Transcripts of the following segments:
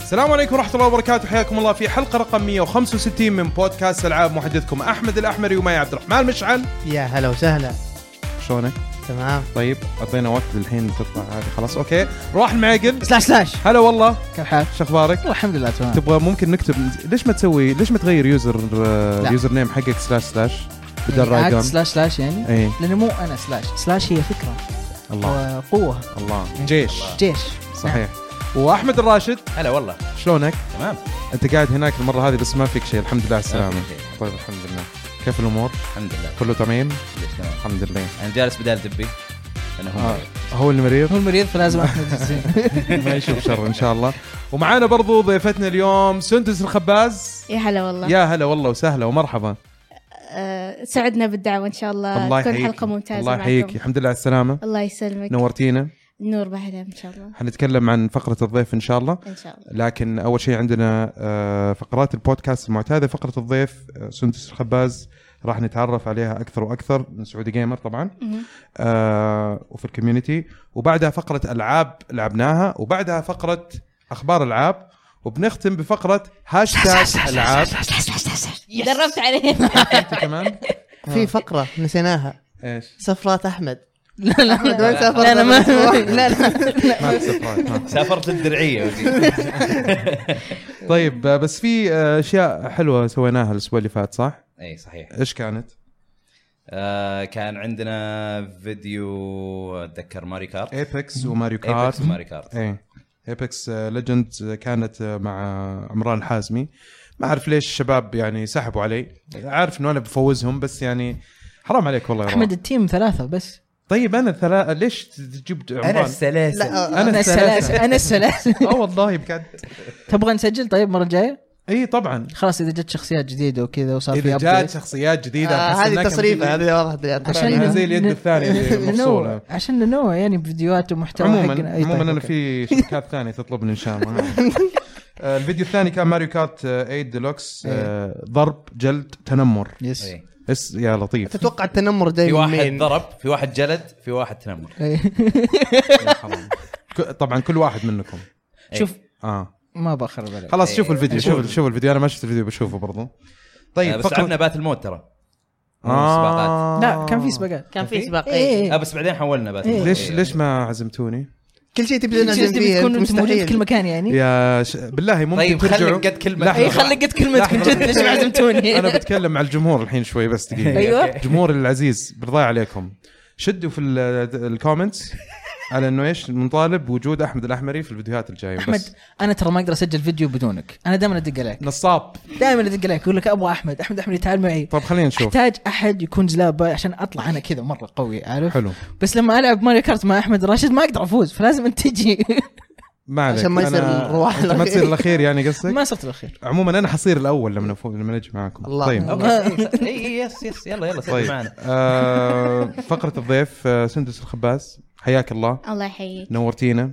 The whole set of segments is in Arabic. السلام عليكم ورحمة الله وبركاته حياكم الله في حلقة رقم 165 من بودكاست ألعاب محدثكم أحمد الأحمري ومعي عبد الرحمن مشعل يا هلا وسهلا شلونك؟ تمام طيب أعطينا وقت للحين تطلع هذه خلاص أوكي روح المعقل سلاش سلاش هلا والله كيف حالك؟ شو أخبارك؟ الحمد لله تمام تبغى ممكن نكتب ليش ما تسوي ليش ما تغير يوزر لا. يوزر نيم حقك سلاش سلاش بدل يعني عاد رايقان سلاش سلاش يعني اي لانه مو انا سلاش سلاش هي فكره الله وقوه الله جيش جيش صحيح واحمد الراشد هلا والله شلونك؟ تمام انت قاعد هناك المره هذه بس ما فيك شيء الحمد لله على السلامه ما في شيء. طيب الحمد لله كيف الامور؟ الحمد لله كله تمام؟ كلش تمام الحمد لله انا جالس بدال دبي انا آه. هم هو اللي مريض هو المريض فلازم احمد الزين ما يشوف شر ان شاء الله ومعانا برضو ضيفتنا اليوم سندس الخباز يا هلا والله يا هلا والله وسهلا ومرحبا آه سعدنا بالدعوة إن شاء الله, الله تكون يحييك آه، حلقة ممتازة الله معكم. يحييك الحمد لله على السلامه الله يسلمك نورتينا النور بهلا إن شاء الله حنتكلم عن فقره الضيف ان شاء الله إن شاء الله لكن اول شيء عندنا آه، فقرات البودكاست المعتاده فقره الضيف آه، سندس الخباز راح نتعرف عليها اكثر واكثر من سعودي جيمر طبعا مهم. آه، وفي الكوميونتي وبعدها فقره العاب لعبناها وبعدها فقره اخبار العاب وبنختم بفقره هاشتاج العاب دربت عليه انت كمان في فقره نسيناها ايش سفرات احمد لا لا احمد وين سافر لا، أنا ما- لا لا ما تسفرات، ما. سافرت الدرعيه وزي. طيب آه، بس في آه، اشياء حلوه سويناها الاسبوع اللي فات صح اي صحيح ايش كانت آه كان عندنا فيديو اتذكر ماري كارت ايبكس وماريو كارت ايبكس ماري كارت ايه ايبكس ليجندز كانت آه، مع عمران الحازمي ما اعرف ليش الشباب يعني سحبوا علي عارف انه انا بفوزهم بس يعني حرام عليك والله يا احمد احمد التيم ثلاثة بس طيب انا ثلا... ليش تجيب انا عمران؟ السلاسل لا أنا الثلاثة. انا السلاسل اه والله بجد تبغى نسجل طيب المرة الجاية؟ اي طبعا خلاص اذا جت شخصيات جديدة وكذا وصار في اذا جات updates. شخصيات جديده آه، أحس هذه إنها تصريفه كانت- هذه واضحه هذه عشان زي اليد ن- الثانية اللي ننوع- مفصولة. عشان ننوع يعني بفيديوهات ومحتوى عموما حقنا. أي عموما طيب، انا أوكي. في شركات ثانيه تطلبني ان شاء الله آه، الفيديو الثاني كان ماريو كارت 8 ديلوكس إيه. آه، ضرب جلد تنمر يس إيه. اس يا لطيف تتوقع التنمر في دائما واحد مين؟ ضرب في واحد جلد في واحد تنمر آه، إيه. يا حرام. ك- طبعا كل واحد منكم إيه. شوف اه ما بخرب عليك خلاص شوفوا الفيديو شوف. شوفوا شوفوا الفيديو انا ما شفت الفيديو بشوفه برضو طيب طيب بس فقرة- لعبنا باتل مود ترى سباقات. آه. لا كان في سباقات كان في سباق إيه. آه بس بعدين حولنا باتل إيه. مود ليش ليش ما عزمتوني؟ كل شيء تبي كل شيء ننزل تبي فيه تكون أنت انت موجود في كل مستحيل مكان يعني يا ش... بالله ممكن طيب ترجعوا خليك قد كلمة. لحظة. اي خلقت كلمتك لحظة. جد ليش ما عزمتوني انا بتكلم مع الجمهور الحين شوي بس دقيقه أيوة. جمهور العزيز بالله عليكم شدوا في ال- الكومنتس على انه ايش نطالب وجود احمد الاحمري في الفيديوهات الجايه احمد بس انا ترى ما اقدر اسجل فيديو بدونك انا دائما ادق عليك نصاب دائما ادق عليك اقول لك ابغى احمد احمد احمد تعال معي طب خلينا نشوف احتاج احد يكون زلابه عشان اطلع انا كذا مره قوي عارف حلو بس لما العب ماريو كارت مع احمد راشد ما اقدر افوز فلازم انت تجي ما عليك عشان ما يصير أنا- الرواح أنت ما الأخير. تصير الاخير يعني قصدك ما صرت الاخير عموما انا حصير الاول لما أفو... لما نجي معاكم الله. طيب اي اي يس يس يلا يلا سجل طيب معنا آه فقره الضيف آه سندس الخباس حياك الله الله يحييك نورتينا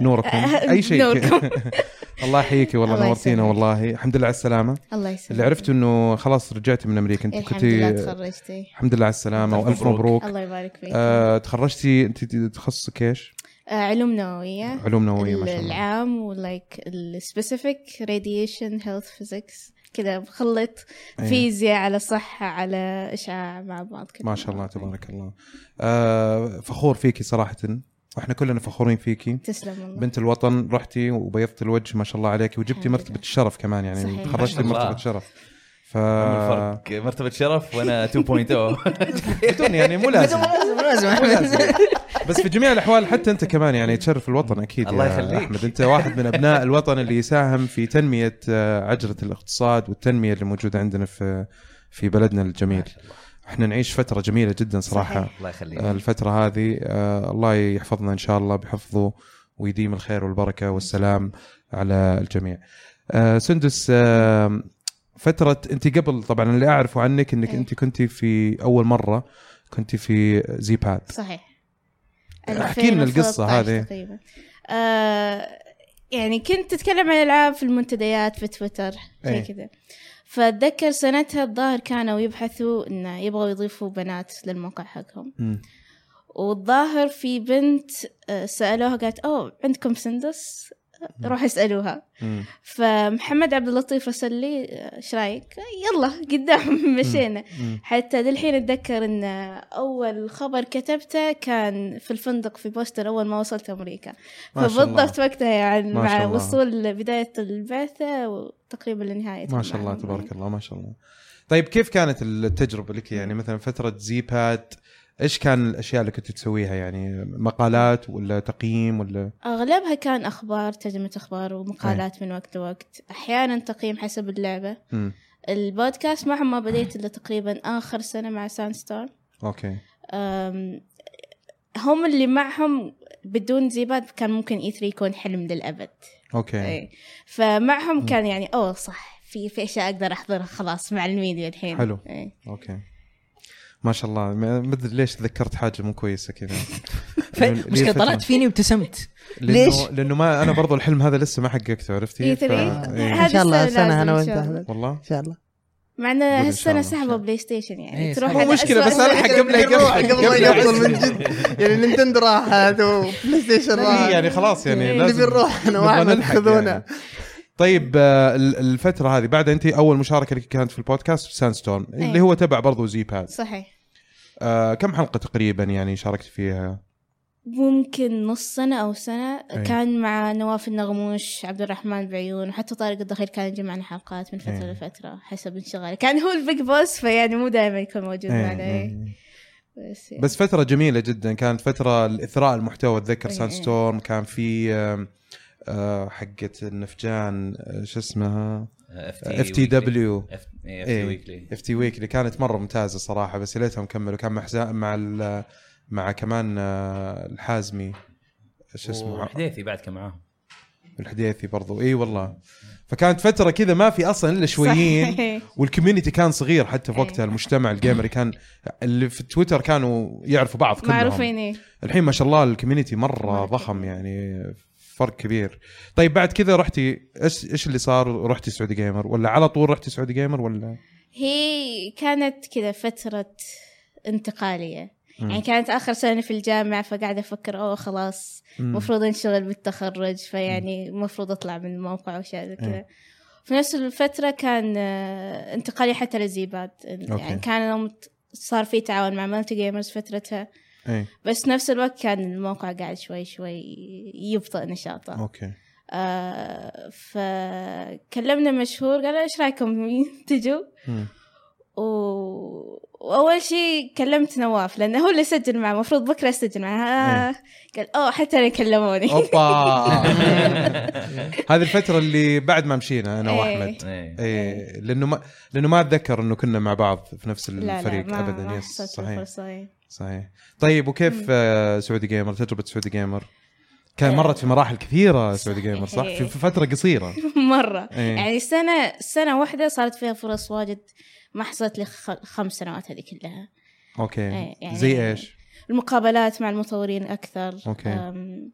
نوركم اي شيء آه، نوركم. الله يحييك والله الله نورتينا يسلمك. والله الحمد لله على السلامه الله نعم. يسلمك اللي عرفته انه خلاص رجعت من امريكا انت الحمد لله كنت تخرجتي الحمد لله على السلامه ألف والف مبروك مبروك. الله يبارك فيك آه آه تخرجتي انت تخصصك ايش؟ علوم نووية علوم نوويه ما شاء الله إيه. العام ولايك السبيسيفيك راديشن هيلث فيزكس كذا مخلط إيه. فيزياء على صحة على إشعاع مع بعض كذا ما شاء الله تبارك الله آه فخور فيكي صراحه احنا كلنا فخورين فيكي تسلم والله بنت الوطن رحتي وبيضت الوجه ما شاء الله عليك وجبتي الحمد لله. مرتبه الشرف كمان يعني صحيح. تخرجتي ما شاء الله. مرتبه شرف ف عامل آه. فرق مرتبة شرف وانا 2.0 بدون يعني مو لازم لازم بس في جميع الاحوال حتى انت كمان يعني تشرف الوطن اكيد الله يا يخليك. احمد انت واحد من ابناء الوطن اللي يساهم في تنميه آه، عجله الاقتصاد والتنميه اللي موجوده عندنا في في بلدنا الجميل احنا نعيش فتره جميله جدا صراحه صحيح. الله يخليك آه، الفتره هذه آه، الله يحفظنا ان شاء الله بحفظه ويديم الخير والبركه والسلام على الجميع آه، سندس آه، فتره انت قبل طبعا اللي اعرفه عنك انك إيه. انت كنت في اول مره كنت في زي باد صحيح يعني احكي لنا القصه 2013 هذه تقريبا آه يعني كنت تتكلم عن العاب في المنتديات في تويتر زي إيه. كذا فاتذكر سنتها الظاهر كانوا يبحثوا انه يبغوا يضيفوا بنات للموقع حقهم مم. والظاهر في بنت آه، سالوها قالت اوه عندكم سندس روح اسألوها مم. فمحمد عبد اللطيف رسل لي ايش رايك؟ يلا قدام مشينا مم. حتى للحين اتذكر ان اول خبر كتبته كان في الفندق في بوسطن اول ما وصلت امريكا ما شاء الله. فبالضبط وقتها يعني ما مع شاء الله. وصول بدايه البعثه وتقريبا لنهايه ما شاء الله تبارك الله ما شاء الله طيب كيف كانت التجربه لك يعني مثلا فتره زي باد ايش كان الاشياء اللي كنت تسويها يعني مقالات ولا تقييم ولا اغلبها كان اخبار ترجمه اخبار إيه. ومقالات من وقت لوقت احيانا تقييم حسب اللعبه مم. البودكاست ما ما بديت الا تقريبا اخر سنه مع ساند ستار اوكي أم، هم اللي معهم بدون زيبات كان ممكن اي 3 يكون حلم للابد اوكي اي إيه. فمعهم كان يعني اوه صح في في اشياء اقدر احضرها خلاص مع الميديا الحين إيه. حلو. اي اوكي ما شاء الله ما ما ادري ليش تذكرت حاجه مو كويسه كذا ف- مشكلة طلعت فيني وابتسمت لأنه- ليش؟ لانه ما انا برضو الحلم هذا لسه ما حققته عرفتي اي ف- 3 إيه. إن شاء الله السنة أنا وأنت. والله ان شاء الله مع ان إن شاء هالسنه الله. سحبوا بلاي ستيشن يعني إيه، تروح سحبوا. على مو مشكله أسوأ بس الحق سنة. قبل يروح قبل قبل ما يقفل من جد يعني نينتندو راحت وبلاي ستيشن راحت يعني خلاص يعني إيه. لازم نبي نروح انا نبغى واحمد نلحق خذونا يعني. طيب آه، ال- الفترة هذه بعد انت اول مشاركة لك كانت في البودكاست في ساندستورم اللي إيه. هو تبع برضو زي باد صحيح آه كم حلقة تقريبا يعني شاركت فيها؟ ممكن نص سنة أو سنة إيه. كان مع نواف النغموش عبد الرحمن بعيون وحتى طارق الدخيل كان يجي معنا حلقات من فترة إيه. لفترة حسب انشغاله كان هو البيج بوس فيعني مو دائما يكون موجود إيه، معنا إيه. إيه. بس, بس فترة جميلة جدا كانت فترة الاثراء المحتوى اتذكر إيه، ساندستورم كان في آم، آه، حقة النفجان آه، شو اسمها إيه، اف تي دبليو اف إيه. تي ويكلي اف تي ويكلي كانت مره ممتازه صراحه بس يا ليتهم كملوا كان مع حزام مع ال- مع كمان آه، الحازمي شو اسمه حديثي بعد كان معاهم الحديثي برضو اي والله فكانت فتره كذا ما في اصلا الا شويين صحيح. والكوميونتي كان صغير حتى في إيه. وقتها المجتمع الجيمري كان اللي في تويتر كانوا يعرفوا بعض كلهم معروفين إيه. الحين ما شاء الله الكوميونتي مره مرة ضخم كبير. يعني فرق كبير طيب بعد كذا رحتي ايش ايش اللي صار رحتي سعودي جيمر ولا على طول رحتي سعودي جيمر ولا هي كانت كذا فترة انتقالية مم. يعني كانت آخر سنة في الجامعة فقاعدة أفكر أوه خلاص مم. المفروض انشغل بالتخرج فيعني المفروض اطلع من الموقع واشياء زي إيه. كذا في نفس الفترة كان آه، انتقالي حتى لزيباد أوكي. يعني كان لهم- صار في تعاون مع مالتي جيمرز فترتها ايه بس نفس الوقت كان الموقع قاعد شوي شوي يبطئ نشاطه اوكي آه فكلمنا مشهور قال ايش رايكم تجوا مم. و... واول شيء كلمت نواف لانه هو اللي سجل معه المفروض بكره اسجل معه آه. إيه. قال اوه حتى انا كلموني اوبا هذه الفتره اللي بعد ما مشينا انا إيه. واحمد إيه. ايه لانه ما لانه ما اتذكر انه كنا مع بعض في نفس لا الفريق لا ما ابدا ما يس حصلت صحيح الفرصة إيه. صحيح طيب وكيف مم. آه، سعودي جيمر تجربه سعودي جيمر كان آه. مرت في مراحل كثيره سعودي جيمر صح صحيح. في في فتره قصيره مرة ايه يعني سنة سنة واحدة صارت فيها فرص واجد ما حصلت لي خ- خمس سنوات هذه كلها اوكي إيه، يعني- زي ايش المقابلات مع المطورين أكثر أوكي. أم،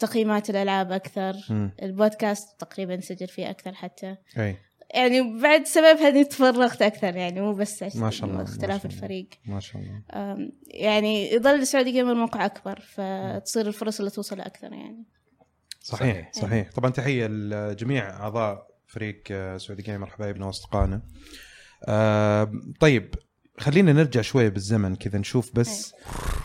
تقييمات الألعاب أكثر مم. إيه، البودكاست تقريبا سجل فيه أكثر حتى اي يعني بعد سبب هذه تفرغت أكثر يعني مو بس عشان ما شاء الله، ما اختلاف شاء الله. الفريق ما شاء الله أم، يعني يظل سعودي جيمر موقع أكبر فتصير الفرص اللي توصل أكثر يعني صحيح صحيح. إيه. صحيح طبعا تحيه لجميع اعضاء فريق آه، سعودي جيمر حبايبنا واصدقائنا آه، طيب خلينا نرجع شويه بالزمن كذا نشوف إيه. بس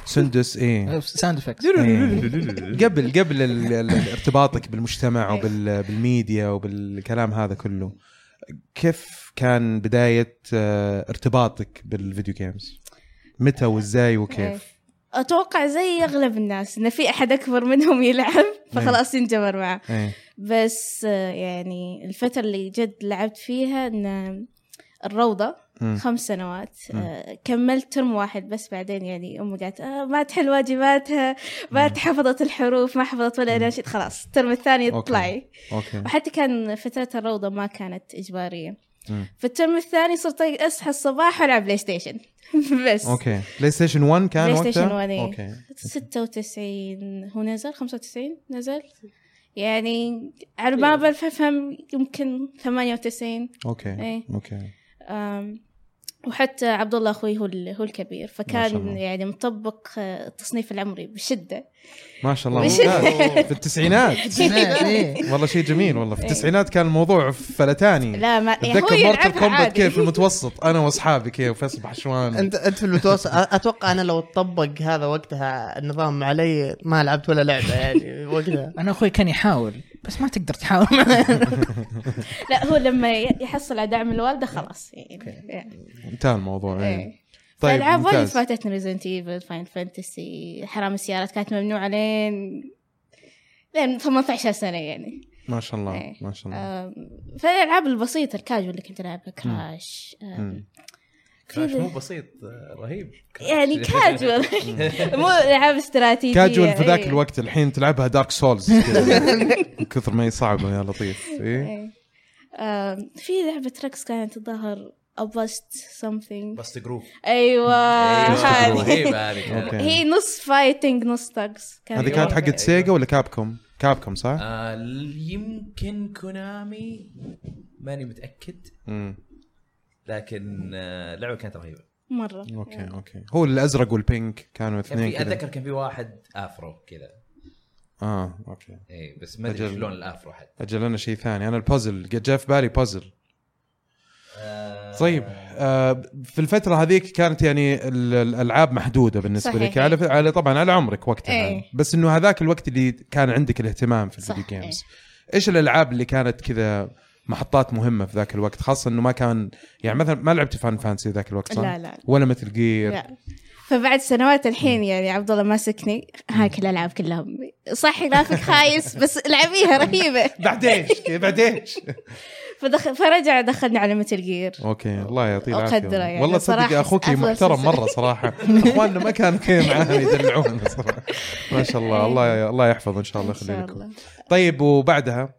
سندس ايه ساوند افكت إيه. قبل قبل ال- ال- ارتباطك بالمجتمع إيه. وبالميديا وبالكلام هذا كله كيف كان بدايه آه، ارتباطك بالفيديو جيمز متى وازاي وكيف اتوقع زي اغلب الناس انه في احد اكبر منهم يلعب فخلاص ينجبر معه ايه بس آه، يعني الفتره اللي جد لعبت فيها ان الروضه مم. خمس سنوات مم. آه، كملت ترم واحد بس بعدين يعني امي قالت آه ما تحل واجباتها ما حفظت الحروف ما حفظت ولا اناشيد خلاص الترم الثاني أوكي. اطلعي اوكي وحتى كان فتره الروضه ما كانت اجباريه مم. في الترم الثاني صرت اصحى الصباح والعب بلاي ستيشن بس اوكي بلاي ستيشن 1 كان بلاي وقتها ستيشن 1 إيه. اوكي 96 هو نزل 95 نزل يعني على ما بعرف افهم يمكن 98 اوكي إيه. اوكي أم، وحتى عبد الله اخوي هو ال- هو الكبير شاء الله. فكان يعني مطبق آه، التصنيف العمري بشده ما شاء الله وش- ممتاز في التسعينات إيه. والله شيء جميل والله في التسعينات كان الموضوع فلتاني إيه. لا ما يعني هو اتذكر مورتل يلعبها كومبات عادي كيف في المتوسط انا واصحابي كيف فيصل بحشوان انت انت في المتوسط أ- اتوقع انا لو طبق هذا وقتها النظام علي ما لعبت ولا لعبه يعني وقتها انا اخوي كان يحاول بس ما تقدر تحاول معه لا هو لما ي- يحصل على دعم الوالده خلاص يعني, يعني. انتهى الموضوع إيه. يعني. طيب طيب العاب وايد ممتاز فاتتني ريزنت ايفل فاين فانتسي حرام السيارات كانت ممنوعه لين لين 18 سنه يعني ما شاء الله إيه. ما شاء الله آم، فالالعاب البسيطه الكاجوال اللي كنت آه، العبها كراش آم، مم. كراش مو بسيط آه، رهيب يعني كاجوال مو العاب استراتيجيه كاجوال في ذاك إيه. الوقت الحين تلعبها دارك سولز من كثر ما هي صعبه يا لطيف إيه؟ إيه. آم، في لعبه ركس كانت الظاهر ابست سمثينج بس آه، جروف ايوه أيوة. هذه رهيبه هذه أوكي. كانت. هي نص فايتنج نص طقس هذه أيوة. كانت حقت سيجا ولا كابكوم؟ كابكوم صح؟ آه، يمكن كونامي ماني متاكد امم لكن آه، اللعبه كانت رهيبه مره اوكي اوكي هو الازرق والبينك كانوا كان اثنين في إيه، كذا اتذكر كان في واحد افرو كذا اه اوكي اي بس ما ادري أجل. إيش لون الافرو حد اجل انا شيء ثاني انا البازل قد جاء في بالي بازل آه، طيب آه في الفتره هذيك كانت يعني ال- الالعاب محدوده بالنسبه صحيح. لك على, على طبعا على عمرك وقتها إيه. يعني. بس انه هذاك الوقت اللي كان عندك الاهتمام في صح، الفيديو جيمز ايش الالعاب اللي كانت كذا محطات مهمه في ذاك الوقت خاصه انه ما كان يعني مثلا ما لعبت فان فانسي ذاك الوقت صح؟ لا، لا. ولا مثل جير لا فبعد سنوات الحين يعني عبد الله ماسكني هاك الالعاب كلها صح جرافيك خايس بس العبيها رهيبه بعدين بعدين فدخل فرجع دخلني على متل جير اوكي الله يعطيه العافيه أقدره يعني، والله صدق صراحة اخوك أفضل محترم سلسلة. مره صراحه اخواننا ما كانوا كذا معانا يدلعونا صراحه ما شاء الله الله الله يحفظ ان شاء الله ان يخلي شاء لكم الله طيب وبعدها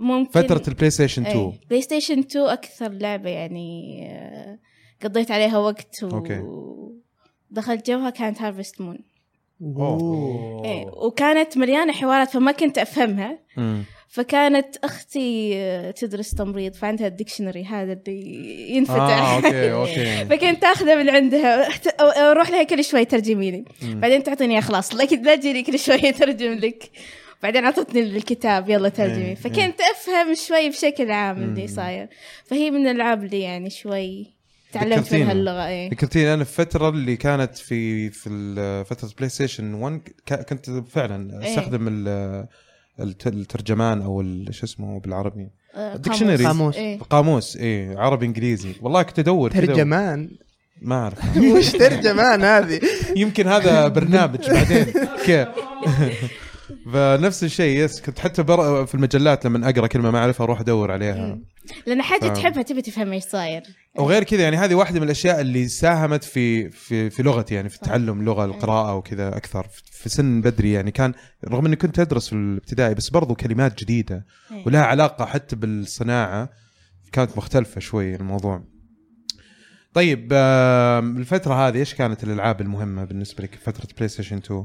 ممكن فتره البلاي ستيشن 2 إيه. بلاي ستيشن 2 اكثر لعبه يعني آه، قضيت عليها وقت و... أوكي. دخلت جوها كانت هارفست مون أوه. إيه. وكانت مليانه حوارات فما كنت افهمها أمم. فكانت اختي آه، تدرس تمريض فعندها الدكشنري هذا اللي ينفتح اه اوكي اوكي فكنت اخذه من عندها أحت- أو- اروح لها كل شوي ترجمي لي مم. بعدين تعطيني إياه خلاص لكن لا تجيني كل شوي اترجم لك بعدين عطتني الكتاب يلا إيه، ترجمي فكنت افهم شوي بشكل عام مم. اللي صاير فهي من الالعاب اللي يعني شوي تعلمت ذكرتيني. منها إيه. اللغه اي ذكرتيني انا الفتره اللي كانت في في ال- فتره بلاي ستيشن 1 ك- كنت فعلا إيه. استخدم ال- الت- الترجمان او ال- شو اسمه بالعربي ديكشنري قاموس. آه، إيه. قاموس ايه عربي انجليزي والله كنت ادور كذا. ترجمان ما اعرف وش ترجمان هذه؟ يمكن هذا برنامج بعدين كيف فنفس الشيء يس كنت حتى بر... في المجلات لما اقرا كلمه ما اعرفها اروح ادور عليها مم. لان حاجه فاهم. تحبها تبي تفهم ايش صاير وغير كذا يعني هذه واحده من الاشياء اللي ساهمت في في في لغتي يعني في صح. إيه. تعلم اللغه القراءه وكذا اكثر في- في سن بدري يعني كان رغم اني كنت ادرس في الابتدائي بس برضو كلمات جديده إيه. ولها علاقه حتى بالصناعه كانت مختلفه شوي الموضوع طيب آم، الفتره هذه ايش كانت الالعاب المهمه بالنسبه لك فتره بلاي ستيشن 2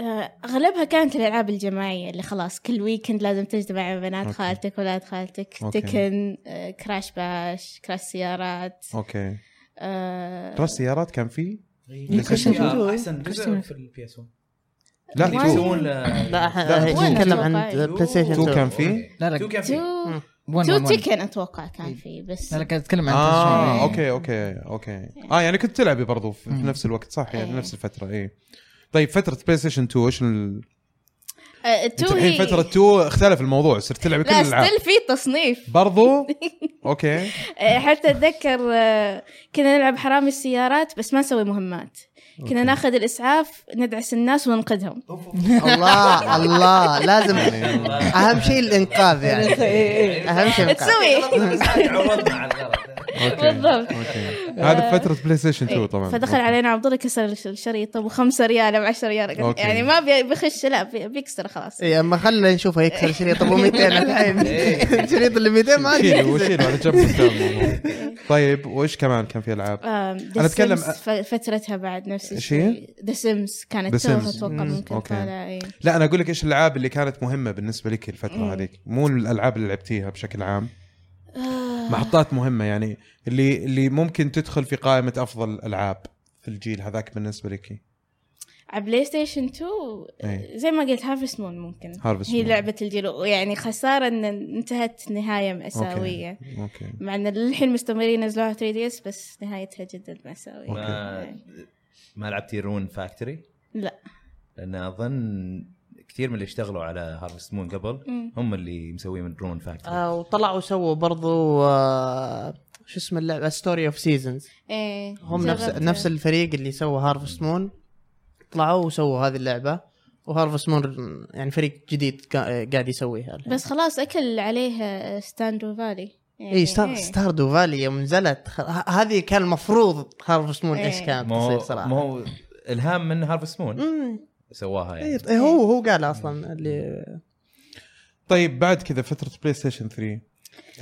آه، اغلبها كانت الالعاب الجماعيه اللي خلاص كل ويكند لازم تجتمع مع بنات أوكي. خالتك ولاد خالتك أوكي. تكن آه، كراش باش كراش سيارات اوكي آه، كراش سيارات كان في كريستيان آه، فيديو. احسن جزء كريستيان. في البي اس 1 لا تو. يعني تو. لا لا، احنا تو. نتكلم عن تو. بلاي ستيشن تو 2 كان فيه؟ لا، لا. تو كان فيه تو ون تو ون ون. تيكن اتوقع كان فيه بس إيه. لا لا، قاعد اتكلم عن اه إيه. تلفزيون. اوكي اوكي اوكي اه يعني كنت تلعبي برضو في في مم. نفس الوقت صح يعني إيه. نفس الفتره اي طيب فتره بلاي ستيشن 2 ايش ال... آه، انت تو الحين هي فتره 2 اختلف الموضوع صرت تلعب كل لا الالعاب ستيل في تصنيف برضو اوكي آه، حتى اتذكر آه، كنا نلعب حرامي السيارات بس ما نسوي مهمات كنا ناخذ الاسعاف ندعس الناس وننقذهم الله الله لازم اهم شيء الانقاذ يعني إيه. اهم شيء الانقاذ تسوي عوضنا على الغلط اوكي بالضبط. اوكي هذا فتره بلاي ستيشن 2 إيه، طبعا فدخل أوكي. علينا عبد الله كسر الش- الشريط ابو خمسة ريال ابو 10 ريال أوكي. إيه. يعني ما بي- بيخش لا بي- بيكسر خلاص اي اما إيه، خلنا نشوفه يكسر شريط ابو 200 الحين الشريط اللي 200 ما عاد شيلوا يكسر. شيلوا على جنب قدام الموضوع. طيب وايش كمان كان في العاب؟ انا أتكلم- فترتها بعد إيش نفس الشيء ذا سيمز كانت The توها Sims. Mm. اتوقع مم. ممكن أوكي. طالعة، إيه. لا انا اقول لك ايش الالعاب اللي كانت مهمه بالنسبه لك الفتره مم. هذيك مو الالعاب اللي لعبتيها بشكل عام آه، محطات مهمه يعني اللي اللي ممكن تدخل في قائمه افضل العاب في الجيل هذاك بالنسبه لك على بلاي ستيشن 2 إيه. زي ما قلت هارفست مون ممكن هارفست هي لعبة الجيل ويعني خسارة ان انتهت نهاية مأساوية اوكي مع ان للحين مستمرين نزلوها 3 دي اس بس نهايتها جدا مأساوية أوكي. يعني. ما لعبتي رون فاكتوري؟ لا. لان اظن كثير من اللي اشتغلوا على هارفست مون قبل مم. هم اللي مسوين من رون فاكتوري آه وطلعوا سووا برضو آه شو اسم اللعبه ستوري اوف سيزونز ايه هم نفس جربت. نفس الفريق اللي سوى هارفست مون طلعوا وسووا هذه اللعبه وهارفست مون يعني فريق جديد قا- قاعد يسويها الحين. بس خلاص آه، اكل عليه ستاندو إيه، فالي يعني اي ستار, ستار دوفالي يوم نزلت خ- ه- هذه كان المفروض هارفست مون إيه. ايش كانت ما تصير هو صراحه ما هو الهام من هارفست مون مم. سواها يعني إيه، هو هو قال اصلا اللي طيب بعد كذا فتره بلاي ستيشن 3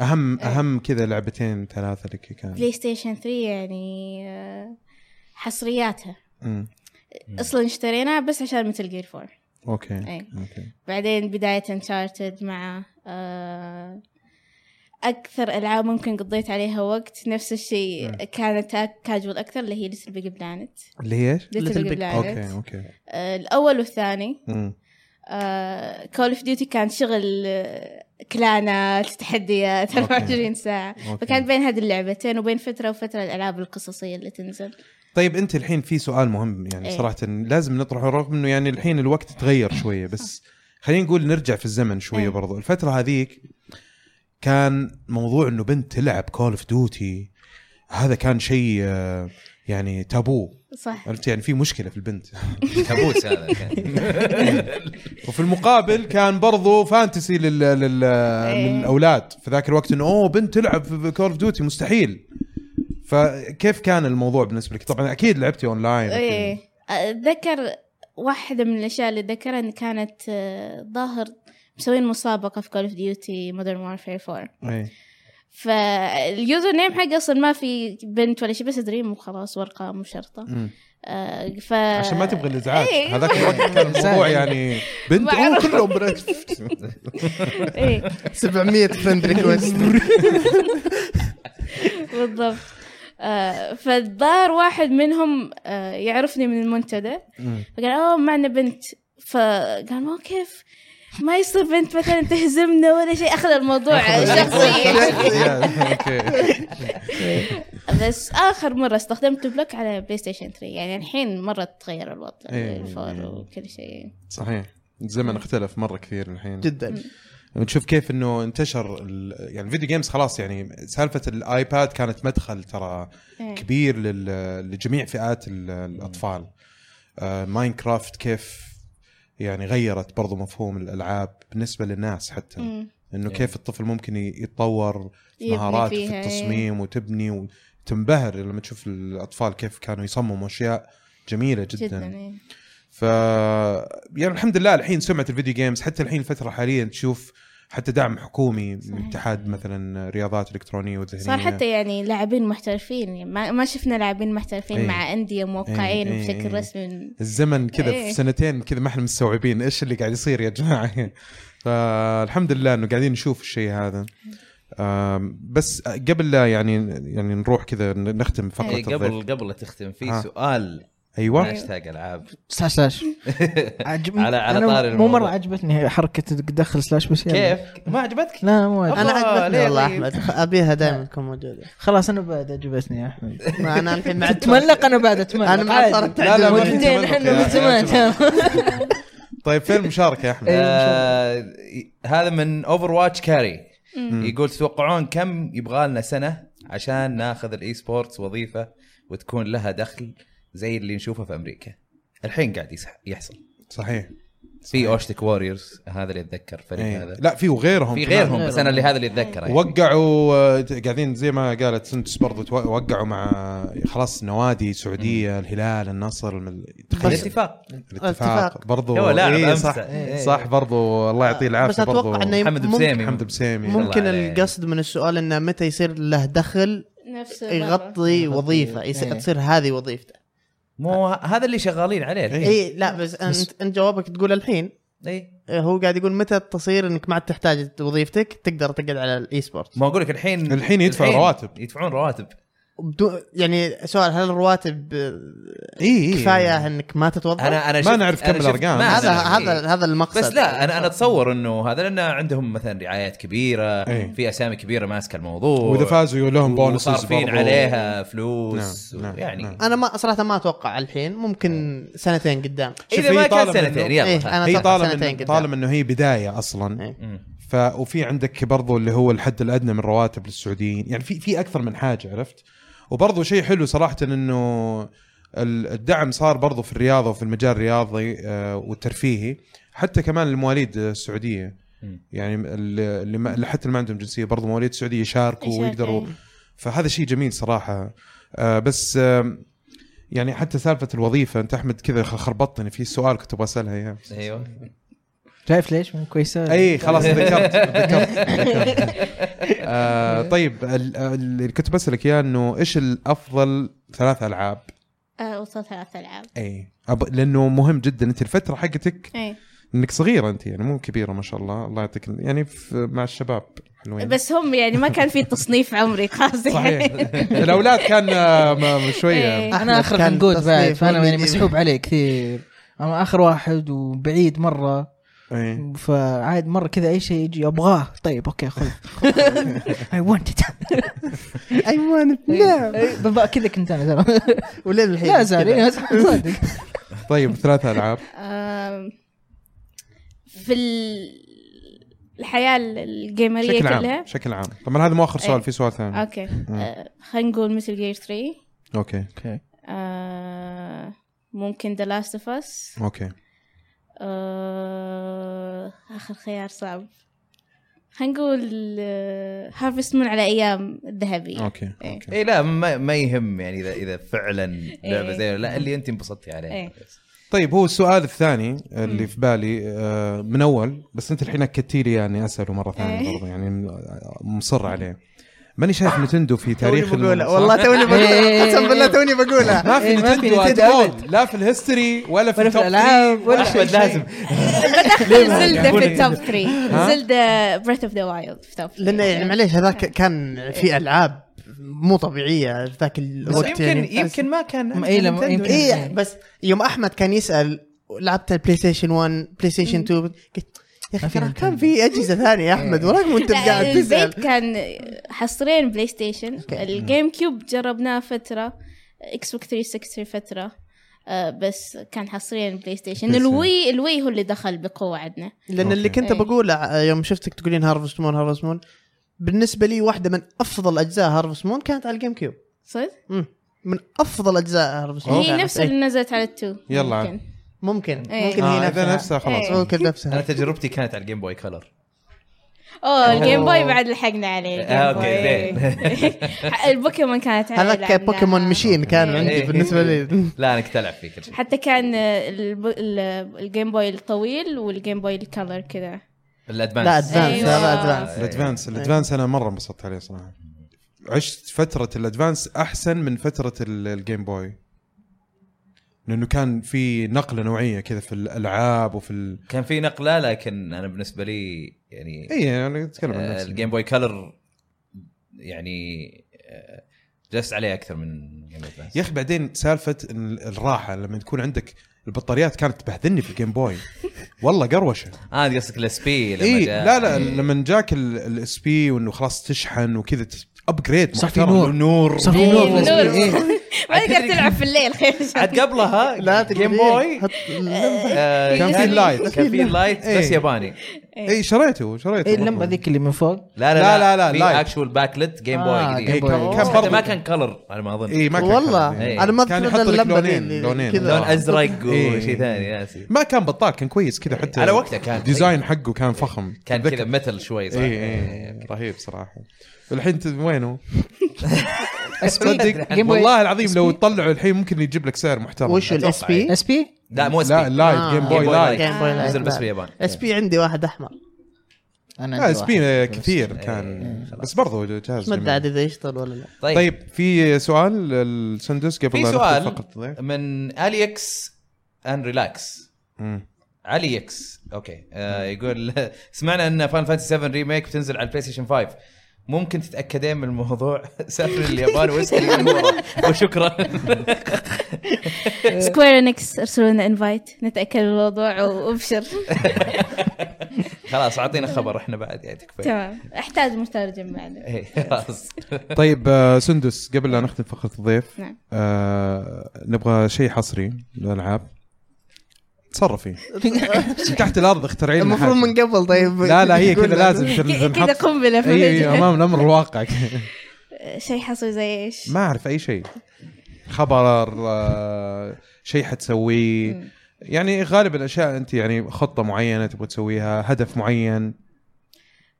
اهم إيه. اهم كذا لعبتين ثلاثه لك كان بلاي ستيشن 3 يعني آه، حصرياتها مم. اصلا اشتريناها بس عشان مثل جير 4 اوكي إيه. اوكي بعدين بداية انشارتد مع آه، أكثر ألعاب ممكن قضيت عليها وقت نفس الشيء كانت كاجوال أكثر اللي هي ليتل بيج بلانت اللي هي ايش؟ Little ليتل Big- بيج اوكي بلانت اوكي آه، الأول والثاني آه، مم. كول اوف ديوتي كان شغل آه، كلانات تحديات أوكي. 24 ساعة أوكي. فكان بين هذه اللعبتين وبين فترة وفترة الألعاب القصصية اللي تنزل طيب انت الحين في سؤال مهم يعني إيه. صراحه لازم نطرحه رغم انه يعني الحين الوقت تغير شويه بس خلينا نقول نرجع في الزمن شويه إيه. برضو الفتره هذيك كان موضوع انه بنت تلعب كول اوف ديوتي هذا كان شيء آه، يعني تابو صح عرفت يعني في مشكله في البنت كابوس هذا كان وفي المقابل كان برضو فانتسي لل... لل... إيه. للاولاد في ذاك الوقت انه اوه بنت تلعب في كول اوف ديوتي مستحيل فكيف كان الموضوع بالنسبه لك؟ طبعا اكيد لعبتي اونلاين ايه اتذكر واحدة من الاشياء اللي اتذكرها ان كانت آه، ظاهر مسوين مسابقة في كول اوف ديوتي مودرن وارفير 4 ايه فاليوزر نيم حقي اصلا ما في بنت ولا شيء بس دريم وخلاص وارقام وشرطة مم. ف عشان ما تبغى الازعاج إيه. هذاك الوقت كان الموضوع يعني بنت ما اوه أعرف. كلهم بنات إيه. 700 فرند ريكوست بالضبط آه، فالظاهر واحد منهم آه، يعرفني من المنتدى مم. فقال اوه معنا بنت فقال ما هو كيف ما يصير بنت مثلا تهزمنا ولا شيء اخذ الموضوع شخصي اوكي بس اخر مره استخدمت بلوك على بلاي ستيشن 3 يعني الحين مره تغير الوضع إيه. الفور وكل شيء صحيح الزمن اختلف مره كثير الحين جدا ونشوف كيف انه انتشر ال- يعني الفيديو جيمز خلاص يعني سالفه الايباد كانت مدخل ترى إيه. كبير لل- لجميع فئات ال- الاطفال آه، ماينكرافت كيف يعني غيرت برضو مفهوم الالعاب بالنسبه للناس حتى مم. انه كيف الطفل ممكن ي- يتطور إيه. يبني مهارات في فيها، إيه. التصميم وتبني وتنبهر لما تشوف الاطفال كيف كانوا يصمموا اشياء جميله جدا, جدا جداً. إيه. ف يعني الحمد لله الحين سمعه الفيديو جيمز حتى الحين الفتره الحاليه تشوف حتى دعم حكومي من صحيح. اتحاد مثلا رياضات الكترونيه وذهنيه صار حتى يعني لاعبين محترفين يعني ما, ما شفنا لاعبين محترفين إيه. مع انديه موقعين إيه، إيه، بشكل إيه. رسمي الزمن كذا في إيه. سنتين كذا ما احنا مستوعبين ايش اللي قاعد يصير يا جماعه فالحمد لله انه قاعدين نشوف الشيء هذا آم، بس قبل لا يعني يعني نروح كذا نختم فقره إيه، الضيف قبل قبل لا تختم ها. في سؤال ايوه هاشتاج العاب سلاش سلاش عجب على- على أنا طاري مو الموضوع. مره عجبتني حركه دخل سلاش بس يلا. كيف؟ ما عجبتك؟ لا مو عجب. انا أبا، ليه عجبتني والله طيب؟ احمد ابيها دائما تكون موجوده خلاص انا بعد عجبتني يا احمد ما انا الحين مع تتملق انا بعد اتملق انا ما عادي. صارت لا، لا، ما تعجبني. والاثنين تتملق احنا يا- من زمان طيب فين المشاركه يا إيه، احمد؟ آه، هذا من اوفر واتش كاري يقول تتوقعون كم يبغى لنا سنه عشان ناخذ الاي سبورتس وظيفه وتكون لها دخل زي اللي نشوفه في امريكا الحين قاعد يسح- يحصل صحيح في اوشتك واريورز هذا اللي اتذكر فريق إيه. طيب، هذا لا في وغيرهم في كمان. غيرهم بس انا اللي هذا اللي اتذكره يعني. وقعوا آه، قاعدين زي ما قالت سنتس برضو تو- وقعوا مع خلاص نوادي سعوديه الهلال النصر الم- تخيل الاتفاق الاتفاق برضو هو لاعب إيه، أمس. صح إيه. صح برضو الله يعطيه العافيه آه، بس اتوقع انه محمد ممكن- بسيمي حمد بسيمي الله ممكن عليك. القصد من السؤال انه متى يصير له دخل نفس إيه، برا. يغطي وظيفه يص- إيه. تصير هذه وظيفته مو ه- هذا اللي شغالين عليه إيه. اي لا بس انت انت جوابك تقول الحين آه، اي هو قاعد يقول متى تصير انك ما عاد تحتاج وظيفتك تقدر تقعد على الاي سبورت ما اقول لك الحين الحين يدفع رواتب. يدفعون رواتب بدو- يعني سؤال هل الرواتب اي اي كفايه انك ما تتوظف؟ انا انا ما شفت- نعرف كم أنا شفت- الأرقام. ما هذا أدري. هذا هذا المقصد بس لا انا انا اتصور انه هذا لان عندهم مثلا رعايات كبيره إيه. في اسامي كبيره ماسكه الموضوع واذا فازوا لهم بونسز وصارفين برضو. عليها فلوس نعم، نعم، يعني نعم. انا ما صراحه ما اتوقع الحين ممكن إيه. سنتين قدام شوف، اذا ما هي كان طالب سنتين إنه- يلا إيه، أنا ها. هي أتوقع طالما سنتين إن- قدام. طالما انه هي بدايه اصلا إيه. مم. ف وفي عندك برضو اللي هو الحد الادنى من رواتب للسعوديين يعني في في اكثر من حاجه عرفت وبرضو شيء حلو صراحه انه ال- الدعم صار برضو في الرياضه وفي المجال الرياضي آه، والترفيهي حتى كمان المواليد السعوديه مم. يعني ال- اللي ما- اللي حتى اللي ما عندهم جنسيه برضو مواليد سعوديه يشاركوا يشارك، ويقدروا إيه. فهذا شيء جميل صراحه آه، بس آم، يعني حتى سالفه الوظيفه انت احمد كذا خ- خربطتني في سؤال كنت ابغى اسالها اياه ايوه شايف ليش كويسه اي خلاص ذكرت ذكرت آه طيب ال- اللي كنت بسالك اياه انه ايش الافضل ثلاث العاب آه، وصلت ثلاث العاب اي أب... لانه مهم جدا انت الفتره حقتك اي انك صغيره انت يعني مو كبيره ما شاء الله الله يعطيك يعني في... مع الشباب حلوين بس هم يعني ما كان في تصنيف عمري خاص طيب. صحيح يعني الاولاد كان آه، ما- شويه إيه. انا اخر كان عنقود بعد تصنيف فانا ولا يعني يجيب. مسحوب عليه كثير انا اخر واحد وبعيد مره إيه. فعاد مره كذا اي شيء يجي ابغاه طيب اوكي خذ اي ونت ات اي إيه، لا لا كذا كنت انا ترى ولين الحين لا زال كذا. إيه، صادق طيب ثلاث العاب آم، في ال- الحياة ال- الجيمرية بشكل كلها عام بشكل عام طبعا هذا مو اخر سؤال إيه. في سؤال ثاني اوكي آه، خلينا نقول مثل جير 3 اوكي آه، ممكن ذا لاست اوف اس اوكي اخر آه، خيار صعب حنقول هارفست مون على ايام الذهبية اوكي إيه. اوكي اي لا ما, ما يهم يعني اذا اذا فعلا لعبه إيه. زي لا اللي انت انبسطتي عليها إيه. بس. طيب هو السؤال الثاني اللي في بالي آه، من اول بس انت الحين اكدتي لي يعني اساله مره ثانيه إيه. برضه يعني م- مصر عليه ماني شايف نتندو في تاريخ توني بقولها المنصات. والله توني بقولها إيه. قسم بالله توني بقولها ما في إيه، ما في نتندو نتندو أبد. لا في الهيستوري ولا ولا في في التوب الالعاب 3 ولا شيء احمد لازم زلدة في قولي. التوب 3 ها؟ زلدة بريث اوف ذا وايلد في توب 3 لانه يعني معليش هذاك كان في العاب مو طبيعيه في ذاك بس الوقت يمكن يعني يمكن ما كان ما- إيه، لما- نتندو. يمكن. ايه بس يوم احمد كان يسال لعبت البلاي ستيشن 1 بلاي ستيشن 2 قلت ما يا في اخي ترى نينتندو. كان في اجهزه ثانيه يا احمد وراكم انت لا، قاعد تسال البيت كان حصرين بلاي ستيشن الجيم كيوب جربناه فترة اكس بوك 360 فترة آه، بس كان حصريا بلاي ستيشن بلاي ستيشن. الوي الوي هو اللي دخل بقوة عندنا لان اللي أوكي. كنت إيه. بقوله ع- يوم شفتك تقولين هارفست مون هارفست مون بالنسبه لي واحده من افضل اجزاء هارفست مون كانت على الجيم كيوب صدق؟ مم. من افضل اجزاء هارفست مون هي كانت. نفس إيه. اللي نزلت على التو يلا عاد. ممكن. ممكن إيه. ممكن آه، هي اذا نفسها نفسها خلاص إيه. ممكن انا نفسها تجربتي كانت على الجيم بوي كلر اوه الجيم أوه. بوي بعد لحقنا عليه آه، أوكي، زين البوكيمون كانت عليه هذاك لعبناها. بوكيمون مشين كان إيه. عندي إيه. بالنسبه لي لا انا كنت العب فيه كل شيء حتى كان آه، الب- ال- الجيم بوي الطويل والجيم بوي الكلر كذا الادفانس لا ادفانس أيوة. هذا ادفانس الادفانس الادفانس انا مره انبسطت عليه صراحه عشت فتره الادفانس احسن من فتره ال- الجيم بوي لانه كان في نقله نوعيه كذا في الالعاب وفي ال... كان في نقله لكن انا بالنسبه لي يعني اي انا اتكلم إيه، عن آه، نفسي الجيم بوي كلر يعني آه، جلست عليه اكثر من جيم بوي أدفانس. يا اخي بعدين سالفه إن الراحه لما تكون عندك البطاريات كانت تبهذلني في الجيم بوي والله قروشه اه أنت قصدك الاس بي لما اي جاء. إيه، إيه. لا لا لما جاك الاس بي وانه خلاص تشحن وكذا ابجريد صار في نور. نور صار في نور إيه، نور. إيه. ما تقدر تلعب في الليل خير عاد قبلها إيه، لا جيم تقدرين. بوي حط- آه، كان في لايت. كان في لايت بس إيه. ياباني اي إيه، شريته شريته اي اللمبه إيه، ذيك اللي من فوق لا لا، لا، لا، في لايت. اكشوال باكلت جيم آه، بوي إيه، جديد جيم بوي. كان كان بس حتى ما برضو كان كلر على ما اظن اي إيه، ما كان والله كان- إيه. انا ما كان اذكر يحط إلا لك اللمبه لونين- ذي لونين. كذا. لون ازرق إيه. وشيء ثاني ناسي ما كان بطال كان كويس كذا حتى على وقته كان. ديزاين حقه كان فخم كان أتذكر. كذا متل شوي صح؟ اي اي رهيب صراحه الحين ت- وينه؟ Game تصدق Boy. والله العظيم لو تطلعه الحين ممكن يجيب لك سعر محترم وش آه. الاس بي؟ اس بي لا مو لا لا اللايت جيم بوي لايت جيم بوي نزل لايت بس باليابان اس بي آه، عندي واحد احمر انا لا اس بي كثير إيه، كان خلاص. بس برضو جهاز ما جميل. ادري عاد اذا يشتغل ولا لا طيب, طيب في سؤال للسندس قبل في لا نختم سؤال فقط من اليكس ان ريلاكس مم. علي اكس اوكي آه يقول سمعنا ان فان فانتسي 7 ريميك بتنزل على البلاي ستيشن 5 ممكن تتاكدين من الموضوع سافر اليابان واسالي من ورا. وشكرا سكوير انكس ارسلوا لنا انفايت نتاكد من الموضوع وابشر خلاص اعطينا خبر احنا بعد يعني تكفى تمام احتاج مترجم بعد إيه، خلاص طيب آه، سندس قبل لا نختم فقره الضيف نعم. آه، نبغى شيء حصري للالعاب تصرفي تحت الارض اخترعي لنا المفروض حاجة. من قبل طيب لا لا هي يقول كذا لنا. لازم ك- كذا إيه، نحط- إيه، قنبله في اي اي الوجه. امام الامر الواقع كذا. شيء حصري زي ايش؟ ما اعرف اي شيء خبر آه، شيء حتسويه مم. يعني غالبا الاشياء انت يعني خطه معينه تبغى تسويها هدف معين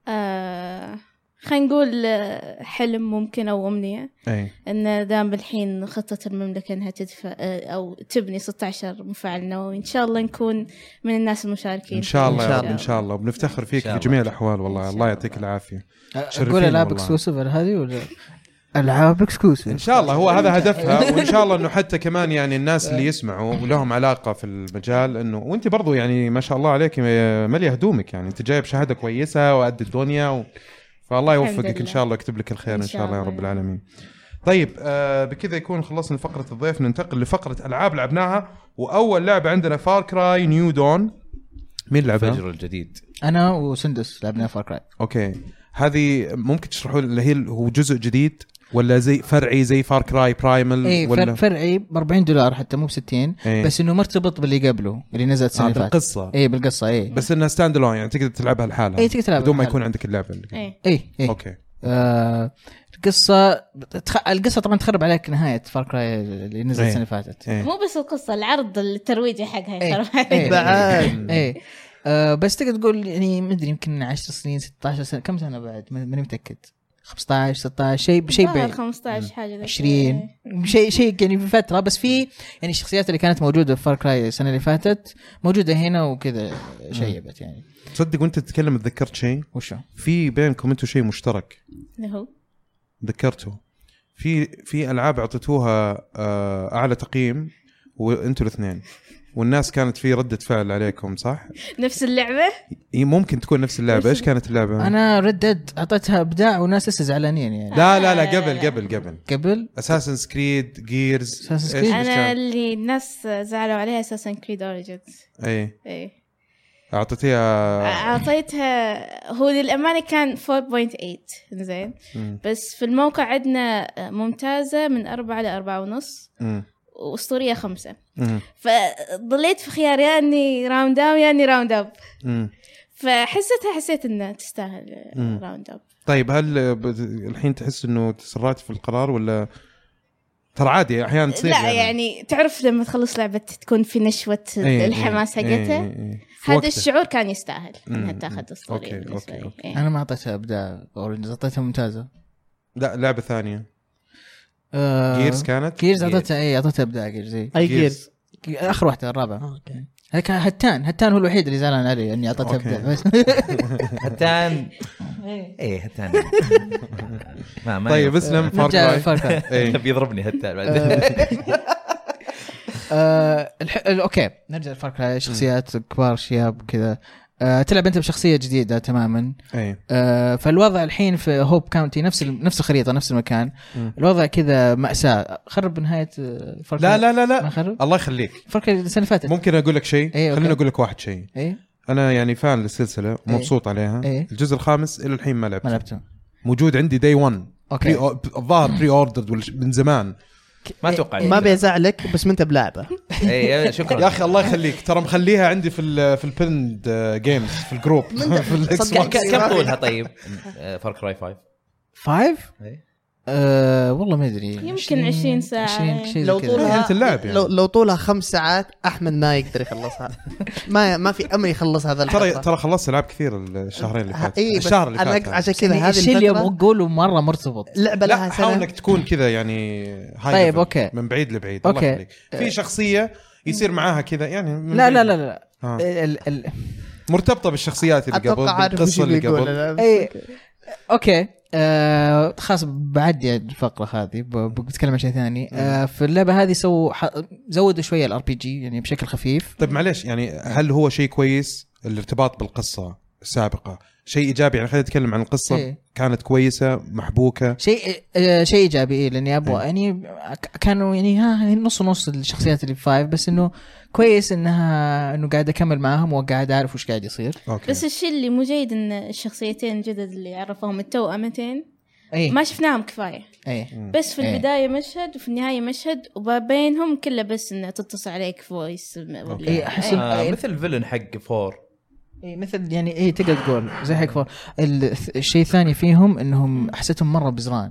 آه خلينا نقول آه، حلم ممكن او امنيه اي ان دام بالحين خطه المملكه انها تدفع آه، او تبني 16 مفاعل نووي ان شاء الله نكون من الناس المشاركين ان شاء الله يا إن شاء رب ان شاء الله وبنفتخر فيك إن شاء في الله. جميع الاحوال إن والله شاء الله يعطيك الله. العافيه شرفين اقول العاب والله. اكسكلوسيف هذه ولا العاب اكسكلوسيف ان شاء الله هو هذا هدفها وان شاء الله انه حتى كمان يعني الناس اللي يسمعوا ولهم علاقه في المجال انه وانت برضو يعني ما شاء الله عليك يا مليا هدومك يعني انت جايب شهاده كويسه وقد الدنيا و... فالله الحمد يوفقك ان لله. شاء الله يكتب لك الخير ان إن شاء شاء الله يا الله. رب العالمين طيب آه بكذا يكون خلصنا فقره الضيف ننتقل لفقره العاب لعبناها واول لعبه عندنا فار كراي نيو دون مين لعبها؟ الفجر الجديد انا وسندس لعبنا فار كراي اوكي هذه ممكن تشرحوا لي اللي هي هو جزء جديد ولا زي فرعي زي فار كراي برايمال إيه، اي ولا إيه، فر- فرعي ب 40 دولار حتى مو ب 60 إيه. بس انه مرتبط باللي قبله اللي نزل السنه آه، اللي فاتت إيه، بالقصه اي بالقصه اي بس انها ستاند الون يعني تقدر تلعبها لحالها اي إيه، تقدر إيه. تلعب بدون ما بالحالة. يكون عندك اللعبه اللي قبل. ايه اي اي اوكي آه، القصه تخ... القصه طبعا تخرب عليك نهايه فار كراي اللي نزل إيه. السنه اللي فاتت إيه. مو بس القصه العرض الترويجي حقها إيه. يا ترى. إيه. بعد ايه آه بس تقدر تقول يعني ما ادري يمكن 10 سنين 16 سنه كم سنه بعد ما- ماني متاكد 15 16 شيء شيء ظهر بعيد 15 حاجه زي 20 إيه. شيء شيء يعني في فتره بس في يعني الشخصيات اللي كانت موجوده في فار كراي السنه اللي فاتت موجوده هنا وكذا شيبت يعني تصدق وانت تتكلم تذكرت شيء وشو؟ في بينكم انتم شيء مشترك اللي إيه، هو ذكرته في في العاب اعطيتوها آه، اعلى تقييم وانتوا الاثنين والناس كانت في رده فعل عليكم صح؟ نفس اللعبه هي ممكن تكون نفس اللعبه ايش كانت اللعبه؟ انا ردد اعطيتها ابداع وناس لسه زعلانين يعني لا لا لا قبل قبل قبل قبل اساسن سكريد جيرز Assassin's Creed؟ انا اللي الناس زعلوا عليها اساسا كريد اوريجنز اي ايه اعطيتيها اعطيتها هو للامانه كان 4.8 زين مم. بس في الموقع عندنا ممتازه من أربعة لأربعة ونص مم. واسطوريه خمسة مم. فضليت في يعني خيار يا اني راوند داون يا اني راوند اب مم. فحسيتها حسيت انها تستاهل مم. راوند اب طيب هل بت- الحين تحس انه تسرعت في القرار ولا ترى عادي احيانا تصير لا يعني تعرف لما تخلص لعبه تكون في نشوه إيه، الحماس إيه، إيه، حقتها إيه، إيه. في هذا وقته. الشعور كان يستاهل انها مم. تاخذ أوكي، اسطوريه بالنسبه أوكي، لي أوكي. إيه. انا ما اعطيتها ابداع اورنج اعطيتها ممتازه لا لعبه ثانيه آه إيه، جيرز كانت جيرز اعطيتها اي اعطيتها ابداع جيرز اي اي Gears. جيرز اخر واحده الرابعه اوكي هذاك هتان هتان هو الوحيد اللي زعلان علي اني اعطيتها أوكي. ابداع بس هتان ايه هتان ما إيه، ما طيب اسلم فار نرجع كراي فار كراي إيه. بيضربني هتان بعدين آه الح... ال- اوكي نرجع لفار كراي شخصيات كبار شياب كذا آه تلعب انت بشخصيه جديده تماما إيه. آه، فالوضع الحين في هوب كاونتي نفس ال- نفس الخريطه نفس المكان مم. الوضع كذا ماساه خرب نهايه آه، فار لا كراي. لا لا ما لا خرب الله يخليك فار كراي السنه اللي فاتت ممكن اقول لك شيء إيه، أوكي. خليني اقول لك واحد شيء اي انا يعني فان للسلسله ومبسوط عليها إيه. الجزء الخامس الى الحين ما ما لعبته لعبته موجود عندي دي 1 بري اوكي الظاهر بري اوردرد من زمان ما إيه، اتوقع ما بيزعلك بس ما انت بلاعبه اي يا شكرا اخي الله يخليك ترى مخليها عندي في ال في البند جيمز في الجروب في الاكس صدق. بوكس ك- كم طولها طيب فار كراي 5 فايف إيه. أه والله ما ادري يمكن 20 ساعة. إيه. 20 شيء لو زي كذا طولها أنت اللاعب يعني. لو, لو طولها خمس ساعات احمد ما يقدر يخلصها ما ما في امل يخلص ترى هذا الحلقه ترى خلصت العاب كثير الشهرين اللي فاتوا إيه بس الشهر اللي أنا فات كان. عشان كذا هذه الشيء يعني اللي الفترة ابغى اقوله مره مرتبط لعبه لا لها حاول سنه انك تكون كذا يعني هاي طيب، level، أوكي. من بعيد لبعيد الله أوكي. يخليك في شخصيه يصير معاها كذا يعني من لا بعيد. لا لا لا آه. ال- ال- مرتبطه بالشخصيات اللي قبل اتوقع عارف وش بالقصه اللي بيقول قبل أنا. اي اوكي إيه. آه خلاص بعدي الفقره هذه ب- بتكلم عن شيء ثاني آه في اللعبه هذه سووا ح- زودوا شويه الار بي جي يعني بشكل خفيف طيب معليش يعني هل هو شيء كويس الارتباط بالقصه السابقه شيء ايجابي يعني خلينا نتكلم عن القصه إيه. كانت كويسه محبوكه شيء آه شيء ايجابي إيه لاني ابغى يعني ك- كانوا يعني ها نص نص الشخصيات اللي في فايف بس انه كويس انها انه قاعد اكمل معاهم وقاعد اعرف وش قاعد يصير اوكي بس الشيء اللي مو جيد ان الشخصيتين الجدد اللي عرفوهم التوأمتين اي ما شفناهم كفايه اي بس في إيه. البدايه مشهد وفي النهايه مشهد وبينهم كله بس انه تتصل عليك فويس ولا إيه، أحس إيه. آه مثل فيلن حق فور اي مثل يعني اي تقدر تقول زي حق فور ال- الشيء الثاني فيهم انهم حسيتهم مره بزران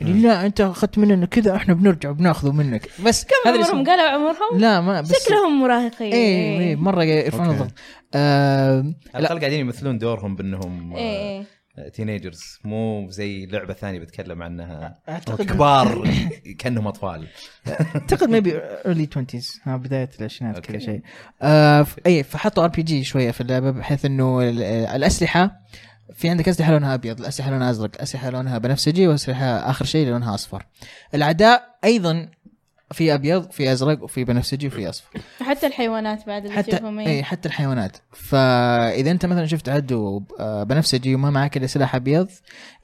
يعني لا انت اخذت مننا كذا احنا بنرجع بناخذه منك بس كم هذا اللي عمرهم قالوا عمرهم لا ما بس إيه، شكلهم مراهقين إيه. اي اي مره يرفعون أوكي. الضغط آه على الاقل قاعدين يمثلون دورهم بانهم اي تينيجرز مو زي لعبه ثانيه بتكلم عنها اعتقد كبار كانهم اطفال اعتقد ميبي ايرلي 20 ها بدايه العشرينات كذا أوكي. شيء آه ف- اي فحطوا ار بي جي شويه في اللعبه بحيث انه ال- الاسلحه في عندك اسلحه لونها ابيض، الاسلحه لونها ازرق، الاسلحه لونها بنفسجي والاسلحه اخر شيء لونها اصفر. الاعداء ايضا في ابيض في ازرق وفي بنفسجي وفي اصفر. حتى الحيوانات بعد اللي حتى إيه، تشوفهم إيه. اي حتى الحيوانات فاذا انت مثلا شفت عدو آه، بنفسجي وما معك الا سلاح ابيض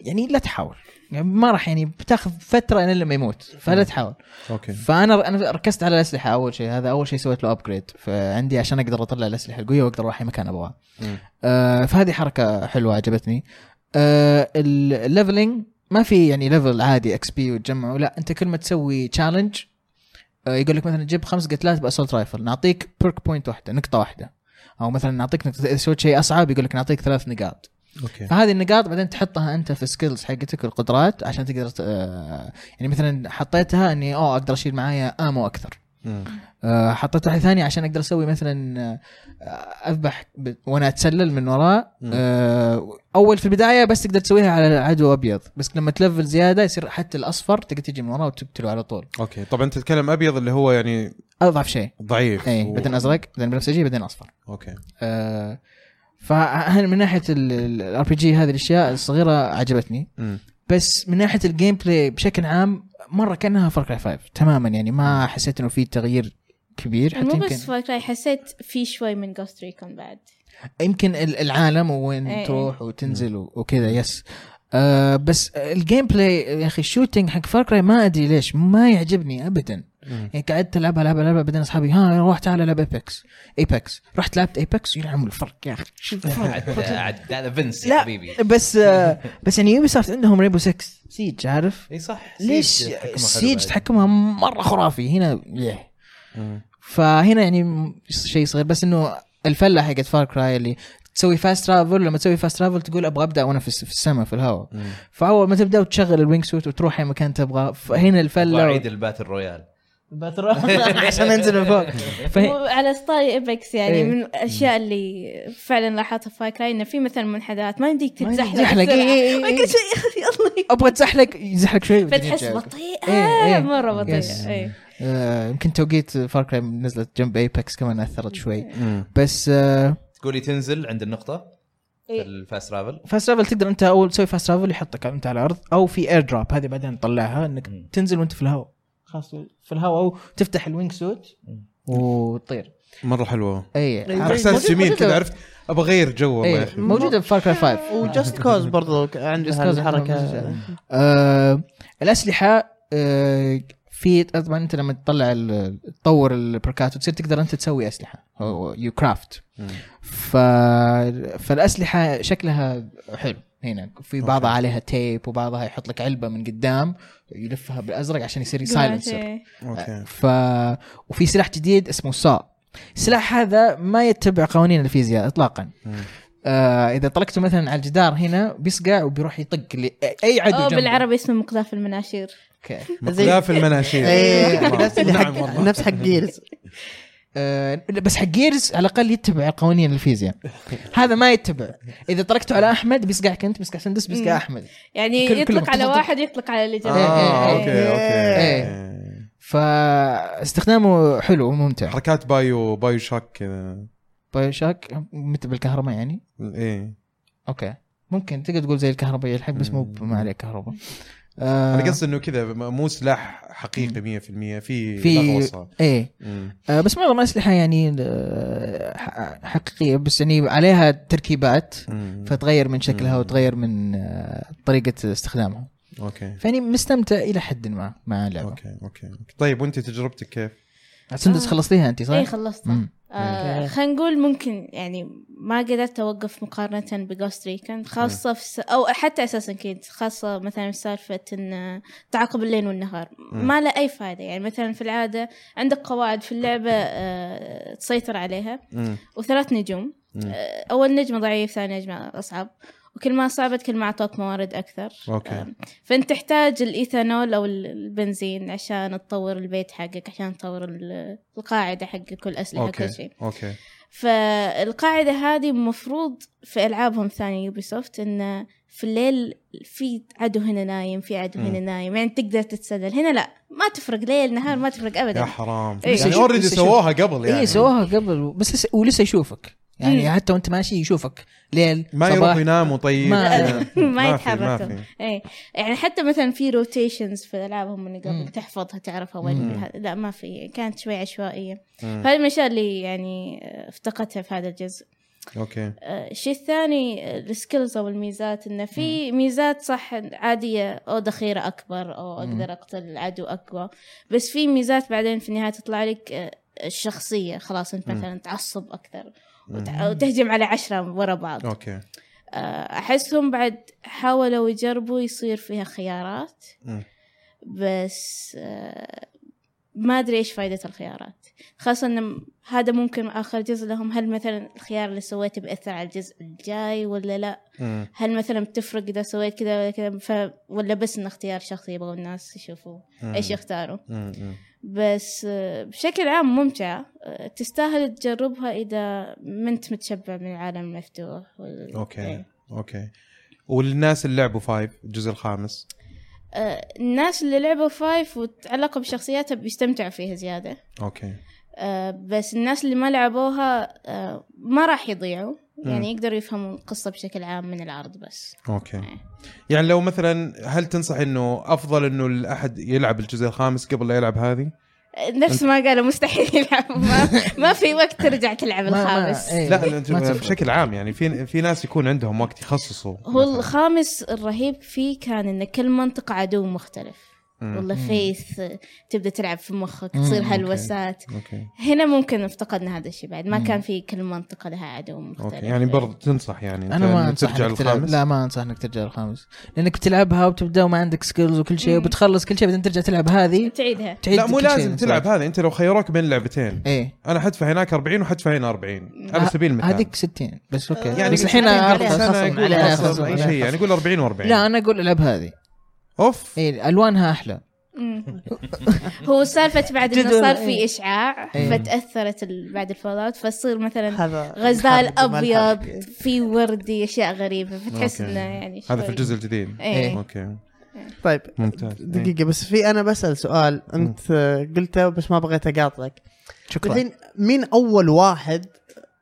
يعني لا تحاول يعني ما راح يعني بتاخذ فتره إلى لما يموت فلا تحاول اوكي فانا انا ركزت على الاسلحه اول شيء هذا اول شيء سويت له ابجريد فعندي عشان اقدر اطلع الاسلحه القويه واقدر اروح اي مكان ابغاه مم. آه فهذه حركه حلوه عجبتني آه الليفلنج ما في يعني ليفل عادي اكس بي وتجمعه لا انت كل ما تسوي تشالنج آه يقول لك مثلا جيب خمس قتلات باسولت رايفل نعطيك بيرك بوينت واحده نقطه واحده او مثلا نعطيك نقطة اذا سويت شيء اصعب يقول لك نعطيك ثلاث نقاط اوكي فهذه النقاط بعدين تحطها انت في السكيلز حقتك القدرات عشان تقدر ت- آه، يعني مثلا حطيتها اني اوه اقدر اشيل معايا امو اكثر مم. آه، حطيت واحده ثانيه عشان اقدر اسوي مثلا آه، اذبح ب- وانا اتسلل من وراه مم. آه، اول في البدايه بس تقدر تسويها على عدو ابيض بس لما تلفل زياده يصير حتى الاصفر تقدر تجي من وراه وتقتله على طول اوكي طبعا انت تتكلم ابيض اللي هو يعني اضعف شيء ضعيف اي و- بعدين ازرق بعدين بنفسجي بعدين اصفر اوكي آه، فهل من ناحيه الار بي جي هذه الاشياء الصغيره عجبتني مم. بس من ناحيه الجيم بلاي بشكل عام مره كانها فرق 5 تماما يعني ما حسيت انه في تغيير كبير حتى مو يمكن بس فاكراي حسيت في شوي من جوست ريكون بعد يمكن ال- العالم وين إيه. تروح وتنزل و- وكذا يس آه بس الجيم بلاي يا اخي الشوتينج حق فاركراي ما ادري ليش ما يعجبني ابدا مم. يعني قعدت العبها العبها العبها بعدين اصحابي ها روح تعال العب ايبكس ايبكس رحت لعبت ايبكس يلعن الفرق يا اخي شوف الفرق عاد- عاد- هذا فينس يا لا حبيبي بس آه بس يعني يوبي سوفت عندهم ريبو 6 سيج عارف اي صح سيج ليش تحكمها حلو سيج بعد. تحكمها مره خرافي هنا ليه مم. فهنا يعني م- شيء صغير بس انه الفله حقت فار كراي اللي تسوي فاست ترافل لما تسوي فاست ترافل تقول ابغى ابدا وانا في السماء في الهواء مم. فاول ما تبدا وتشغل الوينج سوت وتروح اي مكان تبغاه فهنا الفله وعيد الباتل رويال بتروح عشان انزل من فوق فهي... وعلى ستايل ايبكس يعني طيب. إيه. من الاشياء اللي فعلا لاحظتها في فاكراي انه في مثلا منحدات ما يمديك ما يمديك تتزحلق تزحلق، إيه، إيه، بسرعة. ما إيه. كل شيء يخلي الله ابغى اتزحلق يزحلق شوي بعدين فتحس يرجع. بطيئه إيه، إيه. Yes. مره بطيئه إيه. آه، يمكن توقيت فار كراي نزلت جنب ايباكس كمان اثرت شوي مم. بس آه، تقولي تنزل عند النقطه إيه. في الفاست ترافل فاست ترافل تقدر انت اول تسوي فاست ترافل يحطك انت على الارض او في اير دروب هذه بعدين تطلعها انك مم. تنزل وانت في الهواء خلاص في الهواء او تفتح الوينج سوت وتطير مره حلوه اي عارف. احساس موجود- جميل موجود- كذا عرفت ابغى اغير جو إيه، والله يا اي اخي موجوده إيه، في فاركر 5 وجاست كوز برضو ك- Just Cause عندها عندهم الحركه مزيد. آه الاسلحه آه في طبعا انت لما تطلع ال- تطور البركات وتصير تقدر انت تسوي اسلحه يو كرافت مم. ف... فالاسلحه شكلها حلو هنا في بعضها أوكي. عليها تيب وبعضها يحط لك علبه من قدام يلفها بالازرق عشان يصير سايلنسر إيه. اوكي ف وفي سلاح جديد اسمه صا السلاح هذا ما يتبع قوانين الفيزياء اطلاقا مم. آه اذا طلقته مثلا على الجدار هنا بيصقع وبيروح يطق لاي عدو او جنبه. بالعربي اسمه مقذاف المناشير اوكي زي- مقذاف المناشير إيه، نفس اللي نعم حق والله نفس حق جيرز آه بس حق جيرز على الاقل يتبع قوانين الفيزياء هذا ما يتبع اذا طلقته على احمد بيصقعك انت بيصقع سندس بيصقع مم. احمد يعني كل- كلهم يطلق على طق- طق- واحد يطلق على اللي جنبه اه إيه، اوكي إيه. اوكي فاستخدامه حلو وممتع طيب، حركات بايو بايو شاك كذا بايو شاك مت بالكهرباء يعني ايه اوكي ممكن تقدر تقول زي الكهربائيه الحين بس مو ب- ما عليه كهرباء آه، انا قصدي انه كذا م- مو سلاح حقيقي 100% في في- لغوصه ايه مم. آه، بس معظم الاسلحه يعني آه، ح- حقيقيه بس يعني عليها تركيبات مم. فتغير من شكلها مم. وتغير من آه، طريقه استخدامها اوكي فاني مستمتع الى حد ما مع اللعبه اوكي اوكي طيب وانت تجربتك كيف؟ سندس آه. خلصتيها انت صح؟ اي خلصنا مم. إيه. آه خلينا نقول ممكن يعني ما قدرت اوقف مقارنه بجوست ريكن خاصه في س... او حتى اساسا كيد خاصه مثلا في سالفه ان تعاقب الليل والنهار مم. ما له اي فائده يعني مثلا في العاده عندك قواعد في اللعبه آه تسيطر عليها مم. وثلاث نجوم مم. آه، اول نجمه ضعيف ثاني نجمه اصعب وكل ما صعبت كل ما اعطوك موارد اكثر اوكي فانت تحتاج الايثانول او ال- البنزين عشان تطور البيت حقك عشان تطور ال- القاعده حقك والاسلحه اوكي وكل شيء اوكي فالقاعده هذه المفروض في العابهم الثانيه يوبيسوفت انه في الليل في عدو هنا نايم في عدو مم. هنا نايم يعني تقدر تتسلل هنا لا ما تفرق ليل نهار ما تفرق يا ابدا حرام إيه. يعني لسه اوريدي شوف- سووها قبل يعني اي إيه، سووها قبل بس لسه ولسه يشوفك يعني مم. حتى وانت ماشي يشوفك ليل ما يروحوا صباح يناموا طيب ما- يعني. ما في- يتحركوا ما في. ايه يعني حتى مثلا في روتيشنز في العابهم من مم. قبل تحفظها تعرفها وين مم. الها- لا ما في كانت شوي عشوائيه مم. فهذه من الاشياء اللي يعني آه، افتقدتها في هذا الجزء اوكي آه، الشيء الثاني آه، السكيلز او الميزات انه في ميزات صح عاديه او ذخيره اكبر او اقدر اقتل العدو اقوى بس في ميزات بعدين في النهايه تطلع لك آه، الشخصيه خلاص انت مم. مثلا تعصب اكثر وت- مم. وتهجم على عشرة ورا بعض اوكي آه، احسهم بعد حاولوا يجربوا يصير فيها خيارات مم. بس آه، ما ادري ايش فائده الخيارات خاصه ان م- هذا ممكن اخر جزء لهم هل مثلا الخيار اللي سويته بياثر على الجزء الجاي ولا لا مم. هل مثلا بتفرق اذا سويت كذا ولا كذا ف... ولا بس ان اختيار شخصي يبغوا الناس يشوفوا مم. ايش يختاروا مم. مم. بس آه، بشكل عام ممتعه آه، تستاهل تجربها اذا ما انت متشبع من العالم المفتوح وال... إيه. اوكي اوكي والناس اللي لعبوا فايف الجزء الخامس آه، الناس اللي لعبوا فايف وتعلقوا بشخصياتها بيستمتعوا فيها زيادة اوكي آه، بس الناس اللي ما لعبوها آه، ما راح يضيعوا يعني يقدروا يفهموا القصة بشكل عام من العرض بس إيه. اوكي يعني لو مثلا هل تنصح انه افضل انه الاحد يلعب الجزء الخامس قبل لا يلعب هذه؟ آه، نفس ما قالوا مستحيل يلعب ما, ما في وقت ترجع تلعب ما- ما- الخامس إيه. لا أنا- ما تفرق. بشكل عام يعني في في ناس يكون عندهم وقت يخصصوا هو مثلاً. الخامس الرهيب فيه كان ان كل منطقة عدو مختلف مم. والله فيث آه، تبدا تلعب في مخك مم، تصير أوكي. هلوسات اوكي هنا ممكن افتقدنا هذا الشيء بعد ما مم. كان في كل منطقه لها عدو مختلف إيه. اوكي يعني برضه تنصح يعني انا ما أنت انصح ترجع انك تلعب للخامس لا ما انصح انك ترجع للخامس لانك بتلعبها وبتبدا وما عندك سكيلز وكل شيء مم. وبتخلص كل شيء بعدين ترجع تلعب هذه تعيدها تعيد لا مو إيه، كل شيء لازم من تلعب الأول. هذا انت لو خيروك بين لعبتين ايه انا حدفع هناك 40 وحدفع هنا 40 على ه- سبيل المثال هذيك 60 بس اوكي يعني بس الحين قبل عرفت سنة خصم يقول عليها خصم خصم اي عليها شيء يعني خصم. يقول 40 و40 لا انا اقول العب هذه اوف ايه الوانها احلى مم. هو سالفة بعد انه جدول، صار في إيه. اشعاع إيه. فتاثرت ال- بعد الفول اوت فتصير مثلا هذا غزال الحرب جمال الحرب. ابيض في وردي اشياء غريبة فتحس أوكي. انه يعني هذا في شوي- الجزء الجديد إيه. ايه اوكي طيب ممتاز إيه. دقيقة بس في انا بسأل سؤال انت آه، قلته بس ما بغيت اقاطعك شكرا طيب. الحين مين اول واحد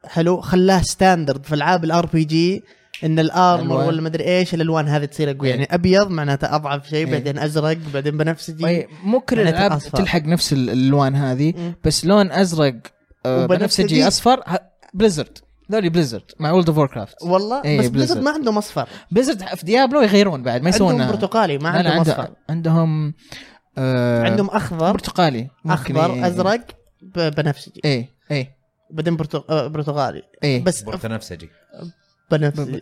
حلو خلاه ستاندرد في العاب الار بي جي ان الارمر ألوان. ولا مدري ايش الالوان هذه تصير اقوى إيه. يعني ابيض معناته اضعف شيء إيه. بعدين ازرق بعدين بنفسجي إيه. طيب مو كل معناته الالعاب أصفر. تلحق نفس ال- الالوان هذه مم. بس لون ازرق آه، وبنفسجي. بنفسجي اصفر ه- بليزرد ذولي بليزرد مع وولد اوف كرافت والله إيه، بس بليزرد. بليزرد ما عندهم اصفر بليزرد في ديابلو يغيرون بعد ما يسوون آه، عندهم برتقالي ما عندهم اصفر عندهم عندهم آه، عندهم اخضر برتقالي ممكن إيه، اخضر ي- ازرق ب- بنفسجي ايه ايه بعدين برتق- آه، برتقالي ايه بس بنفسجي بنفسجي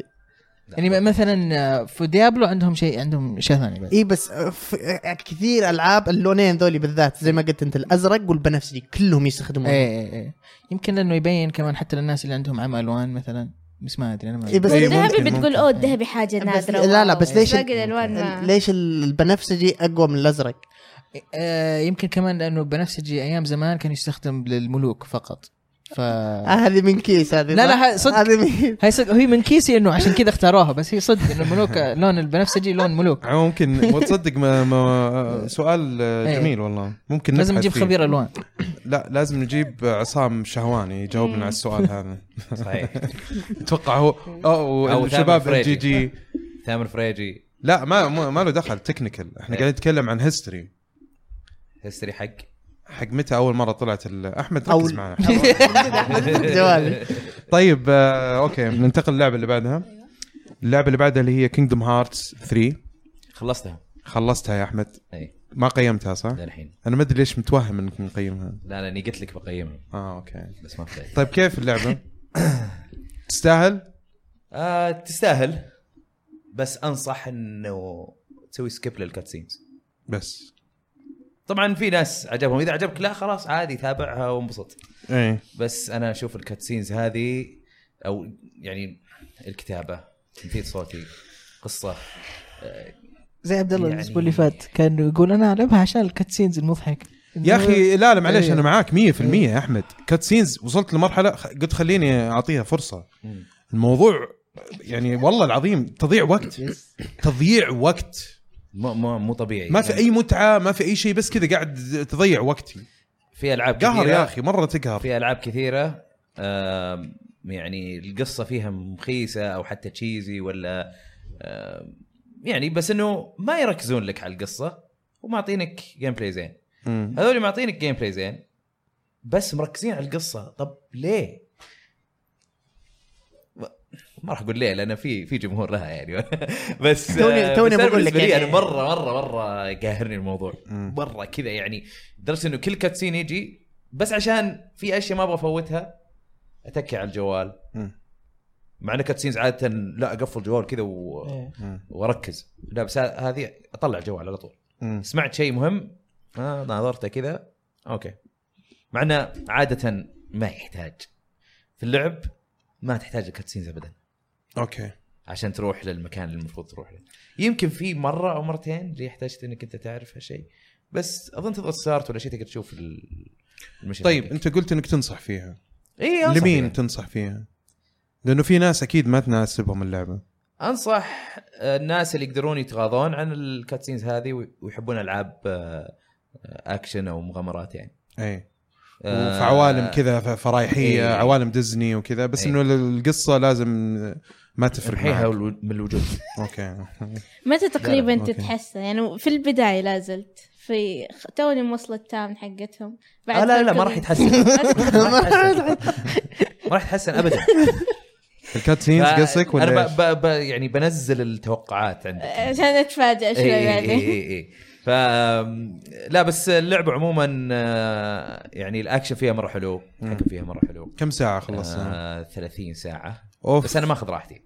يعني م- مثلا آه، في ديابلو عندهم شيء عندهم اشياء ثانيه بعد اي إيه، بس في كثير العاب اللونين ذولي بالذات زي ما قلت انت الازرق والبنفسجي كلهم يستخدمون ايه ايه ايه يمكن لانه يبين كمان حتى للناس اللي عندهم عمى الوان مثلا بس ما ادري انا ما إيه بس إيه، ممكن- الذهبي ممكن. بتقول اوه الذهبي حاجة بس نادرة لا لا واو. بس ليش باقي الالوان ما- ليش البنفسجي اقوى من الازرق؟ آه، يمكن كمان لانه بنفسجي ايام زمان كان يستخدم للملوك فقط ف آه هذه من كيس هذه لا، صح؟ لا، ه- صدق. هذه من هي صدق هي من كيسي انه عشان كذا اختاروها بس هي صدق انه الملوك آه، لون البنفسجي لون ملوك عم ممكن وتصدق ما ما سؤال جميل والله ممكن إيه. لازم نبحث نجيب فيه. خبير الوان لا لازم نجيب عصام شهواني يجاوبنا إيه. مم. على السؤال هذا صحيح اتوقع هو او أو الشباب ثامر الجي فريجي. جي ثامر فريجي لا ما ما ما له دخل تكنيكال احنا قاعدين نتكلم عن هيستوري هيستوري حق حق متى اول مره طلعت ال- احمد أول- ركز معنا جوالي طيب آه، اوكي ننتقل للعبه اللي بعدها اللعبه اللي بعدها اللي هي كينجدم هارتس 3 خلصتها خلصتها يا احمد اي ما قيمتها صح؟ للحين انا ما ادري ليش متوهم انك مقيمها لا لاني قلت لك بقيمها اه اوكي بس ما بدأت طيب كيف اللعبه؟ تستاهل؟ آه تستاهل بس انصح انه تسوي سكيب للكاتسينز بس طبعا في ناس عجبهم اذا عجبك لا خلاص عادي تابعها وانبسط ايه بس انا اشوف الكاتسينز هذه او يعني الكتابه تمثيل صوتي قصه آه، زي عبد الله يعني- الاسبوع اللي فات كان يقول انا العبها عشان الكاتسينز المضحك يا اخي لا لا معليش إيه. انا معاك 100% يا احمد كات سينز وصلت لمرحله خ- قلت خليني اعطيها فرصه مم. الموضوع يعني والله العظيم تضيع وقت تضييع وقت مو مو مو طبيعي ما في اي متعه ما في اي شيء بس كذا قاعد تضيع وقتي في العاب قهر كثيرة- يا اخي مره تقهر في العاب كثيره آم، يعني القصه فيها مخيسه او حتى تشيزي ولا آم، يعني بس انه ما يركزون لك على القصه ومعطينك جيم بلاي زين مم. هذول معطينك جيم بلاي زين بس مركزين على القصه طب ليه ما- ما راح اقول ليه لان في في جمهور لها يعني بس آه، توني- توني بس أنا بقول لك بالنسبة لي يعني- انا مره مره مره قاهرني الموضوع مم. مره كذا يعني لدرجه انه كل كاتسين يجي بس عشان في اشياء ما ابغى افوتها اتكي على الجوال مم. مع ان كاتسينز عاده لا اقفل الجوال كذا و... إيه. مم. واركز لا بس ه- هذه اطلع الجوال على طول مم. سمعت شيء مهم آه ناظرته كذا اوكي مع انه عاده ما يحتاج في اللعب ما تحتاج الكاتسينز ابدا اوكي عشان تروح للمكان اللي المفروض تروح له يمكن في مره او مرتين اللي احتاجت انك انت تعرف هالشيء بس اظن تضغط ستارت ولا شيء تقدر تشوف ال- المشهد طيب حقك. انت قلت انك تنصح فيها اي أنصح لمين فيها. تنصح فيها؟ لانه في ناس اكيد ما تناسبهم اللعبه انصح الناس اللي يقدرون يتغاضون عن الكاتسينز هذه وي- ويحبون العاب آه، اكشن او مغامرات يعني اي آه، في عوالم كذا ف- فرايحيه إيه. عوالم ديزني وكذا بس إيه. انه القصه لازم ما تفرق امحيها معك. والو- من الوجود اوكي متى تقريبا أوكي. تتحسن يعني في البدايه لازلت في خ- توني موصلة التام حقتهم آه لا لا ما كذا- راح يتحسن ما راح يتحسن. ما راح يتحسن ابدا الكات سينز ف- قصدك ولا انا إيش؟ ب... ب... ب... يعني بنزل التوقعات عندك إيه، عشان اتفاجئ شوي بعدين اي اي إيه. ف لا بس اللعبه عموما آه، يعني الاكشن فيها مره حلو الحكم فيها مره حلو كم ساعه خلصنا؟ آه 30 ساعه اوف بس انا ماخذ راحتي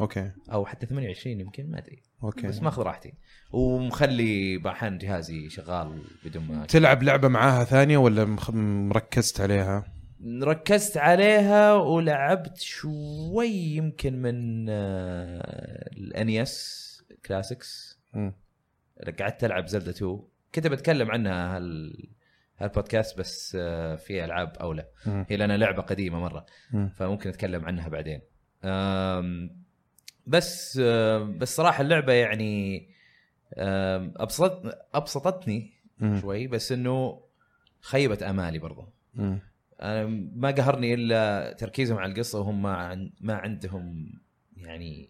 اوكي او حتى 28 يمكن ما ادري بس اوكي ماخذ راحتي ومخلي بحان جهازي شغال بدون ما تلعب لعبه معاها ثانيه ولا مخ- مركزت عليها؟ ركزت عليها ولعبت شوي يمكن من آه، الانيس كلاسيكس مم. قعدت العب زلدا 2 كنت بتكلم عنها هال هالبودكاست بس آه، في العاب اولى مم. هي لانها لعبه قديمه مره مم. فممكن اتكلم عنها بعدين أم، بس أم، بس صراحه اللعبه يعني أم، ابسط ابسطتني مم. شوي بس انه خيبت امالي برضه مم. انا ما قهرني الا تركيزهم على القصه وهم ما, عن ما عندهم يعني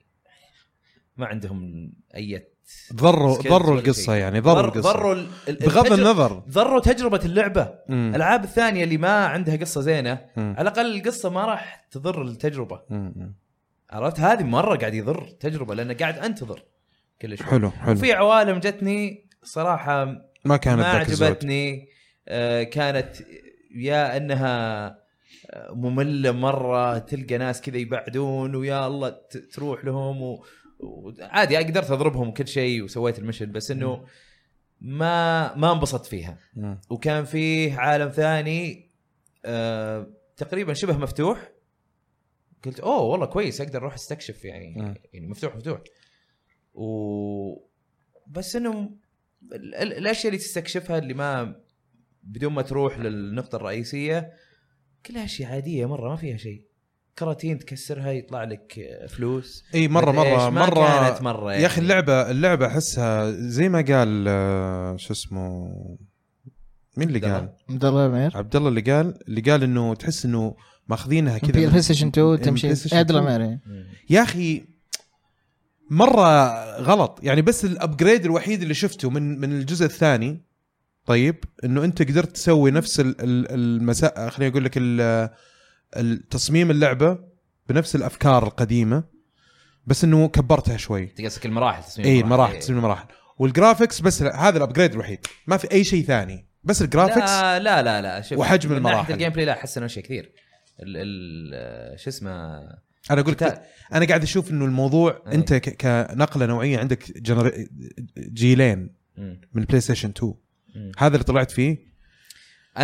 ما عندهم اي ضروا skills ضروا ولا القصه شيء. يعني ضروا القصه ضروا ال- ال- بغض التجر- النظر ضروا تجربه اللعبه مم. الالعاب الثانيه اللي ما عندها قصه زينه مم. على الاقل القصه ما راح تضر التجربه مم. مم. عرفت هذه مره قاعد يضر تجربه لان قاعد انتظر كل شوي حلو حلو في عوالم جتني صراحه ما كانت ما ذاك الزود عجبتني آه، كانت يا انها آه، ممله مره تلقى ناس كذا يبعدون ويا الله ت- تروح لهم و... وعادي قدرت اضربهم وكل شيء وسويت المشن بس انه ما ما انبسطت فيها مم. وكان فيه عالم ثاني آه تقريبا شبه مفتوح قلت اوه والله كويس اقدر اروح استكشف مم. يعني يعني مفتوح مفتوح و بس انه ال- ال- الاشياء اللي تستكشفها اللي ما بدون ما تروح للنقطه الرئيسيه كلها اشياء عاديه مره ما فيها شيء كراتين تكسرها يطلع لك آه، فلوس اي مره مدري مره إيش، ما مره كانت يعني. مره يعني. يا اخي اللعبه اللعبه احسها زي ما قال آه، شو اسمه مين اللي قال؟ عبد الله عمير عبد الله اللي قال اللي قال انه تحس انه ماخذينها يعني كذا بي من- البلاي ستيشن 2 من تمشي بلاي ستيشن عبد الله 2. عمير إيه. يا اخي مره غلط يعني بس الابجريد الوحيد اللي شفته من من الجزء الثاني طيب انه انت قدرت تسوي نفس ال- ال- المساء خليني اقول لك ال- التصميم اللعبه بنفس الافكار القديمه بس انه كبرتها شوي انت قصدك المراحل تصميم اي المراحل تصميم المراحل والجرافيكس بس ال- هذا الابجريد الوحيد ما في اي شيء ثاني بس الجرافيكس لا لا لا لا شوف وحجم من ناحية المراحل. الجيم بلاي لا احس انه شيء كثير ال ال شو اسمه انا اقول لك قتال. انا قاعد اشوف انه الموضوع أي. انت ك- كنقله نوعيه عندك جنر... جيلين مم. من بلاي ستيشن 2 مم. هذا اللي طلعت فيه يعني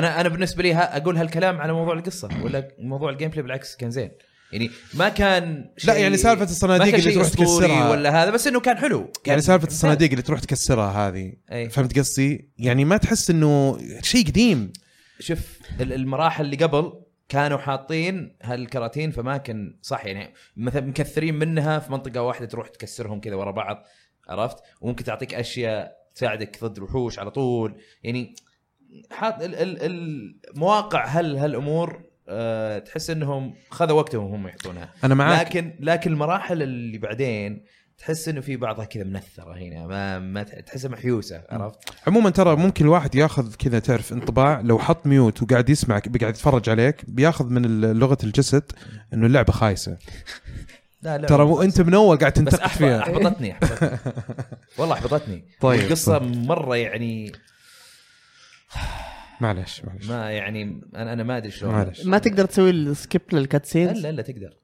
انا انا بالنسبه لي ها اقول هالكلام على موضوع القصه ولا موضوع الجيم بلاي بالعكس كان زين يعني ما كان لا يعني سالفة الصناديق ما كان اللي شيء تروح أسطوري تكسرها. ولا هذا بس انه كان حلو كان إيه. يعني سالفه زين. الصناديق اللي تروح تكسرها هذه أي. فهمت قصدي يعني ما تحس انه شيء قديم شوف ال- المراحل اللي قبل كانوا حاطين هالكراتين في اماكن صح يعني مثلا مكثرين منها في منطقه واحده تروح تكسرهم كذا ورا بعض عرفت وممكن تعطيك اشياء تساعدك ضد الوحوش على طول يعني حاط ال- ال- المواقع هل هالامور أه تحس انهم خذوا وقتهم وهم يحطونها انا معاك لكن لكن المراحل اللي بعدين تحس انه في بعضها كذا منثره هنا ما, ما تح- تحسها محيوسه عرفت؟ عموما ترى ممكن الواحد ياخذ كذا تعرف انطباع لو حط ميوت وقاعد يسمعك بيقعد يتفرج عليك بياخذ من ال- لغه الجسد انه اللعبه خايسه لا لا ترى مو- انت من اول قاعد بس تنتقد أحب- فيها احبطتني احبطتني والله احبطتني طيب. القصه مره يعني معلش معلش ما يعني انا انا ما ادري شلون معلش ما تقدر آه. تسوي السكيب للكاتسينز الا الا تقدر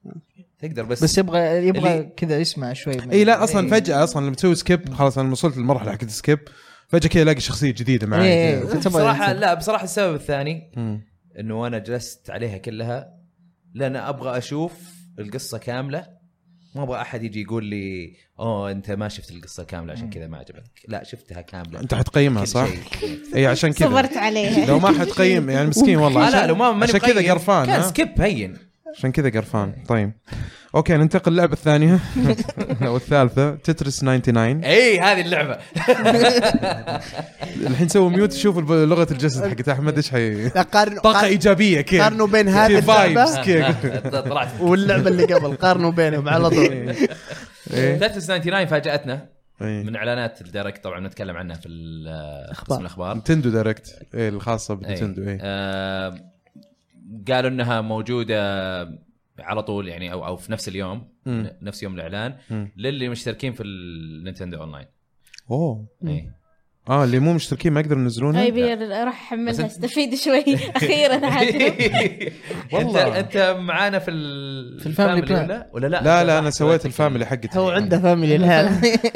تقدر بس, بس يبغى يبغى اللي- كذا يسمع شوي من- اي لا اصلا إي. فجاه اصلا لما تسوي سكيب خلاص انا وصلت للمرحله حقت سكيب فجاه كذا الاقي شخصيه جديده معي إيه، إي، إي. تبغى بصراحه يعني ينزل. لا بصراحه السبب الثاني مم. انه انا جلست عليها كلها لان ابغى اشوف القصه كامله ما ابغى احد يجي يقول لي اوه انت ما شفت القصه كامله عشان كذا ما عجبتك لا شفتها كامله انت حتقيمها كل صح؟ شيء. اي عشان كذا صبرت عليها لو ما حتقيم يعني مسكين والله لا لا عشان, لو ما ماني عشان كذا مقيم، قرفان كان ها؟ سكيب هين عشان كذا قرفان طيب اوكي ننتقل للعبه الثانيه والثالثه تترس 99 اي إيه، هذه اللعبه الحين سووا ميوت شوفوا الب- لغه الجسد حقت احمد ايش حي لا قارن طاقه قارن- ايجابيه كذا قارنوا بين في هذه اللعبه فايبس كذا آه، طلعت واللعبه اللي قبل قارنوا بينهم على طول إيه. تاتس 99 فاجاتنا إيه. من اعلانات الدايركت طبعا نتكلم عنها في ال- قسم الاخبار نتندو دايركت إيه الخاصه إيه. بنتندو إيه. آه، قالوا انها موجوده على طول يعني او او في نفس اليوم مم. ن- نفس يوم الاعلان مم. للي مشتركين في النينتندو اونلاين اوه إيه. اه اللي مو مشتركين ما يقدروا ينزلونها طيب راح احملها بس أنت- استفيد شوي اخيرا عاد والله. والله انت معانا في ال- في الفاميلي بلان. ولا ولا لا لا لا انا سويت الفاميلي حقتي آه، هو عنده فاميلي الحين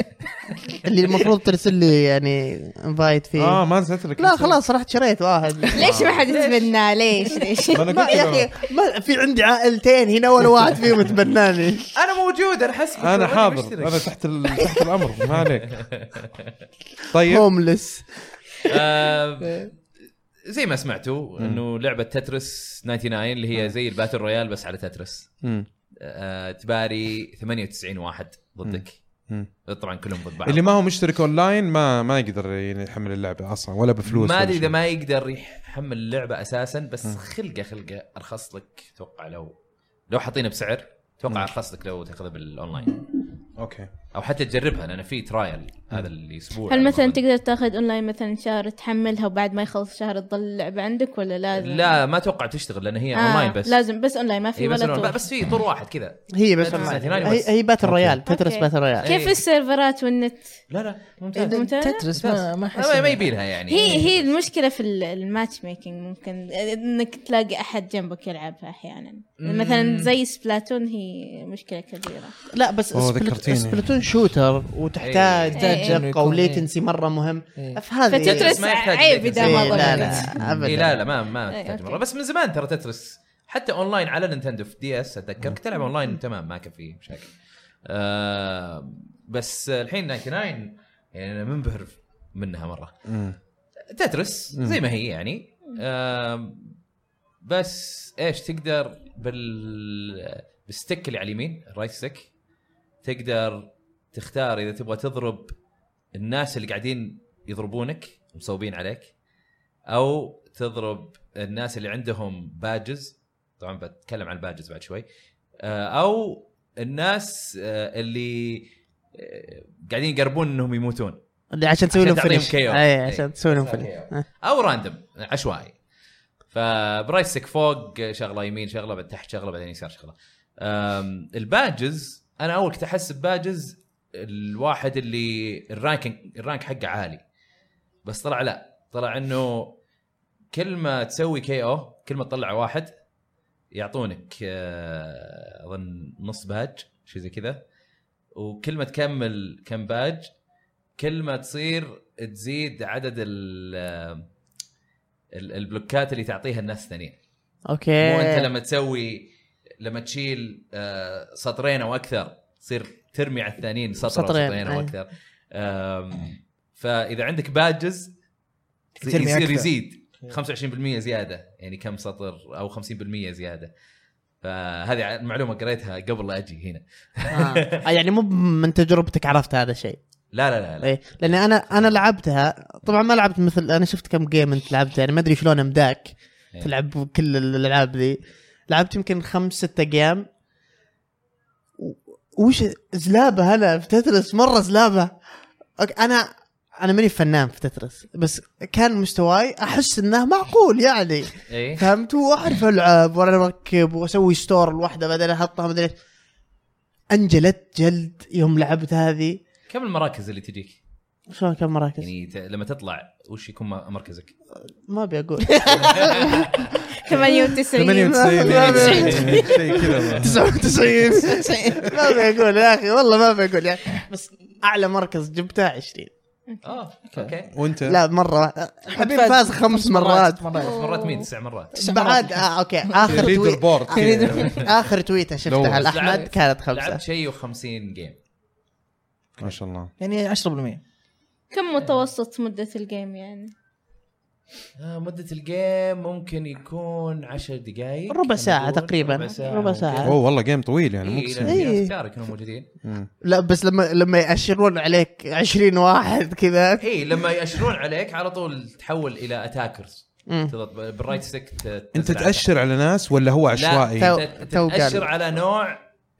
اللي المفروض ترسل لي يعني انفايت اه فيه ما نزلت لك لا خلاص رحت شريت واحد ليش ما حد يتبناه ليش ليش ما انا ما قلت يا لهم. اخي ما في عندي عائلتين هنا ولا واحد فيهم تبناني انا موجود انا حسبك انا وأنا حاضر مشترك. انا تحت ال... تحت الامر ما عليك طيب هوملس إيه. آه، زي ما سمعتوا انه لعبه تترس 99 اللي هي زي الباتل رويال بس على تترس مم. آه، تباري 98 واحد ضدك مم. طبعا كلهم ضد بعض اللي ما هو مشترك اونلاين ما ما يقدر يحمل اللعبه اصلا ولا بفلوس ما ولا ادري شيء. اذا ما يقدر يحمل اللعبه اساسا بس خلقه خلقه ارخص لك اتوقع لو لو حاطينه بسعر اتوقع ارخص لك لو تاخذها بالاونلاين اوكي او حتى تجربها لان في ترايل هذا الاسبوع هل على ما مثلا أظن. تقدر تاخذ اونلاين مثلا شهر تحملها وبعد ما يخلص شهر تظل اللعبه عندك ولا لازم؟ لا ما اتوقع تشتغل لان هي آه اونلاين بس لازم بس اونلاين ما إيه في بس, ولا أونلاين. طول. بس في طور واحد كذا هي بس تترس 99 هي بس. هي باتل رويال تترس أوكي. باتل رويال كيف إيه. السيرفرات والنت؟ لا لا إيه، ممتاز. تترس ما ما احس ما ما يبي لها يعني هي هي المشكله في ال- الماتش ميكينج ممكن انك تلاقي احد جنبك يلعبها احيانا مم. مثلا زي سبلاتون هي مشكله كبيره لا بس أوه، سبلت- ذكرتيني. سبلتون شوتر وتحتاج إيه. إيه. دقه إيه. وليتنسي مره مهم إيه. فهذه فتترس ما يحتاج عيب ليتنسي. اذا ما إيه، لا ظلمت لا ابدا إيه لا لا ما ما إيه، تحتاج أوكي. مره بس من زمان ترى تترس حتى اونلاين على نينتندو في دي اس اتذكر كنت العب اونلاين تمام ما كان فيه مشاكل آه بس الحين 99 يعني انا منبهر منها مره مم. تترس زي ما هي يعني آه بس ايش تقدر بال بالستيك اللي على اليمين الرايت ستيك تقدر تختار اذا تبغى تضرب الناس اللي قاعدين يضربونك مصوبين عليك او تضرب الناس اللي عندهم باجز طبعا بتكلم عن الباجز بعد شوي آه، او الناس آه، اللي آه، قاعدين يقربون انهم يموتون اللي عشان تسوي عشان لهم تعطيهم فينش KO. اي إي. عشان تسوي لهم عشان فينش KO. آه. او راندوم عشوائي فبرايسك فوق شغله يمين شغله بعد تحت شغله بعدين يسار شغله أم، الباجز انا اول كنت احس بباجز الواحد اللي الرانكينج الرانك حقه عالي بس طلع لا طلع انه كل ما تسوي كي او كل ما تطلع واحد يعطونك آه، اظن نص باج شيء زي كذا وكل ما تكمل كم باج كل ما تصير تزيد عدد ال ال- البلوكات اللي تعطيها الناس الثانيين اوكي مو انت لما تسوي لما تشيل آه، سطرين او اكثر تصير ترمي على الثانيين سطر سطرين, سطرين، سطرين او أي. اكثر آم، فاذا عندك باجز ترمي يصير أكثر. يزيد 25% زياده يعني كم سطر او 50% زياده فهذه المعلومه قريتها قبل لا اجي هنا آه. يعني مو من تجربتك عرفت هذا الشيء لا لا لا, لا. ايه لان انا انا لعبتها طبعا ما لعبت مثل انا شفت كم جيم انت لعبتها يعني ما ادري شلون امداك إيه. تلعب كل الالعاب ذي لعبت يمكن خمس ستة جيم و- وش زلابه انا في تترس مره زلابه أوك، انا انا ماني فنان في تترس بس كان مستواي احس انه معقول يعني ايه فهمت واعرف العب وانا اركب واسوي ستور الواحده بعدين احطها مدري إيش. انجلت جلد يوم لعبت هذه كم المراكز اللي تجيك؟ شلون كان مراكز؟ يعني ت- لما تطلع وش يكون م- مركزك؟ ما ابي اقول 98 98 يعني شيء كذا 99 ما ابي اقول يا اخي والله ما ابي اقول يعني بس اعلى مركز جبته 20 اه اوكي وانت لا مره حبيب فاز خمس مرات مرات مرات مين تسع مرات بعد آه اوكي اخر ليدر تويت بورد اخر تويته شفتها لو- لاحمد لعبت- كانت خمسه لعبت شيء و50 جيم ما شاء الله يعني 10% كم متوسط مدة الجيم يعني؟ آه، مدة الجيم ممكن يكون 10 دقائق ربع ساعة نقول. تقريباً. ربع ساعة. اوه والله جيم طويل يعني مو ممكن قصير. إيه. إيه كانوا موجودين مم. لا بس لما لما يأشرون عليك 20 واحد كذا اي إيه، لما ياشرون عليك على طول تحول الى اتاكرز تضغط بالرايت ستيك ت- انت تزرع تاشر على ناس ولا هو عشوائي؟ تو- لا تت- تو تتاشر قال. على نوع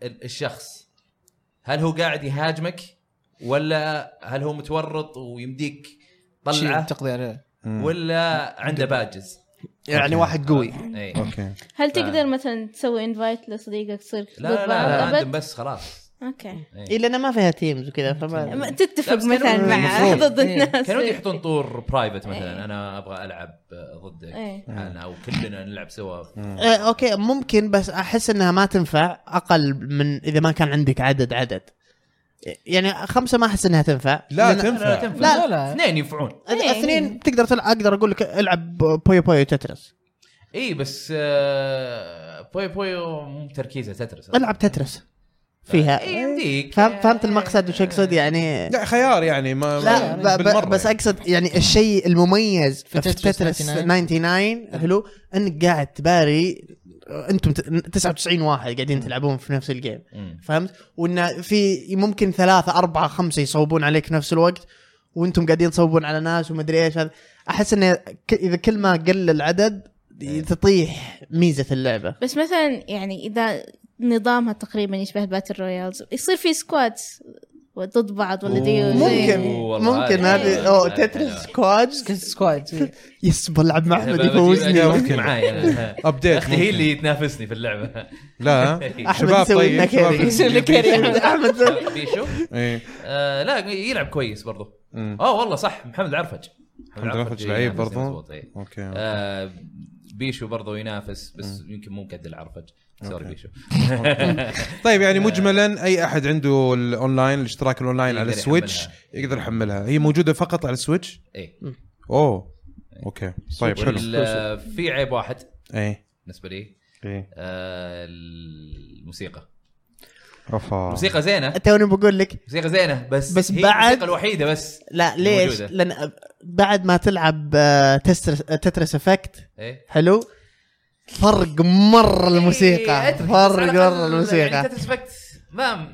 ال- الشخص هل هو قاعد يهاجمك ولا هل هو متورط ويمديك طلعه تقضي عليه مم. ولا عنده باجز يعني واحد قوي اي اوكي هل تقدر مثلا تسوي انفايت لصديقك تصير لا لا, تقول لا بعض؟ راندوم أبد؟ بس خلاص اوكي إيه لأن ما فيها تيمز وكذا ما- فما تتفق لا، بس كانوا- مثلا مع المفروض. ضد إيه. الناس كانوا إيه. يحطون طور برايفت مثلا إيه. انا ابغى العب ضدك إيه. انا او كلنا نلعب سوا إيه اوكي ممكن بس احس انها ما تنفع اقل من اذا ما كان عندك عدد عدد يعني خمسه ما احس انها تنفع لا لأن- تنفع لا لا لا اثنين ينفعون إذا إيه. اثنين تقدر تلعب اقدر اقول لك العب بويو بويو تترس اي إيه، بس آه، بوي بويو مو تركيزه تترس العب تترس فيها اي إيه، يمديك فهمت فهمت المقصد وش اقصد يعني لا خيار يعني ما لا ما- ب- بالمرة ب- بس يعني. اقصد يعني الشيء المميز في تترس تترس 99. 99 آه. حلو انك قاعد تباري انتم ت- 99 واحد قاعدين تلعبون في نفس الجيم مم. فهمت؟ وان في ممكن ثلاثة أربعة خمسة يصوبون عليك في نفس الوقت وانتم قاعدين تصوبون على ناس ومدري ايش هذا احس انه ك- اذا كل ما قل العدد إيه. تطيح ميزة اللعبة بس مثلا يعني اذا نظامها تقريبا يشبه الباتل رويالز يصير في سكوادز ضد بعض ولا ديو ممكن أوه، والله ممكن هذه- هذه او هذه تترس حلوة. سكوادز سكواد يس بلعب مع احمد يفوزني أجيب- ممكن معاي أنا. ابديت اختي هي ممكن. اللي تنافسني في اللعبه لا أحمد شباب يسوي لنا طيب شباب كاري. يسوي لنا أحمد- احمد بيشو إيه. آه، لا يلعب كويس برضو مم. اه والله صح محمد العرفج محمد العرفج ينافسني لعيب برضو. مزبوط، إيه. اوكي آه، بيشو برضو ينافس بس يمكن مو قد العرفج سوري بيشو طيب آه. يعني مجملا اي احد عنده الاونلاين الاشتراك الاونلاين على يقدر السويتش يقدر يحملها هي موجوده فقط على السويتش ايه اوه إيه. اوكي طيب حلو إيه. وال- في عيب واحد اي بالنسبه لي اي آه، الموسيقى آه. افا موسيقى زينه توني بقول لك موسيقى زينه بس بس هي بعد- الموسيقى الوحيده بس لا ليش؟ موجودة. لان بعد ما تلعب آه، تسترس- تترس افكت ايه حلو فرق مره الموسيقى إيه، أترك. بس على فرق الأقل مره الموسيقى يعني تسبكت ما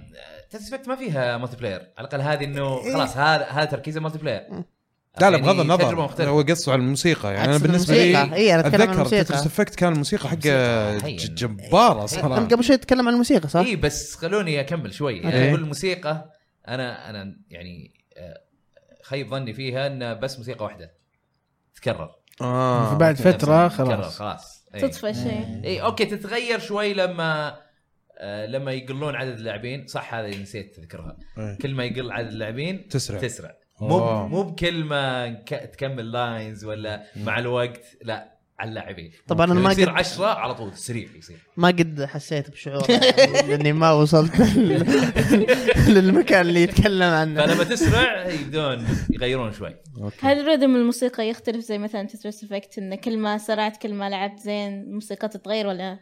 تسبكت ما فيها مالتي بلاير على الاقل هذه انه خلاص هذا هذا تركيزه مالتي بلاير إيه. لا لا يعني بغض تجربه النظر مختلفه هو قصه على الموسيقى يعني انا أقصد بالنسبه الموسيقى. لي اي انا اتكلم عن اتذكر تترس الموسيقى افكت كان الموسيقى حقه الموسيقى ج- حين. جباره انا صراحه قبل شوي اتكلم عن الموسيقى صح؟ اي بس خلوني اكمل شوي أوكي. يعني اقول الموسيقى انا انا يعني آه، خيب ظني فيها ان بس موسيقى واحده تكرر آه. بعد فتره تكرر خلاص يعني خلاص إي. تطفى شيء اي اوكي تتغير شوي لما آه، لما يقلون عدد اللاعبين صح هذا اللي نسيت تذكرها إيه. كل ما يقل عدد اللاعبين تسرع. تسرع أوه. مو مو بكل ما ك- تكمل لاينز ولا مع الوقت لا على اللاعبين طبعا انا ما يصير قد 10 على طول سريع يصير ما قد حسيت بشعور لاني ما وصلت لل- للمكان اللي يتكلم عنه فلما تسرع يبدون يغيرون شوي أوكي. هل رذم الموسيقى يختلف زي مثلا تترس افكت انه كل ما سرعت كل ما لعبت زين الموسيقى تتغير ولا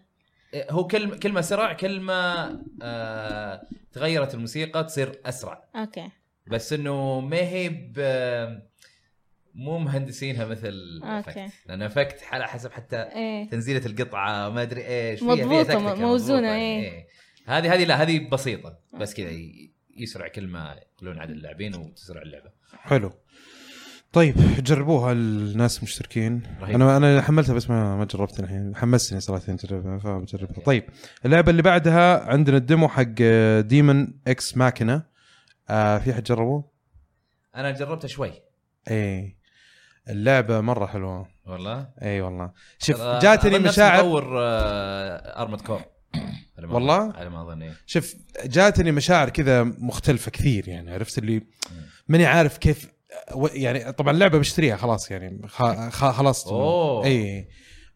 إيه، هو كل كل ما سرع كل ما آه تغيرت الموسيقى تصير اسرع اوكي بس انه ما هي ب- مو مهندسينها مثل أوكي. افكت لان افكت على حسب حتى ايه تنزيله القطعه ما ادري ايش فيها- مضبوطة، تكتكة، مضبوطة، موزونة، يعني، إيه. إيه. هذه هذه لا هذه بسيطه بس كذا ي- يسرع كل ما يقلون عدد اللاعبين وتسرع اللعبه حلو طيب جربوها الناس المشتركين رهيب. انا انا حملتها بس ما ما جربت الحين حمستني صراحه إني اجربها فبجربها طيب اللعبه اللي بعدها عندنا الديمو حق آه، ديمون اكس ماكينه آه في حد جربوه؟ انا جربتها شوي ايه اللعبه مره حلوه والله اي إيه والله شوف ترى جاتني أظن نفس مشاعر مطور ارمد كور والله؟ على ما اظن إيه. شوف جاتني مشاعر كذا مختلفه كثير يعني عرفت اللي ماني عارف كيف و- يعني طبعا اللعبه بشتريها خلاص يعني خ- خ- خلاص أوه. اي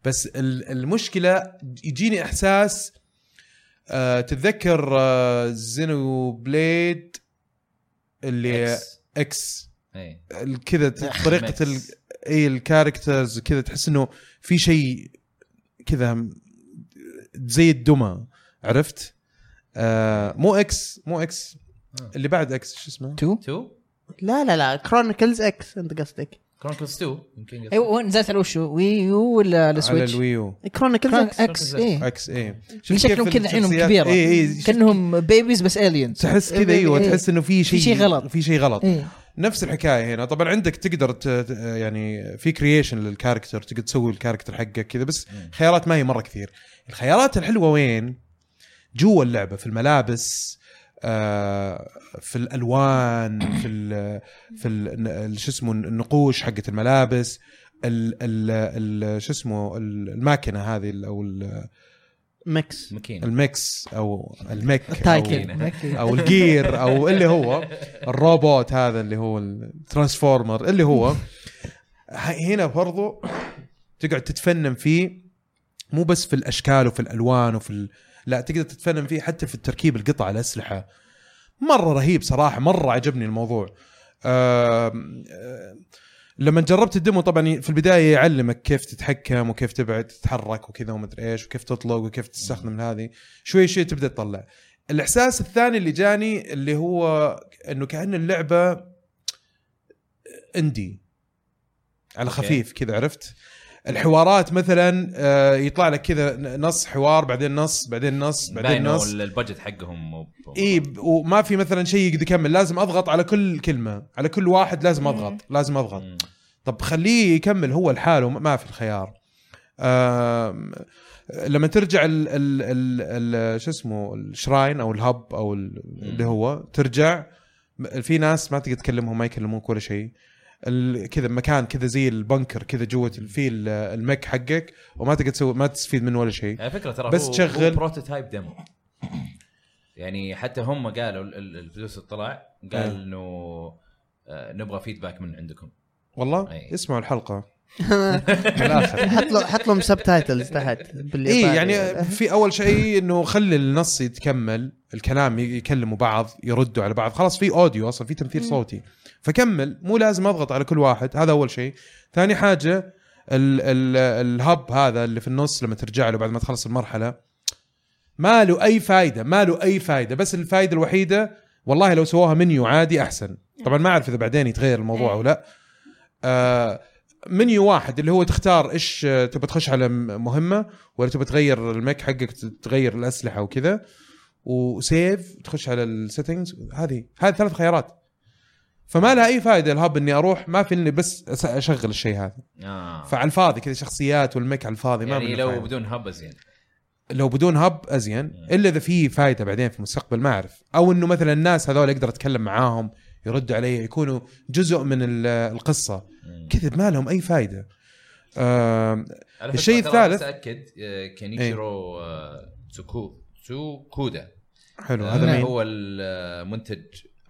بس ال- المشكله يجيني احساس آه تتذكر آه زينو بليد اللي إكس. اكس إيه. ال- كذا طريقه ال... ميكس. اي الكاركترز كذا تحس انه في شيء كذا م- زي الدمى عرفت؟ آه مو اكس مو اكس اللي بعد اكس شو اسمه؟ تو 2 لا لا لا كرونيكلز اكس انت قصدك كرونيكلز 2 يمكن أيوة. ايوه وين نزلت على وشو وي يو ولا على على السويتش؟ الويو إيه. كرونيكلز كان اكس اكس ايه اكس اي شكلهم كذا عينهم كبيره اي اي كانهم بيبيز بس الينز إيه، تحس كذا ايوه إيه. تحس انه في شيء شيء غلط. في شيء غلط ايه نفس الحكايه هنا طبعا عندك تقدر ت... ت- يعني في كرييشن للكاركتر تقدر تسوي الكاركتر حقك كذا بس خيارات ما هي مره كثير الخيارات الحلوه وين جوا اللعبه في الملابس آه، في الالوان في ال في ال- ال- شو اسمه النقوش حقت الملابس ال ال ال- شو اسمه ال- الماكينه هذه ال- او ال- ميكس مكين المكس او المك أو- التايكن. او الجير او اللي هو الروبوت هذا اللي هو الترانسفورمر اللي هو ه- هنا برضو تقعد تتفنن فيه مو بس في الاشكال وفي الالوان وفي ال... لا تقدر تتفنن فيه حتى في التركيب القطع الاسلحه مره رهيب صراحه مره عجبني الموضوع آم، آه، لما جربت الديمو طبعا في البدايه يعلمك كيف تتحكم وكيف تبعد تتحرك وكذا ومدري ايش وكيف تطلق وكيف تستخدم هذه شوي شوي تبدا تطلع الاحساس الثاني اللي جاني اللي هو انه كان اللعبه اندي على أوكي. خفيف كذا عرفت الحوارات مثلا آه، يطلع لك كذا نص حوار بعدين نص بعدين نص بعدين باين نص البادجت حقهم مو اي ب- إيه، وما في مثلا شيء يقدر يكمل لازم اضغط على كل كلمه على كل واحد لازم اضغط لازم اضغط مم. طب خليه يكمل هو لحاله ما- ما في الخيار آم، لما ترجع ال ال ال ال شو اسمه الشراين او الهب او ال- اللي هو ترجع م- في ناس ما تقدر تكلمهم ما يكلموك ولا شيء ال- كذا مكان كذا زي البنكر كذا جوه ال- في ال- المك حقك وما تقدر تسوي ما تستفيد منه ولا شيء على فكره ترى بس بس هو تشغل- تشغل بروتوتايب ديمو يعني حتى هم قالوا ال- ال- الفلوس الطلع قال أي. انه آه، نبغى فيدباك من عندكم والله أي. اسمعوا الحلقه على الاخر حط له حط لهم سب تايتلز إيه، تحت اي بالياباني. يعني في اول شيء انه خلي النص يتكمل الكلام ي- يكلموا بعض يردوا على بعض خلاص في اوديو اصلا في تمثيل مم. صوتي فكمل مو لازم اضغط على كل واحد هذا اول شيء ثاني حاجه ال ال الهب هذا اللي في النص لما ترجع له بعد ما تخلص المرحله ما له اي فائده ما له اي فائده بس الفائده الوحيده والله لو سووها منيو عادي احسن نعم. طبعا ما اعرف اذا بعدين يتغير إيه. الموضوع او لا آه منيو واحد اللي هو تختار ايش آه، تبى تخش على م- مهمه ولا تبى تغير الميك حقك تغير الاسلحه وكذا وسيف تخش على السيتنجز هذه هذه ثلاث خيارات فما لها اي فائده الهب اني اروح ما في اني بس أس- اشغل الشيء هذا آه. فعلى الفاضي كذا شخصيات والمك على الفاضي ما يعني منه لو فايدة. بدون هبز يعني لو بدون هب ازين الا اذا في فائده بعدين في المستقبل ما اعرف او انه مثلا الناس هذول اقدر اتكلم معاهم يردوا علي يكونوا جزء من ال- القصه مم. كذا ما لهم اي فائده آم، على الشيء فكرة ترى الثالث- إيه. اتاكد آه، كينيشيرو آه، تسوكو تسوكودا حلو آه، هذا مين؟ إيه. هو آه، المنتج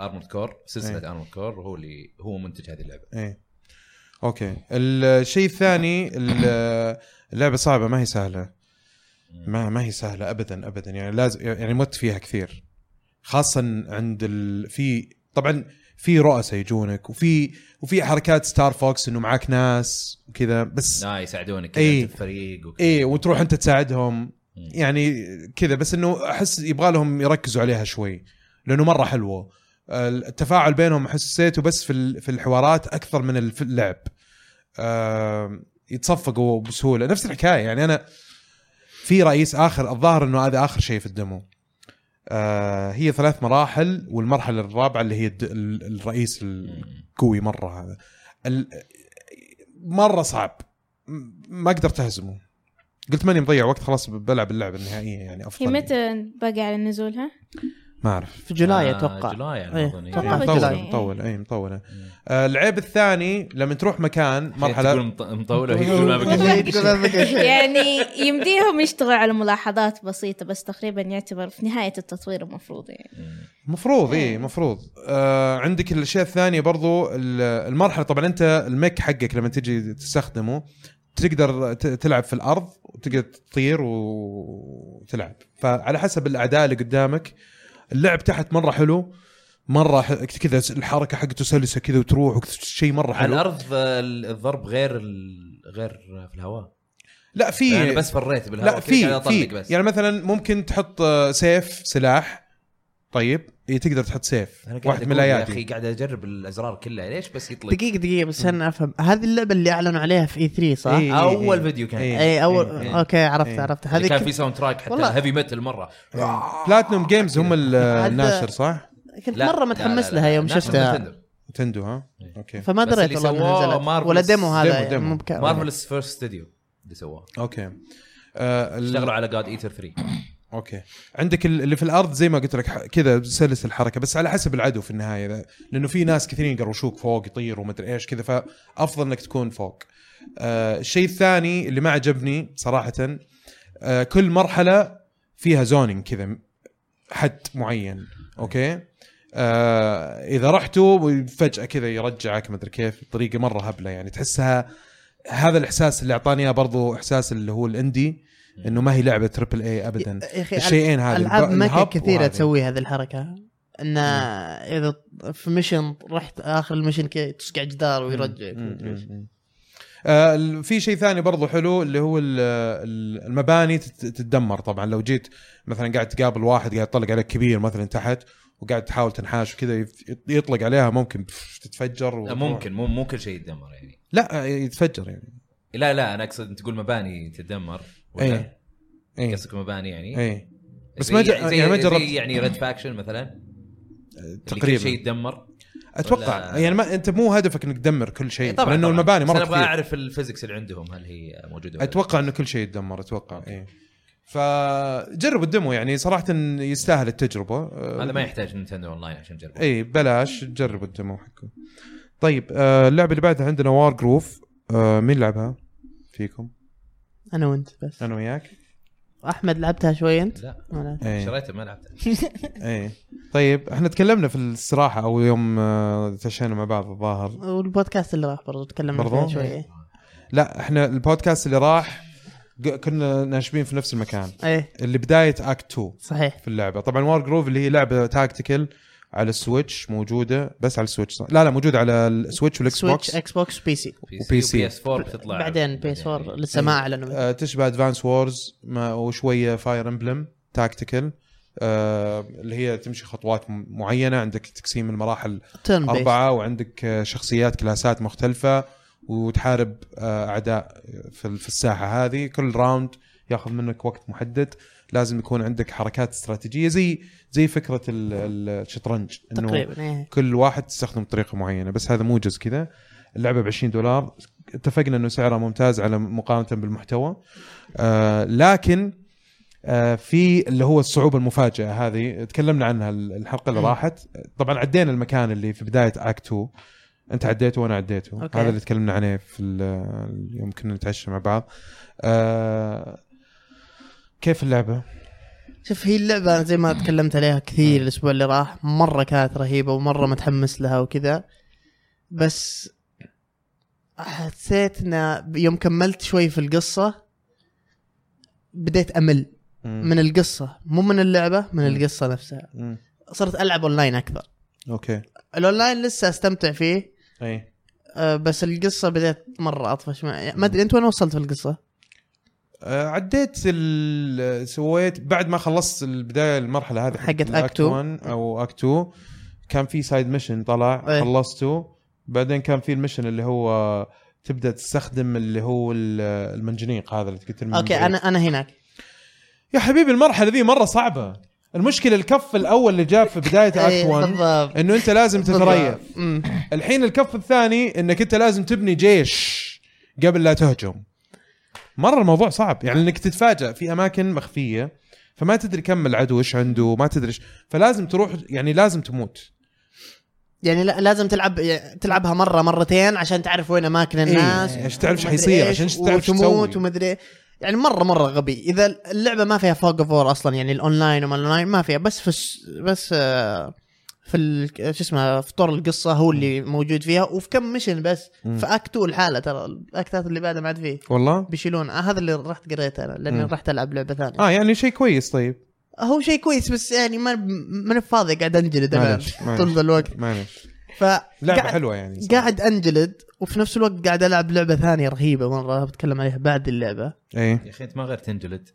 ارمورد كور سلسله ارمورد كور هو اللي هو منتج هذه اللعبه ايه اوكي الشيء الثاني ال- اللعبه صعبه ما هي سهله ما ما هي سهله ابدا ابدا يعني لازم يعني مت فيها كثير خاصه عند ال... في طبعا في رؤساء يجونك وفي وفي حركات ستار فوكس انه معاك ناس وكذا بس لا يساعدونك كذا إيه. أنت الفريق وكذا ايه وتروح انت تساعدهم مم. يعني كذا بس انه احس يبغى لهم يركزوا عليها شوي لانه مره حلوه التفاعل بينهم حسيته بس في ال- في الحوارات اكثر من الف- اللعب آم، يتصفقوا بسهوله نفس الحكايه يعني انا في رئيس اخر الظاهر انه هذا اخر شيء في الدمو آه، هي ثلاث مراحل والمرحله الرابعه اللي هي الد- ال- الرئيس القوي مره هذا ال- مره صعب م- ما قدرت اهزمه قلت ماني مضيع وقت خلاص بلعب اللعبه النهائيه يعني افضل هي متى باقي على نزولها؟ ما اعرف في جولاي آه، اتوقع جولاي أنا إيه، أظن، إيه. أتوقع في مطول جولاي مطول اي مطول إيه، آه، العيب الثاني لما تروح مكان تقول مرحله مط- مطوله وهي تقول ما بقى شيء. يعني يمديهم يشتغلوا على ملاحظات بسيطة بس تقريبا يعتبر في نهاية التطوير المفروض يعني مفروض اي مفروض آه عندك الاشياء الثانيه برضو ال- المرحله طبعا انت الميك حقك لما تجي تستخدمه تقدر ت- تلعب في الارض وتقدر تطير و- وتلعب فعلى حسب الاعداء اللي قدامك اللعب تحت مره حلو مره ح- كذا الحركه حقته سلسه كذا وتروح شيء مره على حلو الارض آه، الضرب غير ال... غير في الهواء لا في انا يعني بس فريت بالهواء لا كذا قاعد في أطلق في بس يعني مثلا ممكن تحط آه، سيف سلاح طيب إيه تقدر تحط سيف انا قاعد واحد من أقول يا اخي الايادي قاعد اجرب الازرار كلها ليش بس يطلق دقيقه دقيقه بس انا افهم هذه اللعبه اللي اعلنوا عليها في اي 3 صح؟ إيه. اول فيديو كان إيه. اي اول إيه. اوكي عرفت إيه. عرفت هذه هذه كان في كنت, ساوند تراك حتى والله. هيفي متل مره بلاتنوم جيمز هم ال- هذا- الناشر صح؟ كنت لا، مره لا، متحمس لا، لا، لها يوم ناشر شفتها نتندو. نتندو ها؟ اوكي فما بس دريت اللي والله سووه إنها نزلت Marvelous- ولا ديمو ديمو- هذا ديمو. مو بكامل. مارفلس فيرست ستوديو اللي سواه اوكي آه ال- اشتغلوا على جاد ايتر 3 اوكي عندك ال- اللي في الارض زي ما قلت لك ح- كذا سلس الحركه بس على حسب العدو في النهايه ذا- لانه في ناس كثيرين يقروشوك فوق يطيروا ومدري ايش كذا فافضل انك تكون فوق. آه الشيء الثاني اللي ما عجبني صراحه آه كل مرحله فيها زونين كذا م- حد معين اوكي؟ آه اذا رحتوا فجاه كذا يرجعك مدري كيف بطريقه مره هبله يعني تحسها هذا الاحساس اللي اعطاني اياه برضو احساس اللي هو الاندي انه ما هي لعبه تربل اي ابدا يا اخي الشيئين هذه العاب الب- مكة الهب كثيره وهذه. تسوي هذه الحركه ان اذا في ميشن رحت اخر الميشن كذا تسقع جدار ويرجعك مم، ومدري إيش. مم، مم. آه، ال- في شيء ثاني برضو حلو اللي هو ال- ال- المباني تت- تتدمر طبعا لو جيت مثلا قاعد تقابل واحد قاعد يطلق عليك كبير مثلا تحت وقاعد تحاول تنحاش وكذا يف- يطلق عليها ممكن بف- تتفجر و... لا، ممكن مو مو كل شيء يتدمر يعني لا آه، يتفجر يعني لا لا انا اقصد انت تقول مباني تتدمر إيه. ولا اي قصدك مباني يعني اي بس زي- ما جر- زي- يعني ما زي جربت. يعني ريد فاكشن مثلا تقريبا شيء تقريبا يتدمر اتوقع ولا- يعني ما انت مو هدفك انك تدمر كل شيء إيه، طبعا لانه طبعاً. المباني بس مره انا ابغى كثير اعرف الفيزكس اللي عندهم هل هي موجوده ولا لا. اتوقع انه كل شيء يتدمر اتوقع اي فجرب الدمو يعني صراحه يستاهل التجربه آه، هذا ما يحتاج نينتندو اونلاين عشان نجربه اي بلاش تجرب الدمو حقه طيب آه اللعبه اللي بعدها عندنا وار جروف آه مين لعبها فيكم انا وانت بس انا وياك احمد لعبتها شوي انت؟ لا ولا؟ اي شريته ما لعبته اي إيه، طيب احنا تكلمنا في الاستراحه او يوم آه، تشينا مع بعض الظاهر والبودكاست اللي راح برضو تكلمنا برضو؟ فيها شوي لا احنا البودكاست اللي راح ق- كنا ناشبين في نفس المكان ايه اللي بدايه اكت 2 صحيح في اللعبه طبعا وار جروف اللي هي لعبه تاكتيكال على السويتش موجوده بس على السويتش صح؟ لا لا موجوده على السويتش والاكس بوكس سويتش اكس بوكس بي سي وبي سي. اس 4 بتطلع يعني بعدين إيه. بي اس 4 لسه ما اعلنوا آه، تشبه ادفانس وورز وشويه فاير امبلم تاكتيكال آه، اللي هي تمشي خطوات م- معينه عندك تقسيم المراحل تيرن بيس اربعه وعندك آه، شخصيات كلاسات مختلفه وتحارب آه، اعداء في في الساحه هذه كل راوند ياخذ منك وقت محدد لازم يكون عندك حركات استراتيجيه زي زي فكره ال- ال- الشطرنج انه تقريبا إيه. كل واحد تستخدم بطريقه معينه بس هذا موجز كذا اللعبه ب 20 دولار اتفقنا انه سعرها ممتاز على مقارنه بالمحتوى آه لكن آه في اللي هو الصعوبه المفاجئه هذه تكلمنا عنها ال- الحلقه اللي مم. راحت طبعا عدينا المكان اللي في بدايه اكت 2 انت عديته وانا عديته أوكي. هذا اللي تكلمنا عليه في ال- يوم كنا نتعشى مع بعض آه كيف اللعبه؟ شوف هي اللعبة أنا زي ما تكلمت عليها كثير الأسبوع اللي راح مرة كانت رهيبة ومرة متحمس لها وكذا بس حسيت إن يوم كملت شوي في القصة بديت أمل مم. من القصة مو من اللعبة من القصة نفسها مم. صرت ألعب أونلاين أكثر اوكي الأونلاين لسه أستمتع فيه اي آه، بس القصة بديت مرة أطفش ما ما أدري أنت وين وصلت في القصة؟ آه، عديت ال- سويت بعد ما خلصت البدايه المرحله هذه حقت ال Act Act Two. 1 او Act 2 كان في سايد ميشن طلع إيه. خلصته بعدين كان في الميشن اللي هو تبدا تستخدم اللي هو ال- المنجنيق هذا اللي تقتل منه أوكي بعيد. أنا أنا هناك يا حبيبي المرحله ذي مره صعبه المشكله الكف الاول اللي جاب في بدايه إيه، اكت 1 بالضبط انه انت لازم تتريث بالضبط. أمم. الحين الكف الثاني انك انت لازم تبني جيش قبل لا تهجم مره الموضوع صعب يعني انك تتفاجأ في اماكن مخفيه فما تدري كم العدو ايش عنده ما تدري ايش فلازم تروح يعني لازم تموت يعني لا لازم تلعب يعني تلعبها مره مرتين عشان تعرف وين اماكن الناس إيه، عشان تعرف إيش ومدري حيصير، إيش، عشان تعرف إيش وتموت تسوي. ومدري إيه. يعني مره مره غبي اذا اللعبه ما فيها فوق فور اصلا يعني الاونلاين وما الاونلاين ما فيها بس في الس- بس آه، في ال- شو اسمه في طور القصه هو اللي موجود فيها وفي كم ميشن بس مم. فاكتو الحاله ترى الاكتات اللي بعدها ما عاد فيه والله بيشيلون آه هذا اللي رحت قريته انا لاني مم. رحت العب لعبه ثانيه اه يعني شيء كويس طيب هو شيء كويس بس يعني ما ما فاضي قاعد انجلد أنا معلش، معلش. طول الوقت معلش ف لعبه قاعد- حلوه يعني صراحة. قاعد انجلد وفي نفس الوقت قاعد العب لعبه ثانيه رهيبه مره بتكلم عليها بعد اللعبه ايه يا اخي انت ما غير تنجلد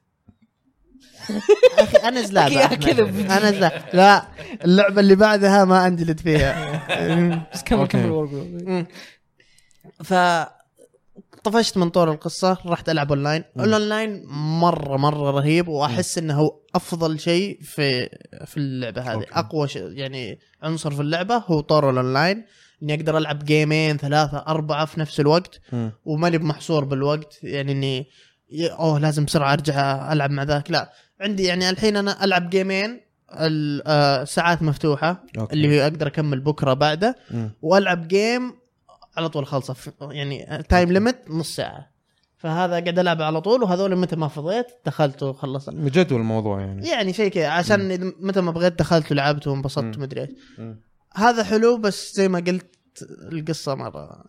اخي انا زلاب يا أحمد. كذب. انا زلاب لا اللعبه اللي بعدها ما انجلد فيها بس كمل أوكي. كمل ورقه ف طفشت من طور القصه رحت العب اونلاين الاونلاين مره مره رهيب واحس انه هو افضل شيء في في اللعبه هذه أوكي. اقوى شيء يعني عنصر في اللعبه هو طور الاونلاين اني اقدر العب جيمين ثلاثه اربعه في نفس الوقت مم. وماني بمحصور بالوقت يعني اني ي- اوه لازم بسرعه ارجع العب مع ذاك لا عندي يعني الحين انا العب جيمين ال- آه، ساعات مفتوحه أوكي. اللي هي اقدر اكمل بكره بعده مم. والعب جيم على طول خلصه ف- يعني تايم ليمت نص ساعه فهذا قاعد العب على طول وهذول متى ما فضيت دخلت وخلصت مجدول الموضوع يعني يعني شيء كذا عشان إذا متى ما بغيت دخلت ولعبت وانبسطت مم. ومدري ايش مم. هذا حلو بس زي ما قلت القصه مره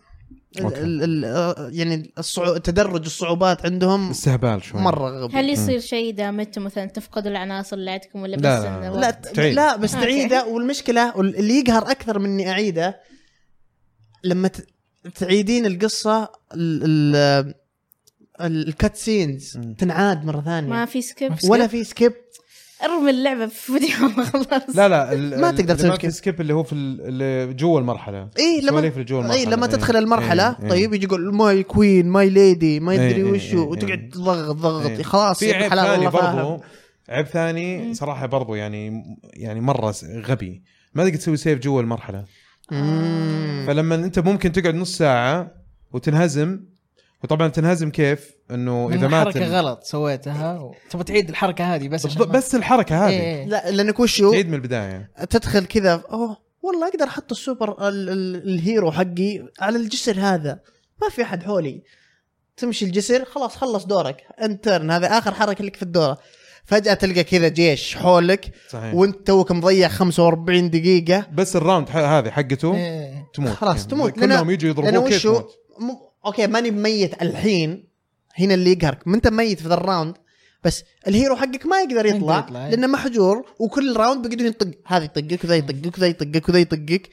ال- أوكي. ال- ال- يعني الصعو... تدرج الصعوبات عندهم استهبال شوي مره غبي هل يصير شيء اذا متوا مثلا تفقدوا العناصر اللي عندكم ولا بس لا، لا، إنه لا. لا وقت؟ ت- تعيد. لا بس أوكي. تعيده والمشكله واللي يقهر اكثر من اني اعيده لما ت- تعيدين القصه ال... ال... ال- الكات سينز مم. تنعاد مره ثانيه ما في سكيب ولا في سكيب ارمي اللعبه في فيديو خلاص لا لا ال- ما ال- تقدر اللي ما تسوي في سكيب اللي هو في ال- اللي جوا المرحله اي إيه، لما سواليف اللي جوا المرحله اي لما تدخل إيه. المرحله إيه. إيه. طيب يجي يقول ماي كوين ماي ليدي ما إيه، يدري إيه، إيه، وشو إيه. وتقعد تضغط إيه. ضغط خلاص في يا عيب حلال ثاني والله فاهم برضو عيب ثاني صراحه برضو يعني يعني مره س- غبي ما تقدر تسوي سيف جوا المرحله مم. فلما انت ممكن تقعد نص ساعه وتنهزم وطبعا تنهزم كيف انه اذا اذا مات حركه غلط سويتها و- تبغى تعيد الحركه هذه بس إيه، بالضبط، بس الحركه هذه هذه لا لانك وشو تعيد من البدايه تدخل كذا اوه والله اقدر احط السوبر ال ال الهيرو حقي على الجسر هذا ما في احد حولي تمشي الجسر خلاص خلص دورك انترن هذا اخر حركه لك في الدوره فجاه تلقى كذا جيش حولك صحيح وانت توك مضيع 45 دقيقه بس الراوند ح- هذه حقته إيه، تموت إيه. خلاص يعني. تموت، لأن- كلهم يجوا لأنه يضربوك كيف وشو؟ تموت مو اوكي ماني ميت الحين هنا اللي يقهرك ما انت ميت في ذا الراوند بس الهيرو حقك ما يقدر ما يطلع, يقدر يطلع، أي. لانه محجور وكل راوند بيقدر يطق هذا يطقك وذا يطقك وذا يطقك وذا يطقك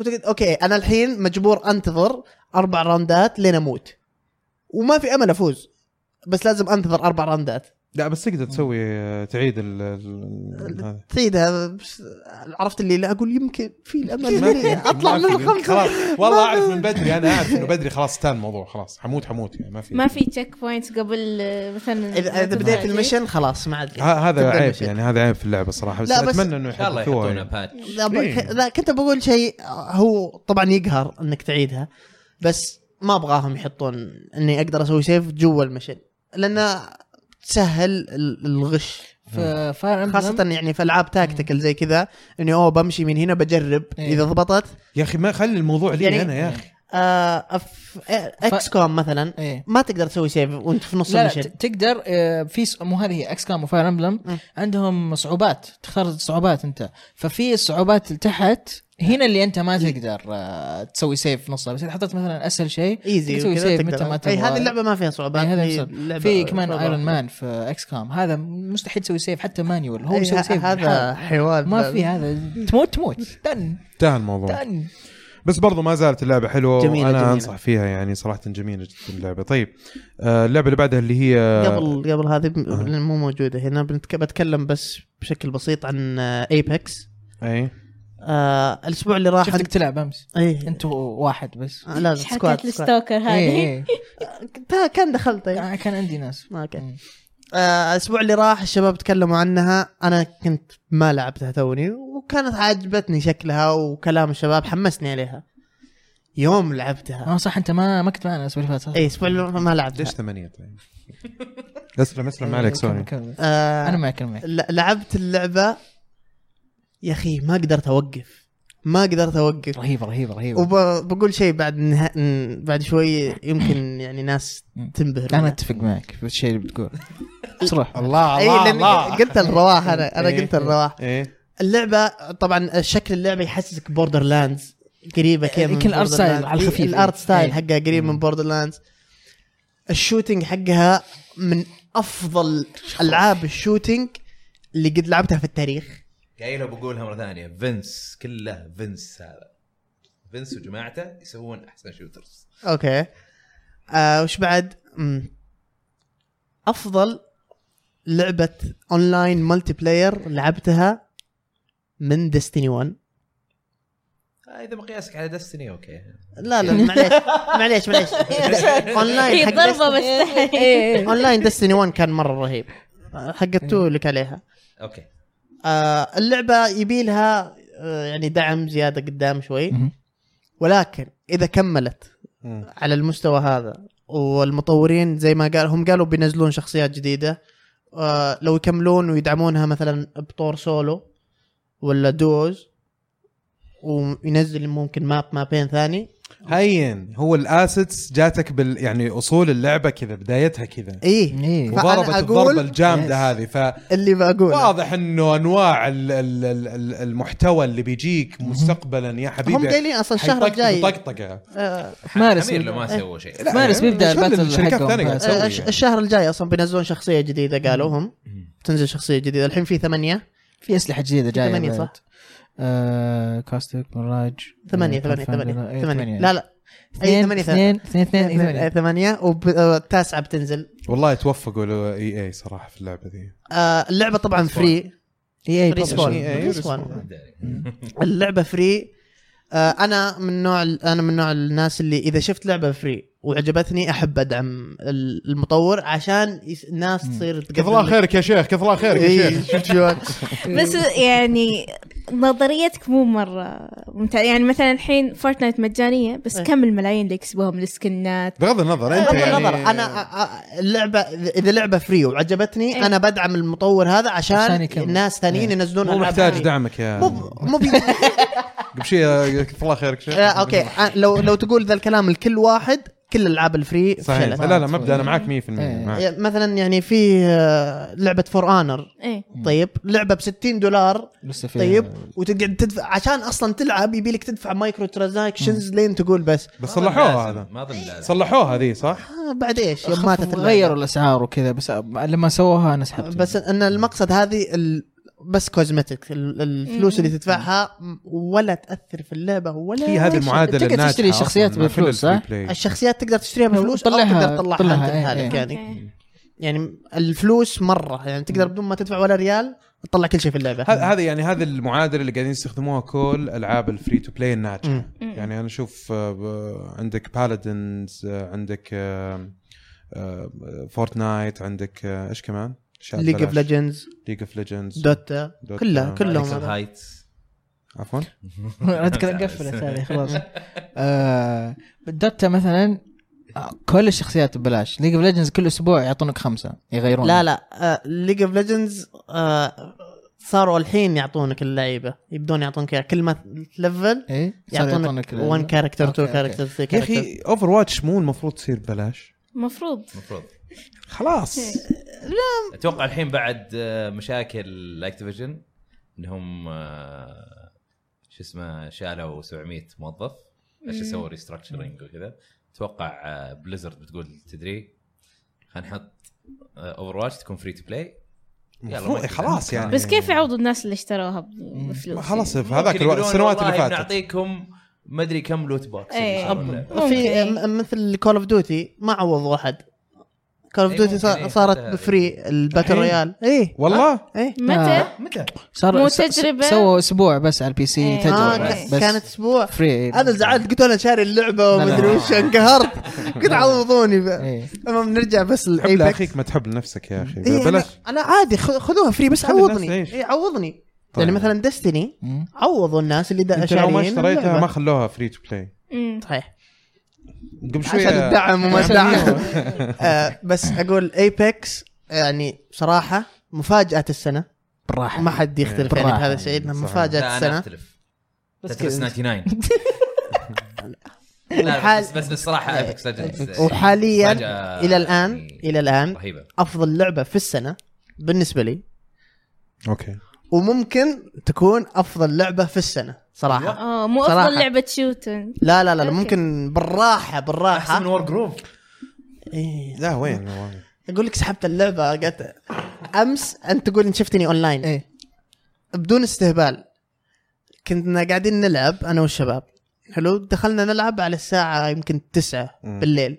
وتقعد اوكي انا الحين مجبور انتظر اربع راوندات لين اموت وما في امل افوز بس لازم انتظر اربع راوندات لا بس تقدر تسوي آه، تعيد ال ال- هذا. سيد هذا بس- عرفت اللي لا اقول يمكن في الامل ما في- يعني اطلع ما من في- الخمسه خلاص والله اعرف من بدري انا اعرف انه بدري خلاص انتهى الموضوع خلاص حموت حموت يعني ما في ما في تشيك بوينت قبل آه، مثلا اذا إذا بديت تطلع. المشن خلاص ما عاد ه- هذا تبدأ عيب المشن. يعني هذا عيب في اللعبه صراحه بس لا، بس- اتمنى انه ان شاء الله يحدثوها يحطونها يعني. باتش لا, ب... إيه. لا كنت بقول شيء هو طبعا يقهر انك تعيدها بس ما ابغاهم يحطون اني اقدر اسوي سيف جوا المشن لانه تسهل ال- الغش ففاير خاصة يعني في العاب تاكتيكال زي كذا اني اوه بمشي من هنا بجرب إيه. اذا ضبطت يا اخي ما خلي الموضوع لي يعني- انا يا اخي آه أف... اكس كوم مثلا ايه ما تقدر تسوي سيف وانت في نص لا, لا المشن ت- تقدر آه، في س- مو هذه هي اكس كام وفاير م. امبلم عندهم صعوبات تختار صعوبات انت ففي الصعوبات اللي تحت هنا اللي انت ما تقدر آه، تسوي سيف في نصها بس اذا حطيت مثلا اسهل شيء ايزي تسوي وكذا سيف متى تقدر ما اي تبغى هذه اللعبة ما فيها صعوبات إيه، هذا هي يصير. لعبة في كمان صعبة. ايرون مان في اكس كام هذا مستحيل تسوي سيف حتى مانيول هو إيه، يسوي سيف هذا بالحال. حوار ما في هذا تموت تموت دن انتهى الموضوع دن بس برضو ما زالت اللعبه حلوه جميلة، جميلة انا جميلة. جميلة. انصح فيها يعني صراحه جميله جدا اللعبه طيب آه، اللعبه اللي بعدها اللي هي قبل قبل هذه ب- لأن مو موجوده هنا بنتك- بتكلم بس بشكل بسيط عن ايبكس اي آه الاسبوع اللي راح شفتك تلعب امس ايه انت واحد بس آه، لازم إيش سكواد حكايه الستوكر هذه ايه تا- كان دخلت ايه أيه. آه، كان عندي ناس اوكي م. آه، الاسبوع اللي راح الشباب تكلموا عنها انا كنت ما لعبتها توني وكانت عجبتني شكلها وكلام الشباب حمسني عليها يوم لعبتها اه صح انت ما ما كنت معنا الاسبوع اللي فات صح؟ اي الاسبوع اللي راح ما لعبتها ليش ثمانية طيب اسلم اسلم إيه، ما عليك كمل- سوري كمل. آه، انا معك انا معك ل- لعبت اللعبه يا اخي ما قدرت اوقف ما قدرت اوقف رهيبه رهيبه رهيبه وبقول شيء بعد نها... ن- بعد شوي يمكن يعني ناس مم. تنبهر انا منه. اتفق معك في الشيء اللي بتقول اصرح الله اي لان إيه، قلت الرواح انا انا إيه. قلت الرواح ايه اللعبه طبعا شكل اللعبه يحسسك بوردر لاندز قريبه كذا يمكن الارت ستايل على الخفيف. الارت ستايل إيه. حقها قريب من بوردر لاندز الشوتينج حقها من افضل العاب الشوتينج اللي قد لعبتها في التاريخ قايلها وبقولها مره ثانيه فينس كله فينس هذا فينس وجماعته يسوون احسن شوترز اوكي آه وش بعد؟ مم. افضل لعبه اونلاين ملتي بلاير لعبتها من ديستني 1 آه، اذا مقياسك على دستني اوكي لا لا معليش معليش معليش اونلاين هي حق إيه، ضربه Destiny- إيه، بس تحت. اونلاين ديستني 1 كان مره رهيب آه، حق تو لك عليها اوكي آه اللعبه يبي لها آه يعني دعم زياده قدام شوي مهم. ولكن اذا كملت مم. على المستوى هذا والمطورين زي ما قال هم قالوا بينزلون شخصيات جديده آه لو يكملون ويدعمونها مثلا بطور سولو ولا دوز وينزل ممكن ماب مابين ثاني هين هو الاسيتس جاتك بال يعني اصول اللعبه كذا بدايتها كذا ايه ايه فأنا وضربت أقول- إيه. الضربه Yes. الجامده هذه ف اللي بقوله واضح انه انواع ال ال ال ال المحتوى اللي بيجيك مستقبلا يا حبيبي هم قايلين اصلا الشهر الجاي طقطقه آه مارس امير لو ما سوى شيء يعني مارس بيبدا شو الباتل الشركات حقهم الثانية قاعدة بس. تسوي؟ آه، يعني. الش- الشهر الجاي اصلا بينزلون شخصيه جديده قالوا هم تنزل شخصيه جديده الحين في ثمانيه في اسلحه جديده جايه ثمانية بعد. صح؟ آه، كاستيك مراج ثمانيه آه، فاندر، ثمانيه ثمانيه إيه، ثمانيه لا لا اثنين ثمانية، اثنين اثنين اثنين إيه، ثمانية. ثمانيه والتاسعه آه، بتنزل والله توفقوا اي اي صراحه في اللعبه دي آه، اللعبه طبعا فري اي اي ريسبون إيه، إيه، يعني ريسبون اللعبه فري انا آه، من نوع انا من نوع الناس اللي اذا شفت لعبه فري وعجبتني احب ادعم ال- المطور عشان يس- الناس تصير كثر الله لك- خيرك يا شيخ كثر الله خيرك يا إيه، شيخ شفت شلون؟ بس يعني نظريتك مو مره ممتعه يعني مثلا الحين فورتنايت مجانيه بس إيه. كم الملايين اللي يكسبوهم السكنات بغض النظر انت بغض يعني النظر آه، انا أ- أ- اللعبه اذا لعبه فري وعجبتني إيه. انا بدعم المطور هذا عشان عشان يكمل. الناس ثانيين إيه. ينزلون مو ألعاب محتاج free. دعمك يا مو ب- مو بي- قبل شيء يا- كثر الله خيرك شيخ آه، اوكي آه، لو لو تقول ذا الكلام لكل واحد كل العاب الفري صحيح فشلت. لا لا مبدا انا معك 100% إيه. معك. يعني مثلا يعني في آه، لعبه فور انر ايه طيب لعبه ب 60 دولار لسه في طيب وتقعد تدفع عشان اصلا تلعب يبي لك تدفع مايكرو ترانزاكشنز لين تقول بس بس صلحوها هذا ما اظن لازم صلحوها ذي صح؟ آه، بعد ايش يوم ماتت اللعبة. غيروا الاسعار وكذا بس لما سووها انا سحبت بس ان المقصد هذه ال... بس كوزمتك ال- الفلوس اللي تدفعها ولا تاثر في اللعبه ولا هي هذه شيء. المعادله تقدر الناجحه تشتري أصلاً شخصيات مع كل بالفلوس، صح؟ الفري بلاي. الشخصيات تقدر تشتريها بفلوس او طلعها- تقدر تطلعها طلعها، انت إيه، لحالك إيه. يعني أوكي. يعني الفلوس مره يعني تقدر بدون ما تدفع ولا ريال تطلع كل شيء في اللعبه ه- هذا يعني هذا المعادله اللي قاعدين يستخدموها كل العاب الفري تو بلاي الناجحه مم. مم. يعني انا اشوف آه، ب- عندك بالادنز عندك آه، آه، فورتنايت عندك آه، ايش كمان؟ ليج اوف ليجندز ليج اوف ليجندز دوتا كلها كلهم Pixel هذا. Heights. عفوا اذكر قفلت هذه خلاص آه، دوتا مثلا آه، كل الشخصيات ببلاش ليج اوف ليجندز كل اسبوع يعطونك خمسه يغيرون لا آه، لا ليج اوف ليجندز آه، صاروا الحين يعطونك اللعيبه يبدون يعطونك إياها. كل ما تلفل ايه صار يعطونك ال- 1 كاركتر 2 أوكي، أوكي. كاركتر 3 يا كاركتر اخي اوفر واتش مو المفروض تصير ببلاش مفروض المفروض خلاص اتوقع الحين بعد آه، مشاكل اكتيفيجن انهم آه، شو اسمه شالوا 700 موظف عشان سووا ريستراكشرنج وكذا اتوقع آه، بليزرد بتقول تدري خلينا نحط اوفر واتش تكون فري تو بلاي يلا، المفروض- ما- خلاص يعني بس كيف يعوضوا الناس اللي اشتروها ب- ما بفلوس خلاص في هذاك الوقت السنوات اللي فاتت نعطيكم ما ادري كم لوت بوكس إيه. في آه، ممكن. م- مثل كول اوف ديوتي ما عوضوا احد كول اوف إيه، ديوتي ممكن، إيه، صارت حتى- بفري الباتل الحين؟ رويال ايه والله ايه متى؟ متى؟ صار مو س- س- تجربة؟ سووا اسبوع بس على البي سي إيه. آه تجربه ك- بس كانت اسبوع فري انا زعلت قلت انا شاري اللعبه لا، لا. ومدري وش انقهرت قلت عوضوني بقى. إيه. المهم نرجع بس حب للايبك لاخيك ما تحب لنفسك يا اخي إيه بلاش أنا, انا عادي خ- خذوها فري بس خلي الناس عوضني تعيش. اي عوضني طيب. يعني مثلا ديستني مم. عوضوا الناس اللي دا انت لو ما شاريين اشتريتها اللعبة. ما خلوها فري تو بلاي مم. صحيح قبل عشان شويه الدعم وما الدعم آه، بس اقول ايبكس يعني صراحه مفاجاه السنه بالراحه ما حد يختلف يعني بالراحة. بهذا الشيء انها صحيح. مفاجاه لا انا السنه اختلف بس تترس كذا. 99 لا والحال- بس بس الصراحه ابيكس آه، وحاليا الى الان الى الان رهيبه افضل لعبه في السنه بالنسبه لي اوكي وممكن تكون افضل لعبه في السنه صراحه اه مو صراحة. افضل لعبه شوتن لا لا لا لا، أوكي. ممكن احسن بالراحه من بالراحه وور جروف إيه. لا وين والله. اقول لك سحبت اللعبه قلت امس انت تقول ان شفتني اونلاين إيه. بدون استهبال كنا قاعدين نلعب انا والشباب حلو دخلنا نلعب على الساعه يمكن تسعة مم. بالليل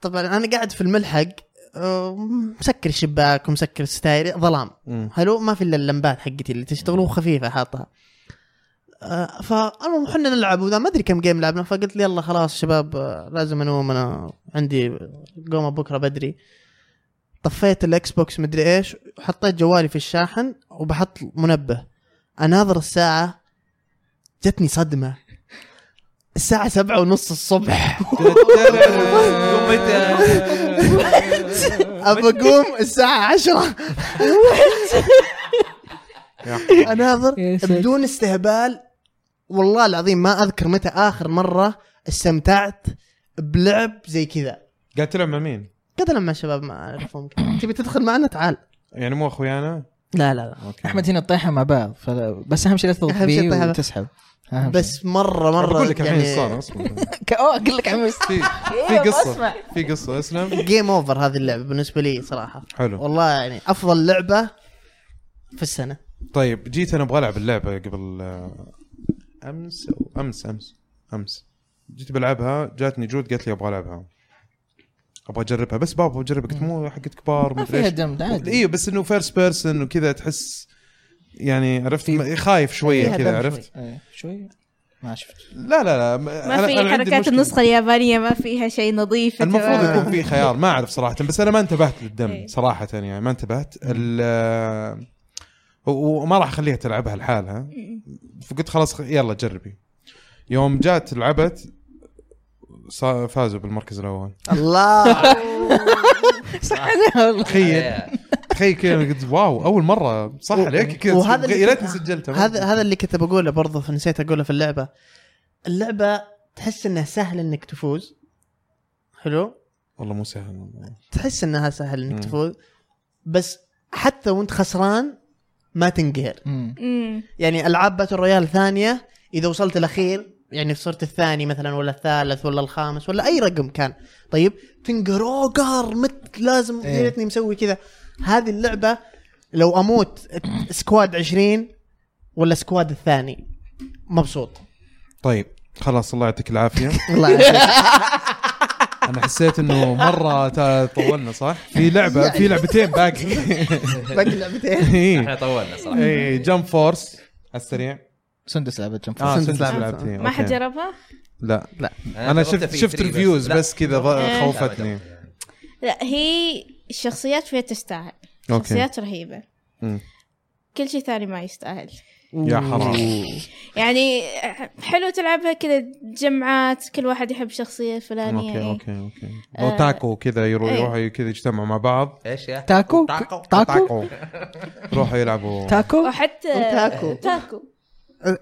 طبعا انا قاعد في الملحق آه، مسكر الشباك ومسكر الستاير ظلام مم. حلو ما في الا اللمبات حقتي اللي تشتغل وخفيفه حاطها آه، فالمهم حنا نلعب وذا ما ادري كم جيم لعبنا فقلت لي يلا خلاص شباب آه، لازم انوم انا عندي قومه بكره بدري طفيت الاكس بوكس مدري ايش وحطيت جوالي في الشاحن وبحط منبه اناظر الساعه جتني صدمه الساعة سبعة ونص الصبح أبى أقوم الساعة عشرة يا- اناظر يا ساتر. بدون استهبال والله العظيم ما اذكر متى اخر مره استمتعت بلعب زي كذا قاعد تلعب مع مين؟ كذا لما الشباب ما اعرفهم تبي تدخل معنا تعال يعني مو اخويانا؟ لا لا اوكي احمد هنا طيحه مع بعض فلا- بس اهم شيء لا تضغط أهم شيء بي طيحة. وتسحب لا أهم شيء. بس يعني مره مره بقول لك الحين يعني ايش صار اصبر ك- أوه، اقول لك عمس في في قصه في قصه اسلم جيم اوفر هذه اللعبه بالنسبه لي صراحه حلو والله يعني افضل لعبه في السنه طيب جيت انا ابغى العب اللعبه قبل آه، امس أو امس امس امس جيت بلعبها جاتني جود قالت لي ابغى العبها ابغى اجربها بس بابا بجربها قلت مو حقت كبار ما مدري فيها ايش دم عادي ايوه بس انه فيرست بيرسون وكذا تحس يعني عرفت م- خايف شويه فيها دم كذا شوي. عرفت إيه، شوي ما شفت لا لا لا ما في حركات النسخه اليابانيه ما فيها شيء نظيف المفروض تمام. يكون في خيار ما اعرف صراحه بس انا ما انتبهت للدم إيه. صراحه يعني ما انتبهت ال- آه، و- وما راح اخليها تلعبها لحالها فقلت خلاص خ- يلا جربي يوم جات لعبت صا- فازوا بالمركز الاول الله صح عليها والله آه، تخيل تخيل كذا قلت واو اول مره صح و- عليك كذا إيه. وهذا اللي- يا ريتني سجلتها هذا هذا اللي كنت بقوله برضه نسيت اقوله في اللعبه اللعبه تحس انها سهله انك تفوز حلو والله مو سهل والله. تحس انها سهل مم. انك تفوز بس حتى وانت خسران ما تنقهر مم. مم. يعني العاب باتل رويال ثانيه اذا وصلت الاخير يعني صرت الثاني مثلا ولا الثالث ولا الخامس ولا اي رقم كان طيب تنقهر اوه قهر مت لازم إيه. يا ريتني مسوي كذا هذه اللعبه لو اموت سكواد 20 ولا سكواد الثاني مبسوط طيب خلاص الله يعطيك العافيه الله يعافيك انا حسيت انه مره تا- طولنا صح؟ في لعبه في لعبتين باقي باقي لعبتين إيه. احنا طولنا صراحه اي إيه. جمب فورس على السريع سندس لعبه جنب اه سندس سندس لعبة. لعبتين آه، ما حد أوكي. جربها؟ لا انا جربتها شفت في شفت 3 ريفيوز لا. بس كذا ض- إيه. خوفتني لا هي الشخصيات فيها تستاهل اوكي شخصيات رهيبة مم. كل شيء ثاني ما يستاهل يا حرام يعني حلو تلعبها كذا جمعات كل واحد يحب شخصية فلانية اوكي إيه. اوكي اوكي آه. وتاكو كذا يرو- إيه. يروحوا كذا يجتمعوا مع بعض ايش يا تاكو تاكو. تاكو يروحوا يلعبوا تاكو وحتى أوتاكو. تاكو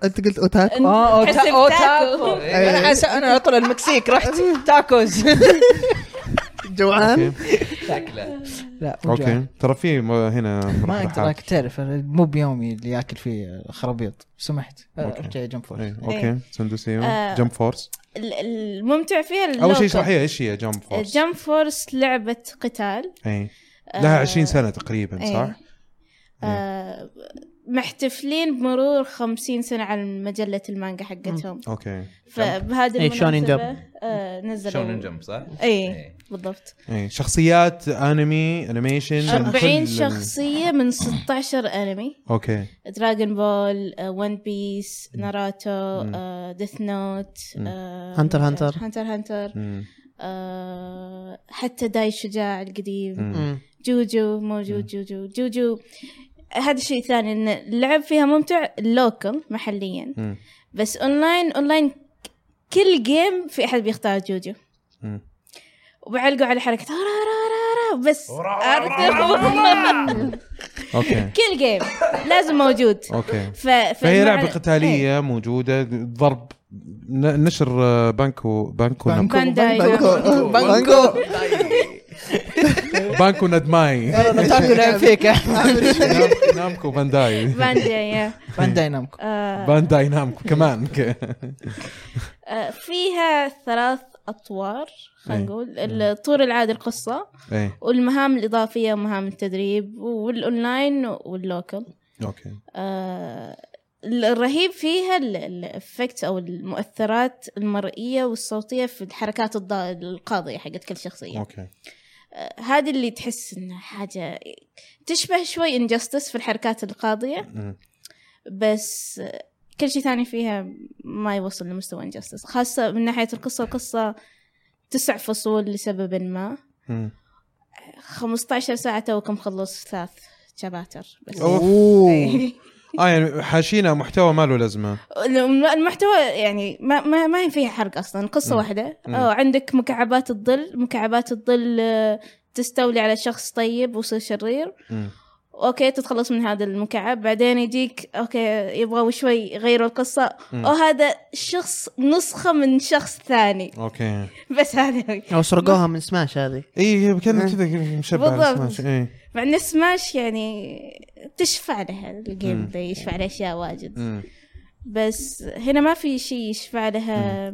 انت قلت اوتاكو آه، اه حسب أوتا- أوتا- تاكو. انا إيه. عس- انا على طول المكسيك رحت تاكوز جوعان اوكي شكله لا مو جوع. اوكي ترى في م- هنا ما اقدر مرحلات. لك تعرف أنا مو بيومي اللي ياكل فيه خرابيط سمحت آه، أوكي. ارجع جنب فوق إيه، اوكي سندوسيو آه. جمب فورس ال- الممتع فيها اول شيء اللوكل. اشرح لي ايش هي جمب فورس جمب فورس لعبة قتال اي لها آه، إيه. 20 سنه تقريبا صح؟ آه، محتفلين بمرور خمسين سنة على مجلة المانجا حقتهم اوكي فبهذه إيه، شونين المناسبة آه، شونن نزلوا جمب صح؟ اي إيه. بالضبط اي شخصيات انمي انيميشن 40 كل- شخصية من 16 انمي اوكي دراغون بول ون بيس ناروتو مم. ديث نوت مم. آه، Hunter Hunter. هانتر هانتر أمم، آه، حتى داي الشجاع القديم أمم. جوجو موجود جوجو جوجو هذا شيء ثاني ان اللعب فيها ممتع لوكل محليا مم. بس اونلاين اونلاين كل جيم في احد بيختار جوجو مم. وبعلقوا على حركة را را را را بس را- عرفت؟ اوكي كل جيم لازم موجود اوكي ف... ف- فهي مع- لعبه قتاليه موجوده ضرب ن- نشر آه، بانكو بانكو نم- بانداي بانكو بانكو بانكو ندماي تاكو إيه. لعب فيك نام- نامكو إيه، بانداي بانداي يا. بانداي نامكو آه، بانداي نامكو كمان ك- آه، فيها ثلاث اطوار خلينا إيه. نقول الطور العادي القصه اي والمهام الاضافيه ومهام التدريب والاونلاين واللوكل اوكي آه، الرهيب فيها الافكت او المؤثرات المرئيه والصوتيه في الحركات الضا- القاضيه حقت كل شخصيه اوكي آه، هذه اللي تحس انها حاجه تشبه شوي انجستس في الحركات القاضيه أمم. بس كل شيء ثاني فيها ما يوصل لمستوى انجستس خاصة من ناحية القصة القصة تسع فصول لسبب ما أمم. 15 ساعة توك مخلص ثلاث شاباتر بس اوه اه يعني حاشينا محتوى ما له لازمه الم- المحتوى يعني ما ما, ما هي فيها حرق اصلا قصة مم. واحدة مم. أو عندك مكعبات الظل مكعبات الظل آه، تستولي على شخص طيب ويصير شرير أمم. اوكي تتخلص من هذا المكعب بعدين يجيك اوكي يبغوا شوي يغيروا القصه مم. او هذا شخص نسخه من شخص ثاني اوكي بس هذا او سرقوها من سماش هذه اي إيه، كان كذا مشبع على بالضبط. سماش اي مع ان سماش يعني تشفع لها الجيم مم. بلاي يشفع لها اشياء واجد أمم. بس هنا ما في شيء يشفع لها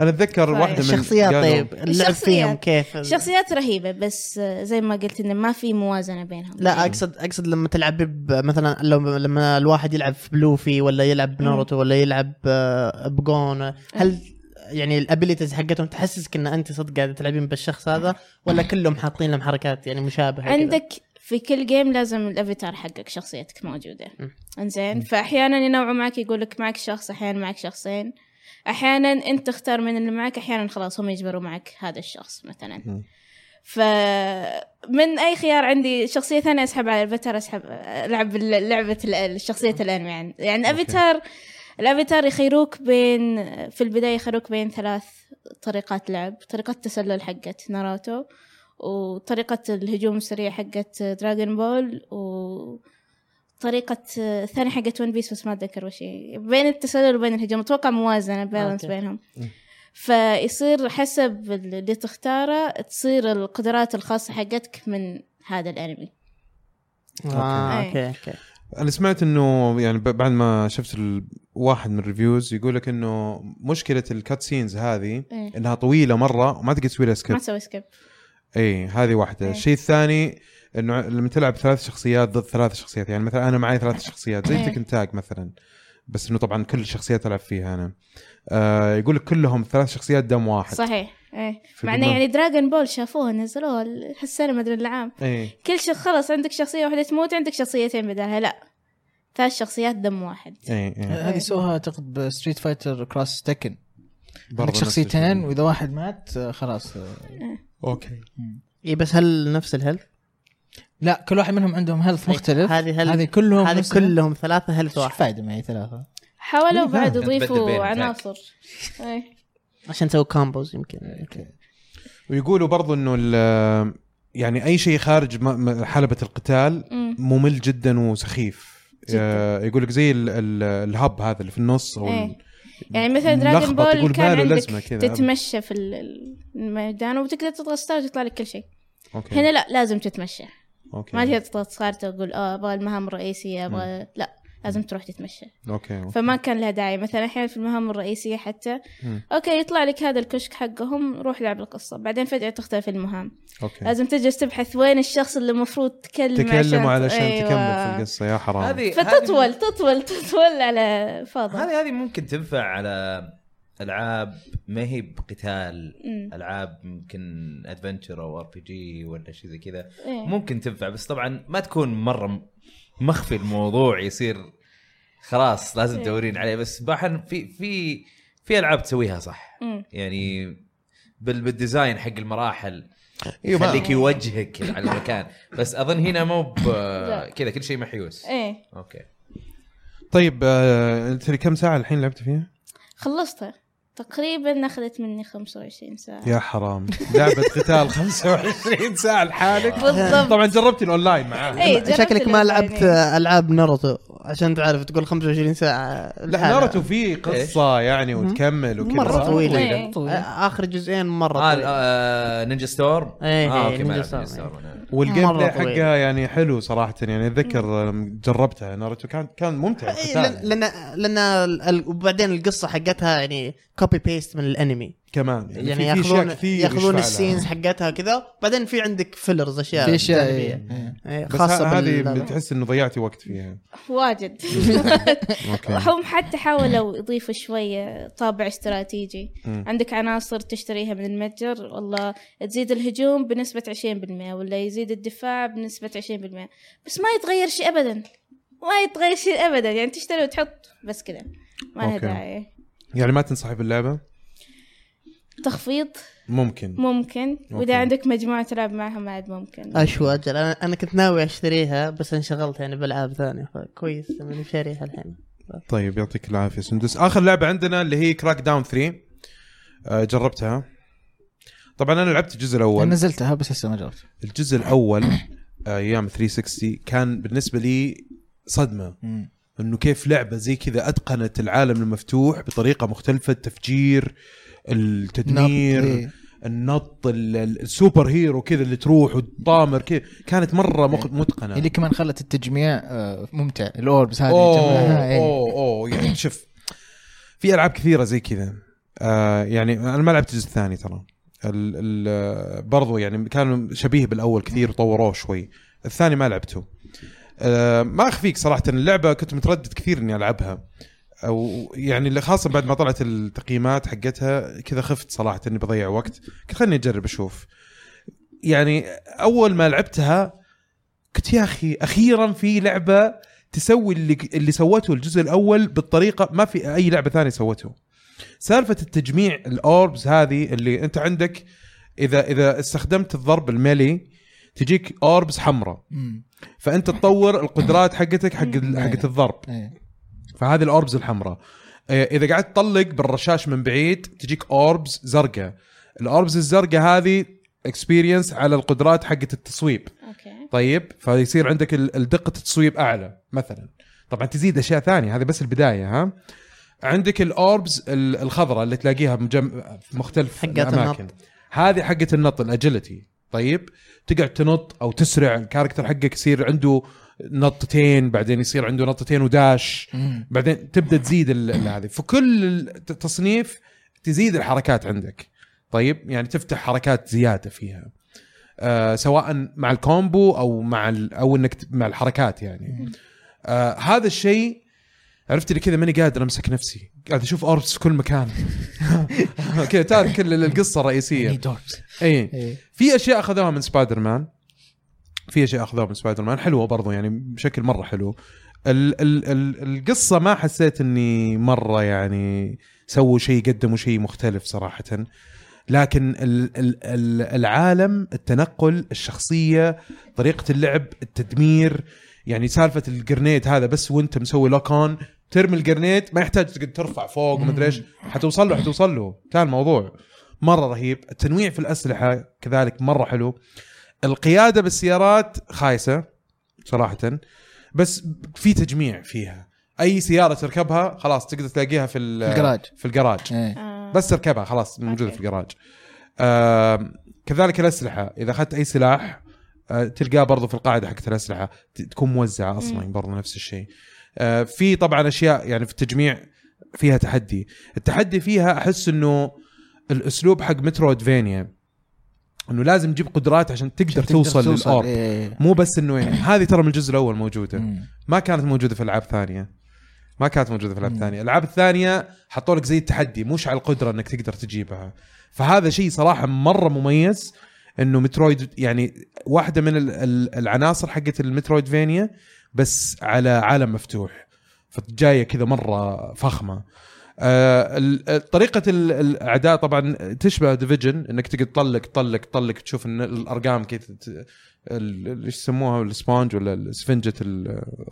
انا اتذكر طيب. واحده من الشخصيات قالوا- طيب اللعب فيهم كيف شخصيات رهيبه بس زي ما قلت انه ما في موازنه بينهم لا اقصد اقصد لما تلعب ب- مثلا لو لما الواحد يلعب في بلوفي ولا يلعب بناروتو ولا يلعب آه، بجون هل إيه. يعني الابيلتيز حقتهم تحسسك ان انت صدق قاعده تلعبين بالشخص هذا ولا كلهم حاطين لهم حركات يعني مشابهه كذا؟ عندك في كل جيم لازم الافاتار حقك شخصيتك موجوده مم. انزين فاحيانا ينوعوا معك يقول لك معك شخص احيانا معك شخصين احيانا انت تختار من اللي معك احيانا خلاص هم يجبروا معك هذا الشخص مثلا مم. فمن اي خيار عندي شخصيه ثانيه اسحب على الافاتار اسحب العب بال- لعبه ال- الشخصيه الانمي يعني يعني أوكي. الافاتار الافاتار يخيروك بين في البدايه يخيروك بين ثلاث طريقات لعب طريقه التسلل حقت ناروتو وطريقة الهجوم السريع حقت دراغون بول وطريقة الثانية حقت ون بيس بس ما أتذكر وش هي. بين التسلل وبين الهجوم أتوقع موازنة بالانس أوكي. بينهم مم. فيصير حسب اللي تختاره تصير القدرات الخاصة حقتك من هذا الأنمي آه، أوكي. اوكي اوكي انا سمعت انه يعني ب- بعد ما شفت ال- واحد من الريفيوز يقول لك انه مشكله الكات سينز هذه إيه. انها طويله مره وما تقدر تسوي لها ما سكيب تسوي سكيب اي هذه واحده إيه. الشيء الثاني انه لما تلعب ثلاث شخصيات ضد ثلاث شخصيات يعني مثلا انا معي ثلاث شخصيات زي إيه. تكن تاج مثلا بس انه طبعا كل الشخصيات العب فيها انا آه يقول لك كلهم ثلاث شخصيات دم واحد صحيح ايه في مع انه البرنامج. يعني دراغون بول شافوها نزلوها ال- هالسنه ما ادري العام ايه كل شخص خلاص عندك شخصيه واحده تموت عندك شخصيتين بدالها لا ثلاث شخصيات دم واحد ايه ايه هذه سوها اعتقد بستريت فايتر كراس تكن برضو عندك نفس شخصيتين الشيء. واذا واحد مات آه، خلاص آه، اوكي اي إيه، بس هل نفس الهيلث؟ لا كل واحد منهم عندهم هيلث مختلف إيه. هذه هل هذه كلهم هذه نفس- كلهم ثلاثه هيلث ايش واحد فايده معي ثلاثه إيه، حاولوا بعد يعني تبدل بين يضيفوا الأتاك. عناصر ايه عشان تسوي كومبوز يمكن ويقولوا برضو انه ال- يعني اي شيء خارج م- م- حلبه القتال أمم. ممل جدا وسخيف جداً. آه، يقول لك زي ال- ال- الهب هذا اللي في النص او إيه. ال- يعني مثلا ملخبط، دراغون بول يقول كان ما له عندك لازمة كذا أبد. تتمشى في ال- الميدان وتقدر تضغط ستارت ويطلع لك كل شيء اوكي هنا لا لازم تتمشى اوكي ما تقدر تضغط ستارت وتقول اه ابغى المهام الرئيسيه ابغى لا لازم تروح تتمشى اوكي أوكي. فما كان لها داعي مثلا احيانا في المهام الرئيسيه حتى مم. اوكي يطلع لك هذا الكشك حقهم روح لعب القصه بعدين فجاه تختلف المهام اوكي لازم تجلس تبحث وين الشخص اللي المفروض تكلمه تكلموا علشان إيه، أيوة. تكمل في القصه يا حرام هذه هذه- فتطول تطول تطول على فاضي هذه هذه ممكن تنفع على العاب ما هي بقتال مم. العاب يمكن ادفنتشر او ار بي جي ولا شيء زي كذا إيه. ممكن تنفع بس طبعا ما تكون مره م- مخفي الموضوع يصير خلاص لازم إيه. تدورين عليه بس بحن في في في العاب تسويها صح مم. يعني بال بالديزاين حق المراحل إيوه، ما- يخليك يوجهك على المكان بس اظن هنا مو ب- لا. كذا كل شيء محيوس إيه. ايه اوكي طيب آه، انت لي كم ساعه الحين لعبت فيها؟ خلصتها تقريبا اخذت مني 25 آه. ساعة يا حرام لعبه قتال 25 ساعه لحالك بالضبط. طبعا جربت الاونلاين معاه إيه، جربت يعني. شكلك ما لعبت الأونلاين، آه، العاب ناروتو عشان تعرف تقول 25 ساعه لا لحالها. ناروتو فيه قصه يعني وتكمل وكذا مرة صح؟ طويلة. إيه. آه، اخر جزئين مره آه, طويل. آه نينجا ستورم إيه، آه، إيه، اوكي ما نينجا لعبت نينجا ستورم، إيه. ستورم نعم. أنا. والجيم مرة بلاي طويل. حقها يعني حلو صراحه يعني اتذكر آم، جربتها ناروتو كان كان ممتع إيه، القتال. لأن- يعني. لان لان ال- وبعدين القصه حقتها يعني كوبي بيست من الانمي كمان يعني, يعني في- في أشياء ياخذون كثير ياخذون يشفع لها. السينز حقتها كذا بعدين في عندك فيلرز اشياء في اشياء جانبية. إيه. إيه، بس خاصه ه- بال- هذه تحس انه ضيعتي وقت فيها إيه. واجد اوكي هم حتى حاولوا يضيفوا شوية طابع استراتيجي مم. عندك عناصر تشتريها من المتجر والله تزيد الهجوم بنسبة 20% ولا يزيد الدفاع بنسبة 20% بس ما يتغير شيء أبدا ما يتغير شيء أبدا يعني تشتري وتحط بس كذا ما لها أوكي. داعي يعني ما تنصحي باللعبه تخفيض ممكن ممكن أوكي. وإذا عندك مجموعة تلعب معهم عاد ممكن اشو اجل انا انا كنت ناوي اشتريها بس انشغلت يعني بالعاب ثانيه فكويس اني شاريها الحين طيب يعطيك العافيه سندس اخر لعبه عندنا اللي هي كراك داون 3 آه، جربتها طبعا انا لعبت الجزء أنا الاول نزلتها بس لسه ما جربت الجزء الاول آه، ايام 360 كان بالنسبه لي صدمه مم. انه كيف لعبه زي كذا اتقنت العالم المفتوح بطريقه مختلفه التفجير نط، التدمير إيه. النط ال- ال- السوبر هيرو كذا اللي تروح وتطامر كذا كانت مره إيه. مخ- متقنه اللي كمان خلت التجميع آه، ممتع الاوربس هذه جمعها، اوه إيه. اوه اوه يعني شوف في العاب كثيره زي كذا آه يعني انا ما لعبت الجزء الثاني ترى ال ال برضو يعني كانوا شبيه بالاول كثير وطوروه شوي الثاني ما لعبته آه ما اخفيك صراحه اللعبه كنت متردد كثير اني العبها او يعني اللي خاصه بعد ما طلعت التقييمات حقتها كذا خفت صراحه اني بضيع وقت قلت خليني اجرب اشوف يعني اول ما لعبتها قلت يا اخي اخيرا في لعبه تسوي اللي اللي سوته الجزء الاول بالطريقه ما في اي لعبه ثانيه سوته سالفه التجميع الاوربز هذه اللي انت عندك اذا اذا استخدمت الضرب الملي تجيك اوربز حمراء مم. فانت تطور القدرات حقتك حق ال- حقت الضرب إيه. فهذه الاوربز الحمراء آه، اذا قعدت تطلق بالرشاش من بعيد تجيك اوربز زرقاء الاوربز الزرقاء هذه اكسبيرينس على القدرات حقت التصويب أوكي طيب فيصير عندك ال- الدقة التصويب أعلى مثلا طبعا تزيد أشياء ثانية هذه بس البداية ها عندك الأوربز ال- الخضراء اللي تلاقيها بمجم... في مختلف حقت الأماكن النط. هذه حقة النط الأجيلتي طيب تقعد تنط أو تسرع الكاركتر حقك يصير عنده نطتين بعدين يصير عنده نطتين وداش مم. بعدين تبدا تزيد ال- ال- هذه فكل التصنيف تزيد الحركات عندك طيب يعني تفتح حركات زياده فيها آه سواء مع الكومبو او مع ال- او انك ت- مع الحركات يعني آه هذا الشيء عرفت اللي كذا ماني قادر امسك نفسي قاعد اشوف اوربس في كل مكان كذا تارك ال- القصه الرئيسيه اي إيه. في اشياء اخذوها من سبايدر مان في اشياء اخذوها من سبايدر مان حلوه برضو يعني بشكل مره حلو ال ال ال القصه ما حسيت اني مره يعني سووا شيء قدموا شيء مختلف صراحه لكن ال ال ال العالم التنقل الشخصيه طريقه اللعب التدمير يعني سالفه الجرنيت هذا بس وانت مسوي لوكون ترمي الجرنيت ما يحتاج تقعد ترفع فوق ومدري ايش حتوصل له حتوصل له كان الموضوع مره رهيب التنويع في الاسلحه كذلك مره حلو القياده بالسيارات خايسه صراحه بس في تجميع فيها اي سياره تركبها خلاص تقدر تلاقيها في ال- الجراج. في الجراج إيه. آه. بس تركبها خلاص موجوده أوكي. في الجراج آم، كذلك الاسلحه اذا اخذت اي سلاح آه، تلقاه برضو في القاعده حقت الاسلحه ت- تكون موزعه اصلا مم. برضو نفس الشيء آه، في طبعا اشياء يعني في التجميع فيها تحدي التحدي فيها احس انه الاسلوب حق مترويدفانيا انه لازم تجيب قدرات عشان تقدر, عشان توصل, للاورب إيه، إيه. مو بس انه يعني هذه ترى من الجزء الاول موجوده مم. ما كانت موجوده في العاب ثانيه ما كانت موجوده في العاب مم. ثانيه الالعاب الثانيه حطوا لك زي التحدي مش على القدره انك تقدر تجيبها فهذا شيء صراحه مره مميز انه مترويد يعني واحده من ال- ال- العناصر حقت المترويد فينيا بس على عالم مفتوح فجايه كذا مره فخمه آه، ال- ال- طريقه ال- الاعداء طبعا تشبه ديفيجن انك تقعد تطلق تطلق تطلق تشوف إن الارقام كيف ت- ال- ال- ايش يسموها السبونج ولا سفنجه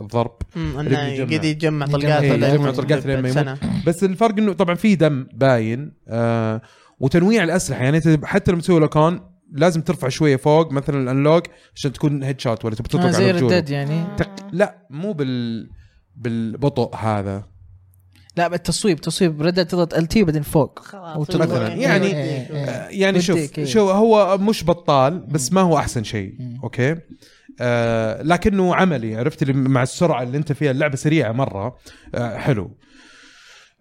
الضرب مم، اللي انه بيجمع. يقعد أمم، يجمع يجمع- طلقات إيه، ولا يجمع يموت طلقات لين ما يموت. سنة. بس الفرق انه طبعا في دم باين آه وتنويع الاسلحه يعني انت حتى لما تسوي لوكان لازم ترفع شويه فوق مثلا الانلوك عشان تكون هيد شوت ولا تبي آه، تطلق زي على رجوله ردد يعني تق... لا مو بال بالبطء هذا لا التصويب تصويب ردد تضغط ال تي بعدين فوق خلاص وتضغط. مثلاً، إيه، يعني- إيه، إيه. آه يعني شوف وديك، إيه. شو هو مش بطال بس ما هو احسن شيء مم. اوكي آه لكنه عملي عرفت اللي مع السرعه اللي انت فيها اللعبه سريعه مره آه حلو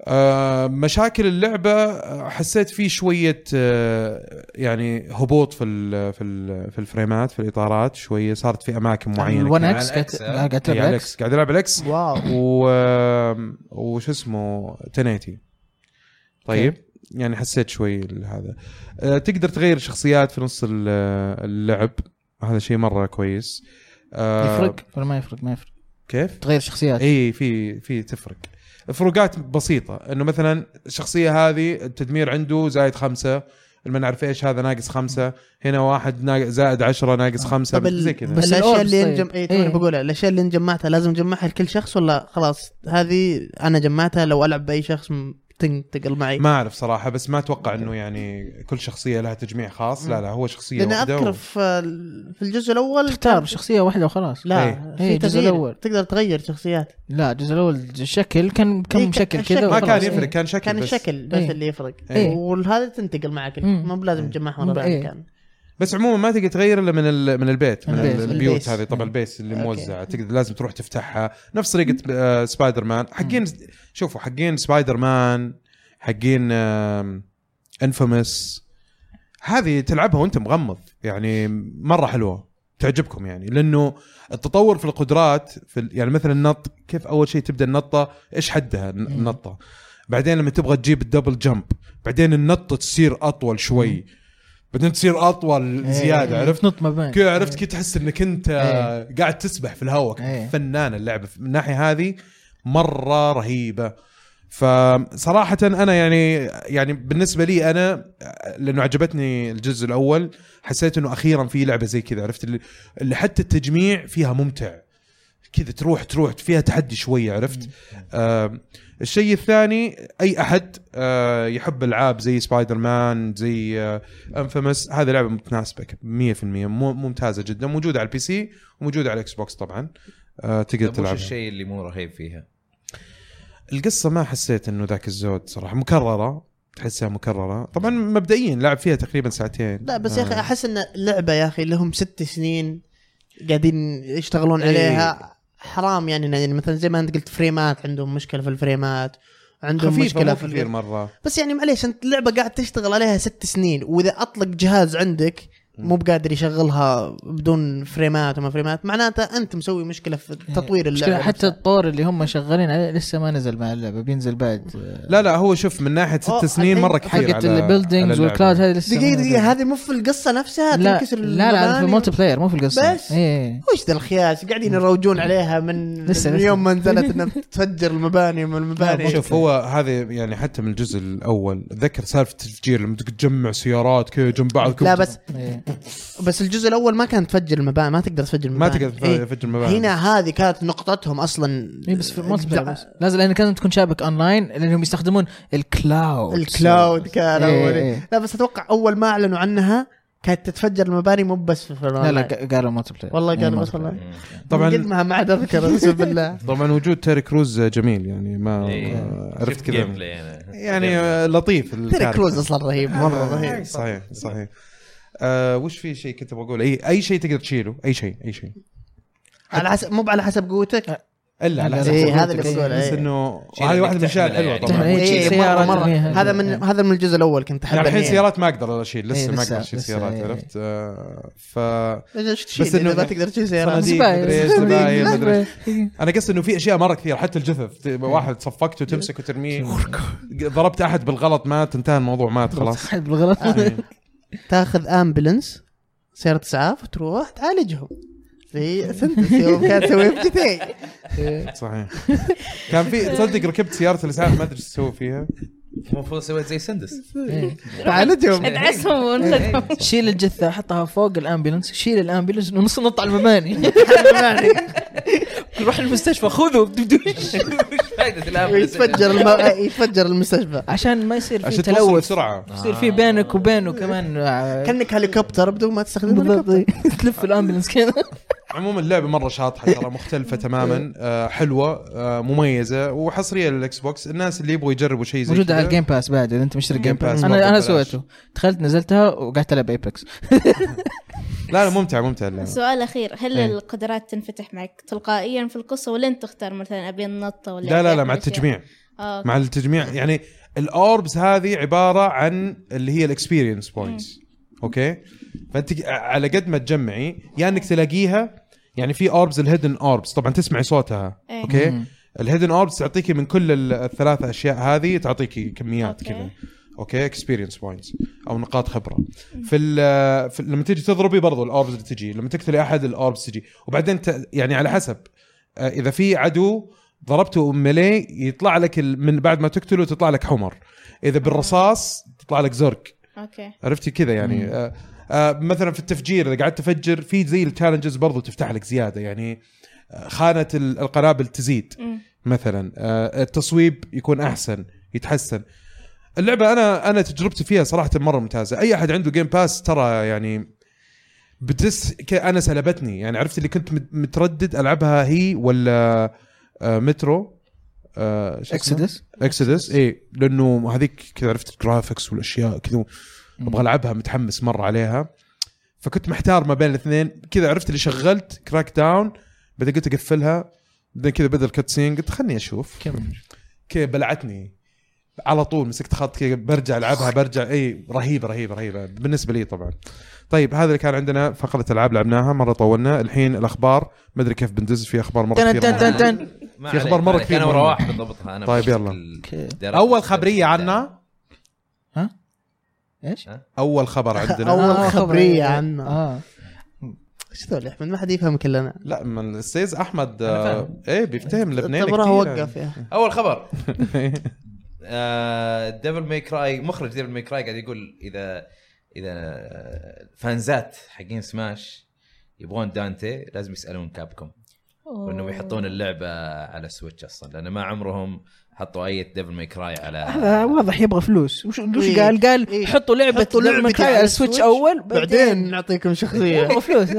آه، مشاكل اللعبه آه، حسيت فيه شويه آه، يعني هبوط في ال في ال في الفريمات في الاطارات شويه صارت في اماكن معينه الون كذا. اكس على هي كانت لا، قاعد الإكس، تلعب على الاكس الاكس قاعد العب الاكس واو و آه، وش اسمه تنيتي طيب يعني حسيت شوي ال- هذا آه، تقدر تغير شخصيات في نص ال- آه، اللعب هذا شيء مره كويس آه، إيه. يفرق ولا ما يفرق ما يفرق كيف تغير شخصيات اي في في تفرق فروقات بسيطه انه مثلا الشخصيه هذه التدمير عنده زايد خمسة ما نعرف ايش هذا ناقص خمسة هنا واحد ناق- زائد عشرة ناقص خمسة آه. طب ال- زي كذا بس بس الاشياء الأوربس اللي طيب. انجم اي إيه. توني بقولها الاشياء اللي انجمعتها لازم اجمعها لكل شخص ولا خلاص هذه انا جمعتها لو العب باي شخص م- تنتقل معي ما اعرف صراحه بس ما اتوقع انه يعني كل شخصيه لها تجميع خاص لا لا هو شخصيه لان واحده اذكر و... في ال- في الجزء الاول تختار شخصيه واحده وخلاص لا إيه. في إيه، الجزء تغيير. الأول. تقدر تغير شخصيات لا الجزء الاول الشكل كان إيه، كم كان شكل الشكل. كذا ما كان وخلاص. يفرق كان شكل كان بس. الشكل بس إيه. اللي يفرق إيه. والهذا تنتقل معك مم. ما بلازم تجمعها مم. ورا بعض إيه. كان بس عموما ما تقدر تغير الا من ال- من البيت من البيت. البيت. البيوت البيس. هذه طبعا مم. البيس اللي أوكي. موزعه تقدر لازم تروح تفتحها نفس طريقه آه، سبايدر مان حقين شوفوا حقين سبايدر مان حقين انفيمس هذه تلعبها وانت مغمض يعني مره حلوه تعجبكم يعني لانه التطور في القدرات في ال- يعني مثلا النط كيف اول شيء تبدا النطه ايش حدها الن- النطه بعدين لما تبغى تجيب الدبل جمب بعدين النطه تصير اطول شوي بعدين تصير اطول إيه، زياده إيه، عرفت تنط ما بين كذا عرفت كي تحس انك انت إيه. قاعد تسبح في الهواء إيه. فنانه اللعبه من الناحيه هذه مره رهيبه فصراحة أنا يعني يعني بالنسبة لي أنا لأنه عجبتني الجزء الأول حسيت إنه أخيرا في لعبة زي كذا عرفت اللي- اللي حتى التجميع فيها ممتع كذا تروح تروح فيها تحدي شوية عرفت آه الشيء الثاني أي أحد آه يحب ألعاب زي سبايدر مان زي آه انفيمس هذه لعبه متناسبه 100% مو- ممتازه جدا موجوده على البي سي وموجوده على الاكس بوكس طبعا آه تقدر طيب وش تلعبها الشيء اللي مو رهيب فيها؟ القصه ما حسيت انه ذاك الزود صراحه مكرره تحسها مكرره طبعا مبدئيا لعب فيها تقريبا ساعتين لا بس يا اخي آه. احس ان اللعبه يا اخي لهم ست سنين قاعدين يشتغلون إيه. عليها حرام يعني يعني مثلا زي ما انت قلت فريمات عندهم مشكله في الفريمات عندهم خفيفه مشكله مشكله في كثير الفريم. مره بس يعني معليش انت اللعبه قاعد تشتغل عليها ست سنين واذا اطلق جهاز عندك مو بقادر يشغلها بدون فريمات وما فريمات معناته انت مسوي مشكله في تطوير اللعبه إيه. مشكلة حتى نفسها. الطور اللي هم شغالين عليه لسه ما نزل مع اللعبه بينزل بعد لا لا هو شوف من ناحيه ست أوه، سنين الحين مره كثير حقت على- البيلدينجز على اللعبة. والكلاود هذه لسه دقيقه ما دقيقه نزلت. هذه مو في القصه نفسها لا تنكسر لا لا هذا في المباني. الملتي بلاير مو في القصه بس؟ ايه وش ذا الخياس قاعدين يروجون عليها من لسه- من لسه. يوم ما نزلت انها تفجر المباني من المباني شوف هو هذه يعني حتى من الجزء الاول اتذكر سالفه التفجير لما تجمع سيارات كذا جنب بعض كذا لا بس إيه. بس الجزء الاول ما كانت تفجر المباني ما تقدر تفجر ما المباني تقدر إيه. تفجر المباني إيه، هنا هذه كانت نقطتهم اصلا اي إيه، بس في الملتي بلاير دع- بس لازم لان كانت تكون شابك اونلاين لانهم يستخدمون الكلاود الكلاود كان إيه، اول إيه. لا بس اتوقع اول ما اعلنوا عنها كانت تتفجر المباني مو بس في لا لا الأونلاين. ق- قالوا ملتي بلاير والله إيه، قالوا multiplayer. بس والله طبعاً- طبعا قد ما ما عاد اذكر اقسم بالله طبعا وجود تيري كروز جميل يعني ما إيه. ما عرفت شفت كذا game play أنا. يعني Game play. آه، لطيف تيري الكاركتر. كروز اصلا رهيب مره رهيب صحيح صحيح آه وش في شيء كنت بقول اي اي شيء تقدر تشيله اي شيء اي شيء على حسب مو على حسب قوتك الا على إيه، حسب هذا قوتك. اللي بقوله، بس إيه. انه شيء هذه إنك واحده من الاشياء الحلوه تحمله يعني. طبعا إيه، إيه، تشيل مرة- سيارة إيه. مرة. إيه. ترميها. هذا من هذا من الجزء الاول كنت يعني احب الحين إني- سيارات ما اقدر اشيل إيه، لسه ما لسه- اقدر اشيل لسه، سيارات إيه. عرفت آه، ف ليش تشيل بس إنه- إذا ما تقدر تشيل سيارات صناديق. زباين. مدري إيش، زباين، لا، مدري إيش. إيه. انا قصدي انه في اشياء مره كثير حتى الجثث ت- واحد صفقته تمسك وترميه ضربت احد بالغلط مات انتهى الموضوع مات خلاص آه. صح بالغلط تاخذ امبلنس سيارة اسعاف وتروح تعالجهم في سنتس يوم كان تسويه في جتي صحيح كان في تصدق ركبت سياره الاسعاف ما ادري ايش تسوي فيها المفروض سويت زي سندس إيه. تعالجهم ادعسهم إيه، ونخدهم شيل الجثه حطها فوق الامبيلنس شيل الامبيلنس ونص نط على المباني روح المستشفى خذه بدوش فائدة الآن إيه، ويتفجر الم... يتفجر المستشفى عشان ما يصير في عشان توصل تلوث بسرعه يصير في بينك وبينه كمان آه، كانك هليكوبتر بدون ما تستخدم بالضبط هليكوبتر تلف الامبيلنس كذا عموما اللعبه مره شاطحه ترى مختلفه تماما آه حلوه آه مميزه وحصريه للاكس بوكس الناس اللي يبغوا يجربوا شيء زي موجود كذا- على الجيم باس بعد اذا انت مشتري جيم جيم باس باس برضه انا انا ببلاش. سويته دخلت نزلتها وقعدت العب ايبكس لا لا ممتع ممتع اللعبه سؤال اخير هل نعم. إيه. القدرات تنفتح معك تلقائيا في القصه ولا انت تختار مثلا ابي النطه ولا لا أبي لا لا أحمل مع شيء؟ التجميع آه، مع التجميع يعني الاوربز هذه عباره عن اللي هي الاكسبيرينس بوينتس اوكي فانت على قد ما تجمعي يا يعني انك تلاقيها يعني في اوربز الهيدن اوربز طبعا تسمعي صوتها إيه. اوكي مم. الهيدن اوربز تعطيكي من كل ال- الثلاث اشياء هذه تعطيكي كميات أوكي. كذا اوكي اكسبيرينس بوينتس او نقاط خبره في, ال- في لما تيجي تضربي برضو الاوربز اللي تجي لما تقتلي احد الاوربز تجي وبعدين ت... يعني على حسب آه، اذا في عدو ضربته ملي يطلع لك ال... من بعد ما تقتله تطلع لك حمر اذا بالرصاص تطلع لك زرق اوكي عرفتي كذا يعني آه آه مثلا في التفجير اذا قعدت تفجر في زي التشالنجز برضو تفتح لك زياده يعني آه، خانه ال- القنابل تزيد مم. مثلا آه، التصويب يكون احسن يتحسن اللعبه انا انا تجربتي فيها صراحه مره ممتازه اي احد عنده جيم باس ترى يعني بتس ك- انا سلبتني يعني عرفت اللي كنت مت- متردد العبها هي ولا آه، مترو اكسدس اكسدس اي لانه إيه، هذيك كذا عرفت الجرافكس والاشياء كذا ابغى العبها متحمس مره عليها فكنت محتار ما بين الاثنين كذا عرفت اللي شغلت كراك داون بعدين قلت اقفلها بعدين كذا بدا الكاتسين قلت خلني اشوف كذا بلعتني على طول مسكت خط كذا برجع العبها برجع إيه، اي رهيب رهيب رهيبه بالنسبه لي طبعا طيب هذا اللي كان عندنا فقره العاب لعبناها مره طولنا الحين الاخبار ما ادري كيف بندز في اخبار مره تن- كثيره تن- تن- تن. في أخبار مرة كثير انا مهمة. وروح بضبطها انا طيب، يلا. اول خبريه يعني. عنا ايش؟ اول خبر عندنا أول آه، خبرية خبر. عنا. اه ايش ذول يا احمد ما حد يفهمك الا انا لا من السيز احمد أنا آه، فاهم. ايه بيفتهم لبنان طب راح وقف يا أخي. اول خبر آه، ديفل ماي كراي مخرج ديفل ماي كراي قاعد يقول اذا اذا الفانزات حقين سماش يبغون دانتي لازم يسالون كابكم وانهم يحطون اللعبه على سويتش اصلا لان ما عمرهم حطوا اي ديفل ماي كراي هذا على آه، واضح يبغى فلوس وش وش إيه. قال؟ إيه. قال حطوا لعبه حطوا لعبه لعبتي كاي على السويتش اول بعدين نعطيكم شخصيه يبغى فلوس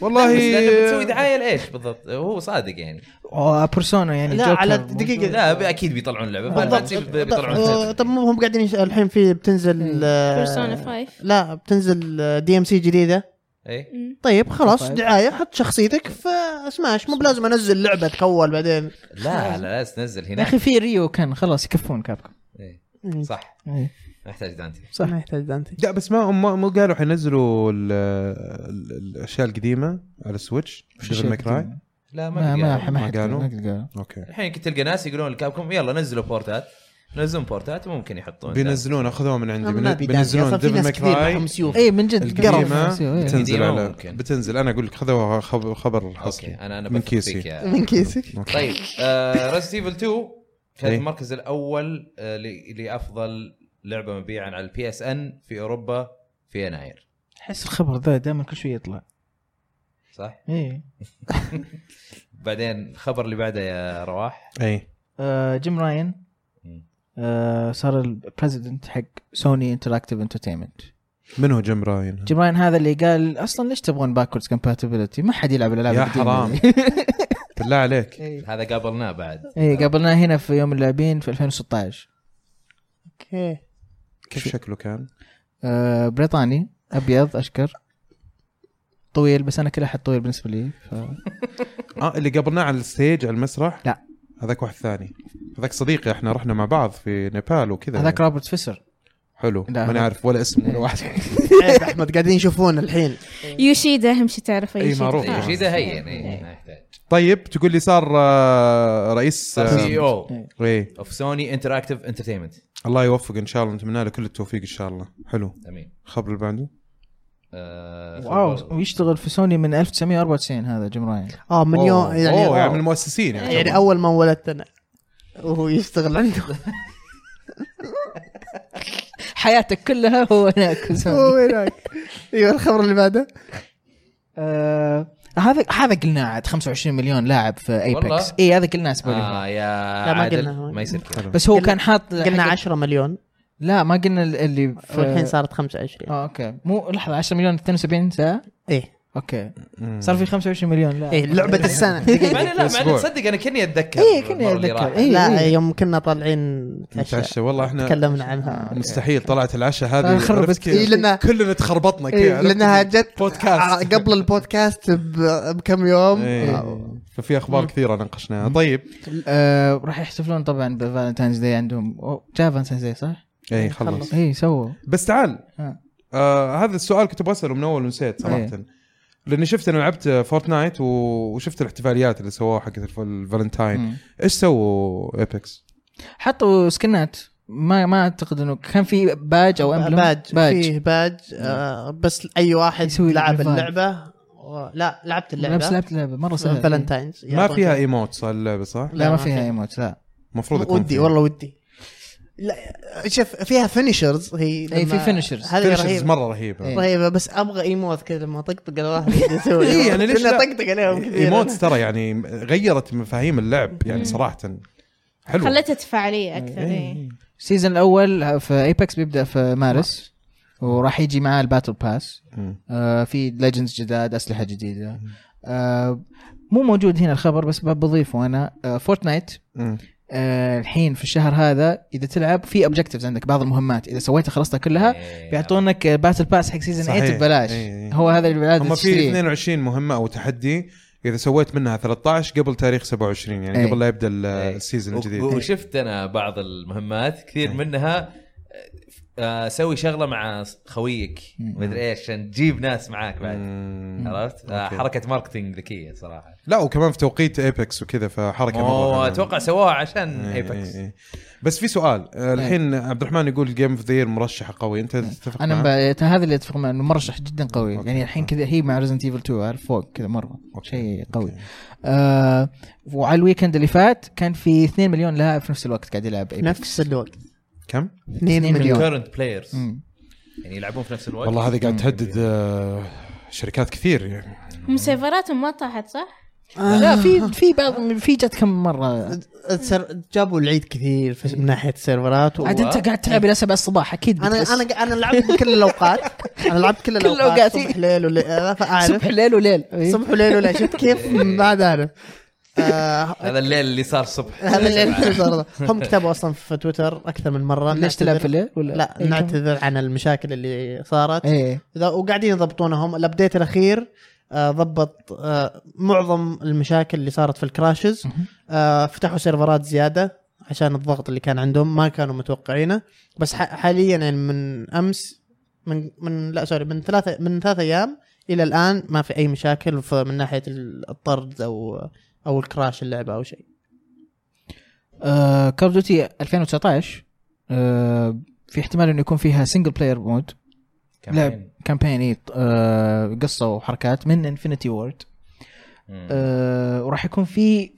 والله بس لأنه بتسوي دعايه لايش بالضبط هو صادق يعني اوه بيرسونا يعني لا جوكر. على دقيقه لا ب- اكيد بيطلعون اللعبه ما- ما بالضبط. تصير ب- طب- بيطلعون طب مو هم قاعدين يش- الحين في بتنزل آه، بيرسونا 5 لا بتنزل آه، دي ام سي جديده اي طيب خلاص طيب. دعايه حط شخصيتك في سماش مو بلازم انزل لعبه تكول بعدين لا لا لا تنزل يا هناك اخي في ريو كان خلاص يكفون كابكم إيه. صح إيه. ما يحتاج دانتي صح ما يحتاج دانتي لا بس ما ما مو قالوا حينزلوا ال- ال- الاشياء القديمه على السويتش ديفل ماكراي لا ما ما قد ما قالوا. ما حد- قالوا؟ ما قد قالوا اوكي الحين كنت تلقى ناس يقولون لكابكم يلا نزلوا بورتات نزلوا بورتات وممكن يحطون بينزلون اخذوها من عندي ما بين- في دانتي بينزلون اصلا في ديفل ناس كثير معهم ماكراي سيوف اي إيه، من جد أيوة، القديمه قرب إيه. بتنزل القديمة على ممكن. بتنزل انا اقول لك خذوها خب- خبر حصري اوكي انا انا من بثق فيك كيسي. يا- من كيسك أوكي. طيب آه ريزنت ايفل 2 كانت إيه. المركز الاول آه ل- لافضل لعبه مبيعا على البي اس ان في اوروبا في يناير احس الخبر ذا دائما كل شوي يطلع إيه. صح؟ اي بعدين الخبر اللي بعده يا رواح اي آه، جيم راين مم. آه، صار البريزيدنت حق سوني انتراكتيف انترتينمنت من هو جيم راين؟ جيم راين هذا اللي قال اصلا ليش تبغون باكوردز كومباتيبلتي ما حد يلعب الالعاب يا القديمة حرام. دي. بالله عليك إيه. هذا قابلناه بعد ايه قابلناه هنا في يوم اللاعبين في 2016 اوكي كيف شكله كان؟ آه، بريطاني ابيض اشكر طويل بس انا كل احد طويل بالنسبه لي ف... اه اللي قابلناه على الستيج على المسرح؟ لا. هذاك واحد ثاني هذاك صديقي احنا رحنا مع بعض في نيبال وكذا هذاك روبرت فيسر حلو لا، ماني هذا- عارف ولا اسم ولا إيه. واحد عيب احمد قاعدين يشوفون الحين إيه. يوشيدا اهم شيء تعرفه إي، إيه، يوشيدا آه. معروف. خلاص. شيء ده هين إيه، ما يحتاج طيب تقول لي صار آه، رئيس سي آه، او ايه اوف سوني انتراكتيف انترتينمنت الله يوفق ان شاء الله نتمنى له كل التوفيق ان شاء الله حلو امين الخبر اللي بعده آه، واو خبر- ويشتغل في سوني من 1994 هذا جيم راين اه من يوم يعني اوه يعني من يعني المؤسسين يعني, يعني اول ما ولدت انا وهو يشتغل عنده حياتك كلها هو هناك في سوني هو هناك ايوه الخبر اللي بعده آه، هذا هذا قلنا عاد 25 مليون لاعب في والله؟ ايباكس اي هذا قلناه الاسبوع اللي فات. آه يا لا، ما عادل قلنا. ما يصير كذا حلو. بس هو قلنا- كان حاط قلنا حق- 10 مليون لا ما قلنا ال- اللي في والحين صارت 25 اه اوكي مو لحظه 10 مليون 72 ساعه ايه اوكي مم. صار في 25 مليون لا ايه لعبه السنه مع إني- يعني لا مع إني أسبوع. تصدق انا كني اتذكر إيه، كني المرة اللي أتذكر. راحت. إيه. لا يوم كنا طالعين نتعشى نتعشى والله احنا تكلمنا عنها مستحيل طلعت العشاء هذه آه، خربت عرفت كيف؟ إيه، لأنها- كلنا تخربطنا إيه، كذا عرفت لأنها كيف؟ جت بودكاست ع- قبل البودكاست ب- بكم يوم آه، إيه. ففي اخبار كثيره ناقشناها طيب آه راح يحتفلون طبعا بالفالنتاينز داي عندهم أو، جاء فالنتاينز داي صح؟ اي خلص اي سووا بس تعال ها. آه هذا السؤال كنت ابغى اساله من اول ونسيت صراحه إيه. لاني شفت انا لعبت فورتنايت و- وشفت الاحتفاليات اللي سووها حقت الف- الفالنتاين مم. ايش سووا ايبكس؟ حطوا سكنات ما ما اعتقد انه كان في باج او امبلم باج باج نعم. فيه باج آه، بس اي واحد يسوي لعب revive. اللعبه و- لا لعبت لابس اللعبه لعبة لعبة مره سهله فالنتاينز ما فيها ايموت صار اللعبه صح؟ لا ما فيها ايموت لا المفروض يكون ودي فيها. والله ودي لا شوف فيها فينيشرز هي إيه، لما- في finishers. هذه finishers رهيبه مره رهيبه إيه. رهيبه بس ابغى ايموت كذا لما طقطق الواحد يسوي إيه، يعني ليش لا؟ طقطق عليهم كثير ايموتس ترى يعني غيرت مفاهيم اللعب يعني صراحه حلو خلتها تفاعليه اكثر إيه. السيزون الاول في ايباكس بيبدا في مارس وراح يجي معاه الباتل باس مم. آه في ليجندز جداد اسلحه جديده آه مو موجود هنا الخبر بس ب- بضيفه انا آه فورتنايت مم. آه الحين في الشهر هذا اذا تلعب في اوبجكتيفز عندك بعض المهمات اذا سويتها خلصتها كلها إيه. بيعطونك باتل باس حق سيزون صحيح. 8 ببلاش إيه، إيه. هو هذا اللي لازم هم في تشتريه 22 مهمه او تحدي اذا سويت منها 13 قبل تاريخ 27 يعني إيه. قبل لا يبدا ال- إيه. السيزون و- الجديد وشفت انا بعض المهمات كثير منها آه، سوي شغله مع خويك مدري ايش عشان تجيب ناس معاك بعد مم. عرفت آه، أوكي. حركه ماركتينج ذكيه صراحه لا وكمان في توقيت ايبكس وكذا فحركه اوه مره حلوة. اتوقع سووها عشان إيه، ايبكس إيه، إيه. بس في سؤال طيب. آه، الحين عبد الرحمن يقول جيم اوف ذا مرشحه قوي إيه. انت تتفق انا معه؟ ب... هذا اللي اتفق معه انه مرشح جدا قوي أوكي. يعني الحين كذا هي مع ريزنت ايفل 2 عارف فوق كذا مره أوكي. شيء قوي أوكي. آه وعلى الويكند اللي فات كان في 2 مليون لاعب في نفس الوقت قاعد يلعب اي نفس الوقت كم؟ 2 2 مليون مليون. كرنت بلايرز يعني يلعبون في نفس الوقت والله هذه قاعد تهدد آه، شركات كثير يعني هم سيرفراتهم ما طاحت صح؟ آه. لا في في بعض في جت كم مره السر- جابوا العيد كثير في- من ناحيه السيرفرات و... عاد انت قاعد تلعب الى 7 الصباح اكيد انا بتحس. انا انا لعبت بكل الاوقات انا لعبت كل الاوقات الأوقات. إيه. صبح ليل وليل فاعرف صبح ليل إيه. وليل إيه. صبح وليل ولا شفت كيف بعد اعرف آه، هذا الليل اللي صار الصبح هذا اللي صار هم كتبوا اصلا في تويتر اكثر من مره ليش تلعب في نعتذر- الليل ولا لا إيه، كم؟ نعتذر عن المشاكل اللي صارت ايه ذا- وقاعدين يضبطونهم الابديت الاخير آه، ضبط آه، معظم المشاكل اللي صارت في الكراشز آه، فتحوا سيرفرات زياده عشان الضغط اللي كان عندهم ما كانوا متوقعينه بس ح- حاليا يعني من امس من من لا سوري من ثلاثة من ثلاث ايام الى الان ما في اي مشاكل ف- من ناحيه ال- الطرد او او الكراش اللعبه او شيء كول اوف ديوتي 2019 آه في احتمال انه يكون فيها سنجل بلاير مود كمان. كامبين إيه، آه قصه وحركات من انفنتي وورد مم. آه وراح يكون في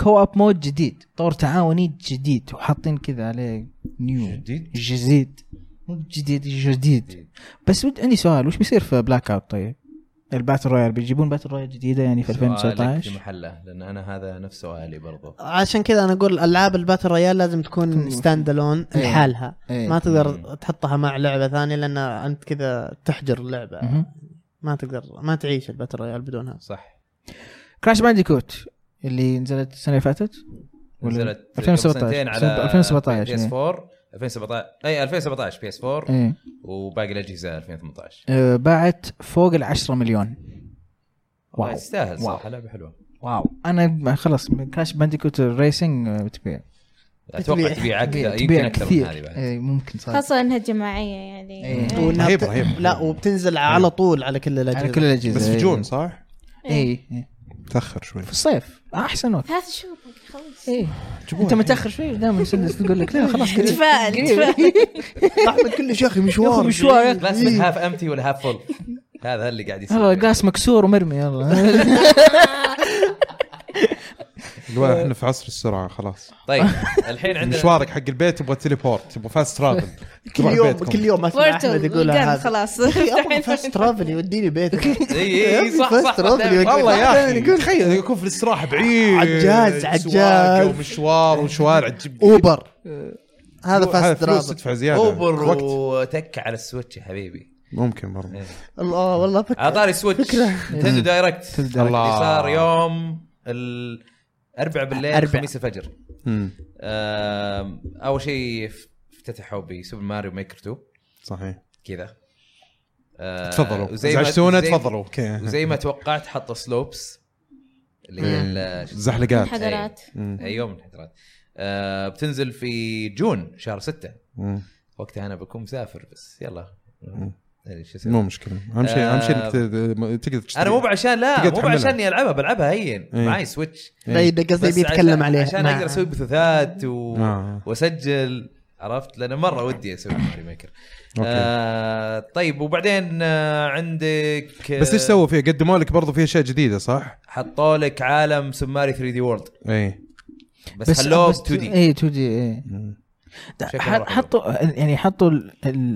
كو اب مود جديد طور تعاوني جديد وحاطين كذا عليه نيو جديد جديد مو جديد جديد بس ود عندي سؤال وش بيصير في بلاك اوت طيب؟ الباتل رويال بيجيبون باتل رويال جديده يعني في سؤالك في 2019 محله لان انا هذا نفس سؤالي برضو عشان كذا انا اقول العاب الباتل رويال لازم تكون تكون ستاند الون إيه. لحالها إيه. ما تقدر مم. تحطها مع لعبه ثانيه لان انت كذا تحجر اللعبه مهم. ما تقدر ما تعيش الباتل رويال بدونها صح كراش بانديكوت اللي نزلت السنه اللي فاتت ولا- نزلت قبل 2017 سنتين على 2017 بي اس 4 2017 اي 2017 بي اس 4 ايه وباقي الاجهزه 2018 آه، باعت فوق ال 10 مليون والله واو يستاهل واو. صراحه لعبه حلوه واو انا ما- خلاص من كراش بانديكوت ريسنج آه، بتبيع اتوقع تبيع اكثر يمكن اكثر من هذه بعد إيه، ممكن طيب. صح خاصة انها جماعية يعني إيه. إيه. وإنها رهيب- بت- رهيب. لا وبتنزل على طول على كل على الاجهزه كل الاجهزه بس في جون صح؟ اي تاخر شوي إيه، في الصيف احسن وقت ثلاث شهور إيه. باقي، خلاص ايه انت متاخر شوي دائما مسدس تقول لك لا خلاص كذا تفائل إيه. تفائل لحظه كل شيء يا أخي اخي مشوار مشوار يا أخي. لا اسمك هاف امتي ولا هاف فول هذا اللي قاعد يصير هذا القاس مكسور ومرمي يلا الواحد احنا في عصر السرعه خلاص طيب الحين عندنا مشوارك حق البيت تبغى تليبورت تبغى فاست ترافل كل يوم كل يوم اسمع احمد فورتو يقولها وقال هذا خلاص أخي إيه، ابغى فاست ترافل يوديني بيتك اي اي إيه، صح Fast صح travel يا صح. والله يا اخي تخيل يكون في الاستراحه بعيد عجاز، عجاز. سواقة ومشوار وشوارع تجيب اوبر هذا فاست فلوس ترافل تدفع زياده اوبر وقت وتك على السويتش يا حبيبي ممكن برضه إيه. الله والله فكر على طاري سويتش نتندو دايركت Nintendo Direct. اللي الله. صار يوم الاربعاء بالليل أربع. خميس الفجر أمم، آم، اول شيء ف- افتتحوا بسوبر ماريو ميكر 2 صحيح كذا آه، تفضلوا وزي ما- زعجتونا زي- تفضلوا اوكي وزي ما توقعت حطوا سلوبس اللي هي ال- شو زحلقات حضرات إيه. أمم، اي يوم من الحضرات آه بتنزل في جون شهر ستة أمم، وقتها انا بكون مسافر بس يلا أدري شو مو اسوي مشكله اهم شيء اهم شيء انك ت- تقدر تشتري انا مو بعشان لا تقدر مو تحملها. بعشان اني العبها بلعبها هين إيه. معي سويتش بعيد قصدي بس بيتكلم عشان- نعم. عليه عشان مع- اقدر اسوي بثوثات و... آه. واسجل عرفت لان مره ودي اسوي ماري ميكر أوكي. آه طيب وبعدين آه عندك آه، بس ايش سووا فيها؟ قدموا لك برضه في اشياء جديده صح؟ إيه. حطوا لك عالم سماري 3 دي وورلد اي بس, بس خلوه 2 دي اي 2 إيه، دي اي دا- شكله ح- مرة حلو. حطوا يعني حطوا ال-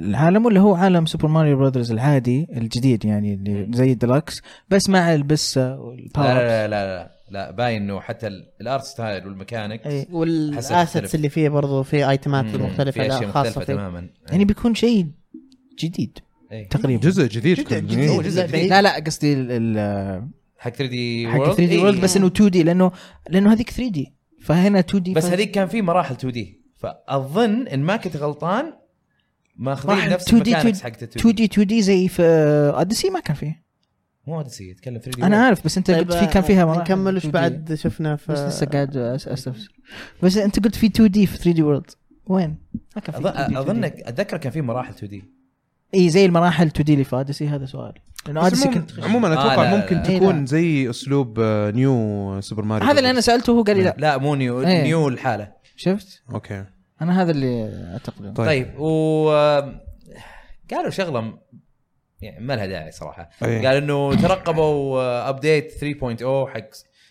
العالم اللي هو عالم سوبر ماريو براذرز العادي الجديد يعني اللي زي الدلكس بس مع البسه لا والباور لا لا لا, لا, لا باين انه حتى ال- الارت ستايل والميكانيك إيه. حسب والاسيتس مختلف. اللي فيه برضو في ايتمات في مختلفه اشياء لا مختلفه خاصه فيه تماما يعني بيكون شيء جديد إيه. تقريبا جزء جديد جزء كل- جديد. إيه. هو جزء لا، جديد لا لا قصدي ال- ال- حق 3 دي حق 3 إيه. دي وورلد بس انه 2 دي لانه لانه هذيك 3 دي فهنا 2 دي بس هذيك كان في مراحل 2 دي فاظن ان ما كنت غلطان ماخذين نفس 2 دي الميكانكس حقت 2 2 دي دي 2 دي زي في اوديسي ما كان فيه مو اوديسي اتكلم 3 دي انا عارف بس انت طيب، قلت في كان فيها مراحل نكمل وش 2D. بعد شفنا في بس لسه قاعد أس- استفسر بس انت قلت في 2 دي في 3 دي وورلد وين؟ ما كان في 2D. أظن اظنك اتذكر كان في مراحل 2 دي اي زي المراحل 2 دي اللي في اوديسي هذا سؤال لانه بس اوديسي عموماً- كنت عموما آه، اتوقع لا، لا، ممكن لا. إيه، لا. تكون زي اسلوب آه، نيو سوبر ماريو هذا اللي انا سالته هو قال لي نعم. لا لا مو نيو إيه. نيو الحاله شفت؟ اوكي انا هذا اللي اعتقده طيب. طيب و آم، قالوا شغله م- يعني ما لها داعي صراحه طيب. إيه. قال انه ترقبوا آه، ابديت 3.0 حق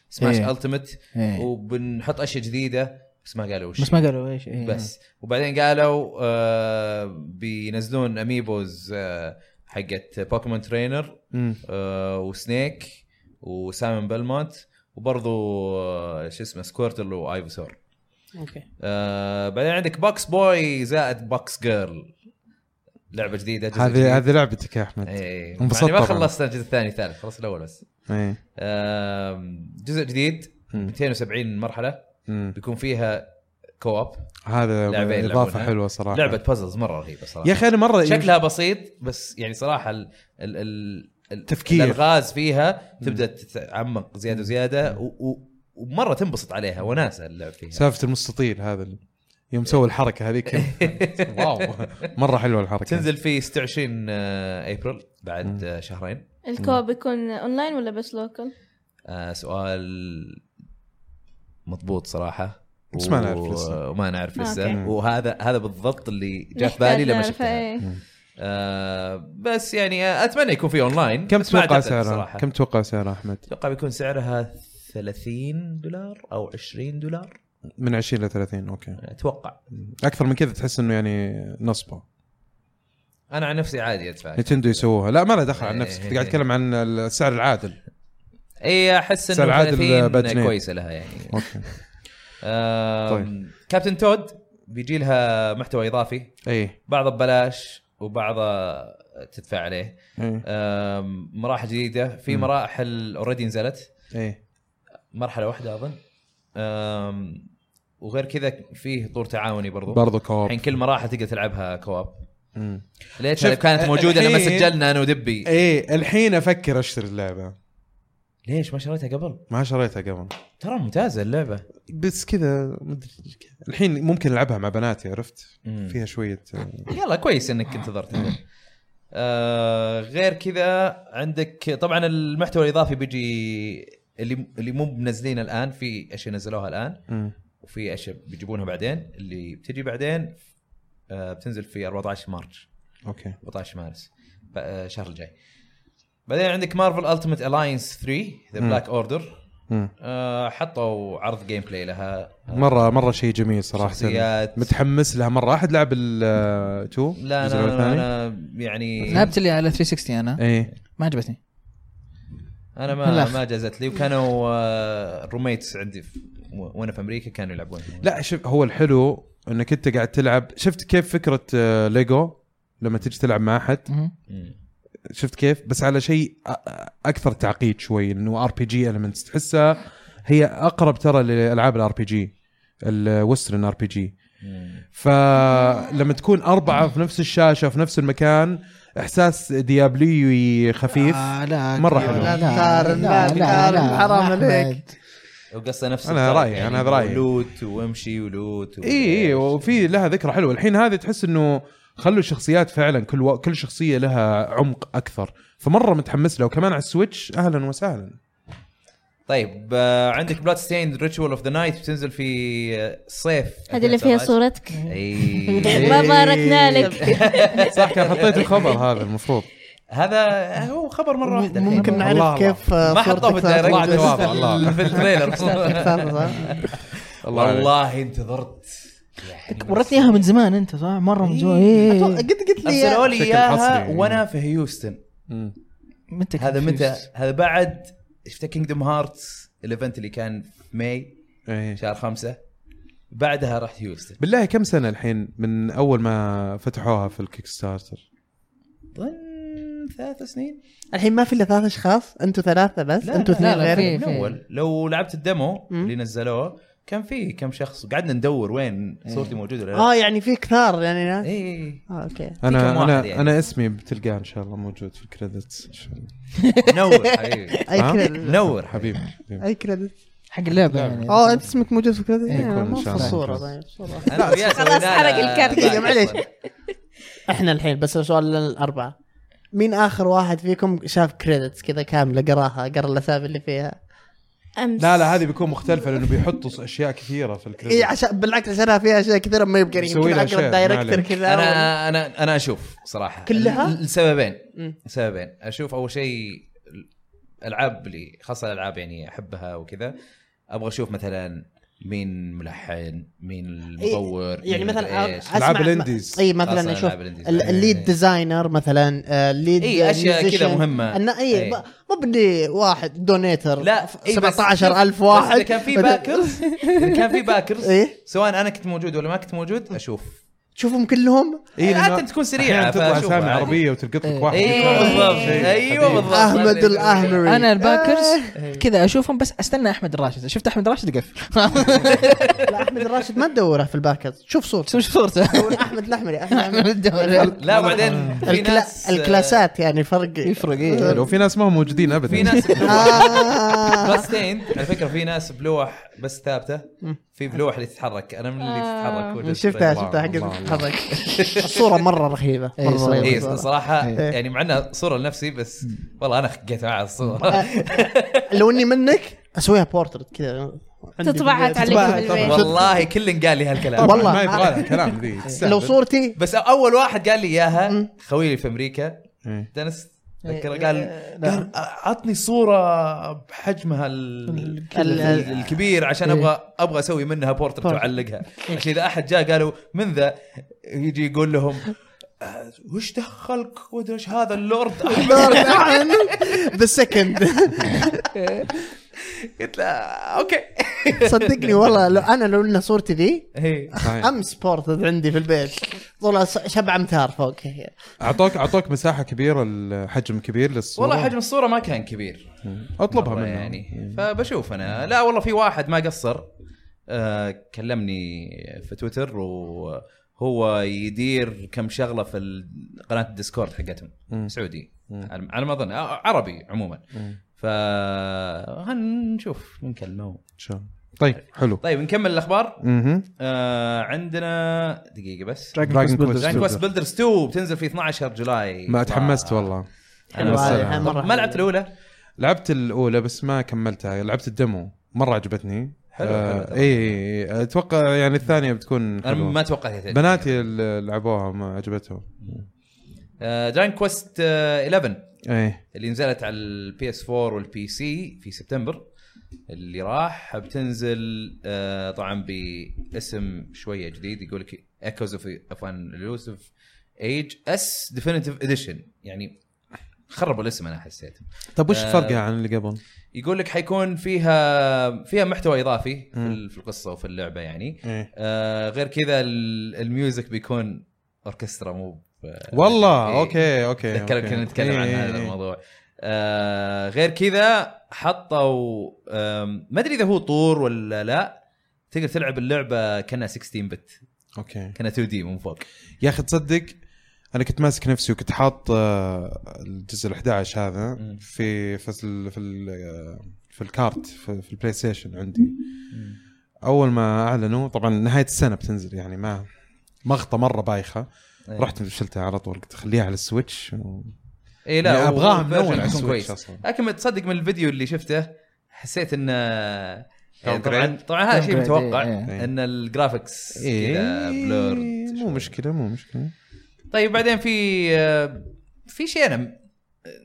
سماش إيه. التيمت إيه. وبنحط اشياء جديده بس ما قالوا وش بس ما قالوا ايش إيه. بس وبعدين قالوا آه بينزلون اميبوز آه حقت بوكيمون ترينر مم. آه وسنيك وسايمون بلمونت وبرضو آه شو اسمه سكويرتل وايفسور اوكي آه بعدين عندك بوكس بوي زائد بوكس جيرل لعبه جديده جزء جديد. هذه هذه لعبتك يا احمد ايه انبسطت يعني ما طبعاً. خلصت الجزء الثاني الثالث خلصت الاول بس ايه آم، جزء جديد مم. 270 مرحله مم. بيكون فيها كواب هذا لعبين اضافه يلعبونها. حلوه صراحه لعبه بازلز مره رهيبه صراحه يا اخي انا مره شكلها بسيط بس يعني صراحه ال ال ال ال- تفكير. الالغاز فيها تبدا تتعمق زياده وزياده و- و- ومره تنبسط عليها وناسه اللعب فيها سالفه المستطيل هذا ال- يوم إيه. سوى الحركه هذيك واو مره حلوه الحركه تنزل في 26 آه، ابريل بعد آه، شهرين الكوب يكون اونلاين ولا بس لوكل؟ آه، سؤال مضبوط صراحه بس ما نعرف لسه. وما نعرف أوكي. لسه وهذا هذا بالضبط اللي جاء في نحتاج بالي لما نعرف، شفتها إيه. آه، بس يعني آه، اتمنى يكون في اونلاين كم بس ما تتوقع أعتقد سعرها؟ صراحة. كم تتوقع سعرها احمد؟ اتوقع بيكون سعرها 30 دولار او 20 دولار من 20 ل 30 إيه. اوكي اتوقع اكثر من كذا تحس انه يعني نصبه انا عن نفسي عادي ادفع نتندو يسووها لا ما له دخل إيه، عن نفسك قاعد اتكلم عن السعر العادل اي احس سعر انه عادل 30 باتنين. كويسه لها يعني اوكي آم، طيب. كابتن تود بيجي لها محتوى اضافي اي بعضه ببلاش وبعضه تدفع عليه اي آم، مراحل جديده في مراحل اوريدي نزلت اي مرحله واحده اظن آم، وغير كذا فيه طور تعاوني برضو برضه كوب الحين كل مراحل تقدر تلعبها كواب مم. ليش شوف، كانت موجوده لما الحين- سجلنا انا ودبي اي إيه. الحين افكر اشتري اللعبه ليش ما شريتها قبل؟ ما شريتها قبل ترى ممتازه اللعبه بس كذا مدري كذا. الحين ممكن العبها مع بناتي عرفت فيها شويه يلا كويس انك انتظرت آه غير كذا عندك طبعا المحتوى الاضافي بيجي اللي اللي مو منزلينه الان في اشياء نزلوها الان مم. وفي اشياء بيجيبونها بعدين اللي بتجي بعدين آه بتنزل في 14 مارس اوكي 14 مارس ب- آه، الشهر الجاي بعدين عندك مارفل التيمت الاينس 3 ذا مم. بلاك اوردر مم. آه، حطوا عرض جيم بلاي لها آه، مره مره شيء جميل صراحه شخصيات. متحمس لها مره احد لعب ال 2 لا الجزء انا الثاني؟ إيه. انا يعني لعبت اللي على 360 انا اي ما عجبتني انا ما الأخ. ما جازت لي وكانوا روميتس عندي في- و- وانا في امريكا كانوا يلعبون لا شوف هو الحلو انك انت قاعد تلعب شفت كيف فكره آه، ليجو لما تيجي تلعب مع احد مهم. مم. شفت كيف بس على شيء أ- أ- اكثر تعقيد شوي انه ار بي جي المنتس تحسها هي اقرب ترى لالعاب الار بي جي الوسترن ار بي جي مم. فلما تكون اربعه في نفس الشاشه في نفس المكان احساس ديابليوي خفيف آه لا مرة حلوة. لا تقارن، لا تقارن، حرام أحمد. عليك. وقصه نفس أنا الطريق رأيي، أنا هذا رأيي. لوت وامشي ولوت اي اي وإيش. إيه، وفي لها ذكرى حلوه الحين هذه تحس انه خلوا الشخصيات فعلا كل و... كل شخصيه لها عمق اكثر فمره متحمس له وكمان على السويتش اهلا وسهلا طيب آه، عندك بلاد ستيند ريتشوال اوف ذا نايت بتنزل في آه، صيف هذه اللي فيها 2019. صورتك اي ما باركنا إيه. لك صح كان حطيت الخبر هذا المفروض هذا هو خبر مره واحده الحين. ممكن الله نعرف كيف آه، ما حطوه في صورتك صارت طلعت الدايركت واضح، الله. بس في التريلر صارت صح؟ والله والله انتظرت يعني ورتني اياها من زمان انت صح مره من زمان أتوقع- إيه. قد قلت لي ارسلوا إياه. لي بشكل اياها حصري. وانا في هيوستن مم. متى هذا كنت متى فيوز؟ هذا بعد شفت كينجدم هارتس الايفنت اللي كان في ماي إيه. شهر خمسة بعدها رحت هيوستن بالله كم سنه الحين من اول ما فتحوها في الكيك ستارتر ظن ثلاث سنين الحين ما في الا ثلاث اشخاص انتوا ثلاثه بس لا، انتوا لا، اثنين لا، غير في- من اول لو لعبت الديمو مم. اللي نزلوه كان في كم شخص قعدنا ندور وين صورتي موجوده ولا لا اه يعني في كثار يعني ناس إي، إي، إي. اه اوكي في كم انا واحد انا يعني؟ يعني. انا اسمي بتلقاه ان شاء الله موجود في الكريدتس إن شاء الله. نور حبيبي اي ها؟ كريدت نور حبيبي حبيبي حبيبي. اي كريدت حق اللعبه يعني اه انت اسمك موجود في كريدت يكون إن ما في شاء الله. الصوره طيب الصورة. أنا وياس خلاص سوينا حرق لها الكارت. بعد. معليش. احنا الحين بس سؤال للاربعه مين اخر واحد فيكم شاف كريدتس كذا كامله قراها قرا الاسامي اللي فيها امس لا لا هذه بيكون مختلفه لانه بيحطوا اشياء كثيره في اي الكريدتس إيه، عشان بالعكس عشانها فيها اشياء كثيره ما يبقى يسوي يمكن لها اقرا شير، الدايركتور معليش. كذا ولا- انا انا انا اشوف صراحه كلها؟ ل- لسببين مم. سببين اشوف اول شيء الالعاب اللي خاصه الالعاب يعني احبها وكذا ابغى اشوف مثلا مين ملحن مين المطور مين يعني مثلا مدري إيش. أسمع- ألعاب ما- الانديز. اي خاصة مثلا ألعاب اشوف الانديز. ال- الليد إيه. ديزاينر مثلا آه، الليد إي، أشياء musician. كذا مهمة. أنا إي. اي ب- مو بدي واحد دونيتر لا إي، بس- إيه، 17000 بس واحد اذا كان في باكرز اذا كان في باكرز إيه. سواء انا كنت موجود ولا ما كنت موجود اشوف تشوفهم كلهم إيه، لأنه عاده تكون سريعه أحياناً تطلع أيوه، فأشوفها اسامي عادي. عربيه وتلقط لك إيه. واحد ايوه يطلع لك بالضبط شيء ايوه حبيبي. بالضبط احمد الاهمري انا الباكرز كذا اشوفهم بس استنى احمد الراشد شفت احمد الراشد اقفل لا احمد الراشد ما تدوره في الباكرز شوف صورته شوف صورته دور احمد الاحمري احمد لا وبعدين في الكلا- ناس آه، الكلاسات يعني فرق يفرق حلو. ايه آه، لو في ناس ما هم موجودين ابدا في ناس بلوح آه. بس تين على فكره في ناس بلوح بس ثابته في بلوح اللي تتحرك انا من اللي آه. تتحرك وجهة إيه، شفتها نظري. شفتها الله، حقت الله. تتحرك الصوره مره رهيبه إيه، مره صورة. اي رهيبه الصورة. صراحه إيه. يعني مع انها صوره لنفسي بس والله انا خقيت معها الصوره آه، إيه، لو اني منك اسويها بورتريت كذا عندي تطبعت بالبيت. عليك تطبعت. بالبيت. والله كل قال لي هالكلام والله. ما يبغى لها كلام ذي تستهبل. لو صورتي بس اول واحد قال لي اياها خوي اللي في امريكا إيه. دنس إيه. نعم. أتذكر قال لا. قال عطني صوره بحجمها ال- ال- ال- الكبير عشان إيه. ابغى ابغى اسوي منها بورتريت واعلقها عشان اذا احد جاء قالوا من ذا يجي يقول لهم "آه، وش دخلك وادري ايش هذا اللورد أحمد؟" ذا سكند قلت له "آه، اوكي صدقني والله لو انا لو ان صورتي ذي إيه. صحيح. امس بورتريت عندي في البيت طلع س- شبع امتار فوق اعطوك اعطوك مساحه كبيره ال- حجم كبير إيه. للصوره والله حجم الصوره ما كان كبير اطلبها مرة منه إيه. يعني فبشوف انا لا والله في واحد ما قصر آه كلمني في تويتر وهو يدير كم شغله في ال- قناه الديسكورد حقتهم مم. سعودي مم. على على ما اظن آه، عربي عموما مم. ف هنشوف نكلمه إن شاء الله. طيب حلو طيب نكمل الاخبار اها آه عندنا دقيقه بس Dragon Quest دراجون كويست Builders. بيلدرز 2 بتنزل في 12 جولاي ما تحمست والله أنا بس- بس- مرة ما لعبت الاولى لعبت الاولى بس ما كملتها لعبت الدمو مره عجبتني حلو، حلو، آه تمام. اي اتوقع يعني الثانيه بتكون انا حلوة. ما توقعت هي بناتي اللي لعبوها ما عجبتهم دراين كويست 11 ايه اللي نزلت على البي اس 4 والبي سي في سبتمبر اللي راح بتنزل آه، طبعا باسم شويه جديد يقول لك ايكوز اوف ان الوسف ايج اس ديفينيتيف اديشن يعني خربوا الاسم انا حسيت طب وش آه، فرقها عن اللي قبل؟ يقول لك حيكون فيها فيها محتوى اضافي في مم. ال- في القصه وفي اللعبه يعني ايه آه، غير كذا ال- الميوزك بيكون اوركسترا مو ب- والله إيه. اوكي اوكي اتذكر أوكي. كنا نتكلم عن إيه، هذا إيه. الموضوع آه غير كذا حطوا آم، ما ادري اذا هو طور ولا لا تقدر تلعب اللعبه كانها 16 بت اوكي كانها 2 دي من فوق يا اخي تصدق انا كنت ماسك نفسي وكنت حاط آه، الجزء ال 11 هذا مم. في في ال في, ال آه، في الكارت في, في البلاي ستيشن عندي اول ما اعلنوا طبعا نهايه السنه بتنزل يعني ما مغطى مره بايخه إيه. رحت شلتها على طول قلت خليها على السويتش و... اي يعني إيه، لا ابغاها من اول على الفيرجن يكون السويتش كويس اصلا لكن تصدق من الفيديو اللي شفته حسيت انه يعني طبعا Downgrade. طبعا هذا شيء Downgrade، متوقع إيه، إيه. ان الجرافكس كذا إيه، بلورد مو مشكله مو مشكله طيب بعدين في آه، في شيء انا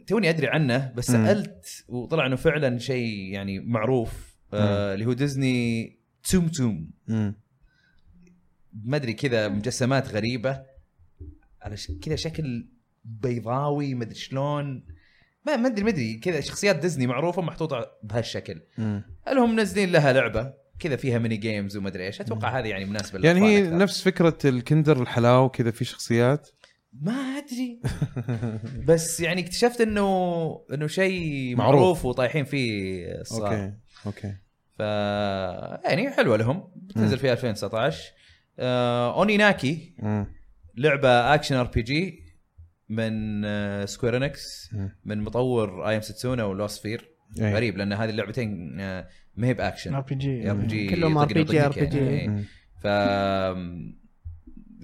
توني ادري عنه بس مم. سالت وطلع انه فعلا شيء يعني معروف آه، اللي هو ديزني توم توم مم. ما ادري كذا مجسمات غريبه على ش- كذا شكل بيضاوي ما ادري شلون ما ما ادري ما ادري كذا شخصيات ديزني معروفه محطوطه بهالشكل مم. هل هم منزلين لها لعبه كذا فيها ميني جيمز وما ادري ايش اتوقع هذه يعني مناسبه يعني للأطفال هي أكثر. نفس فكره الكندر الحلاوه كذا في شخصيات ما ادري بس يعني اكتشفت انه انه شيء معروف. معروف, معروف وطايحين فيه الصغار اوكي اوكي اوكي ف يعني حلوه لهم بتنزل في 2019 آه اونيناكي مم. لعبه اكشن ار بي جي من آه سكوير انكس مم. من مطور اي ام ستسونا ولوسفير إيه. غريب لان هذه اللعبتين آه ما هي باكشن ار بي ار بي جي جي كلهم طق- RPG طق- طق- إيه. مم. ف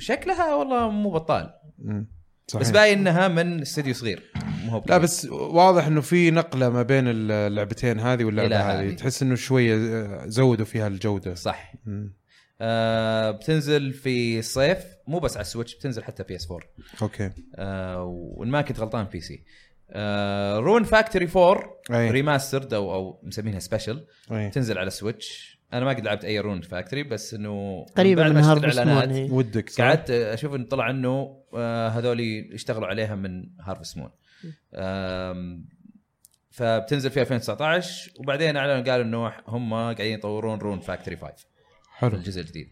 شكلها والله مو بطال مم. صحيح. بس باين انها من استديو صغير مو هو لا بكبير. بس واضح انه في نقله ما بين اللعبتين هذه واللعبه إلى هذه هذه. تحس انه شويه آه، زودوا فيها الجوده صح مم. آه بتنزل في الصيف مو بس على السويتش بتنزل حتى بي اس 4 اوكي آه وان ما كنت غلطان بي سي آه رون فاكتوري 4 أي. ريماسترد او او مسمينها سبيشل أي. بتنزل على السويتش انا ما قد لعبت اي رون فاكتوري بس انه قريبه بعد من إيه. ما شفت هارفست الإعلانات، مون هي ودك صح؟ قعدت اشوف انه طلع انه آه، هذول اشتغلوا عليها من هارفست مون فبتنزل في 2019 وبعدين اعلنوا قالوا انه هم قاعدين يطورون رون فاكتوري 5 حلو الجزء الجديد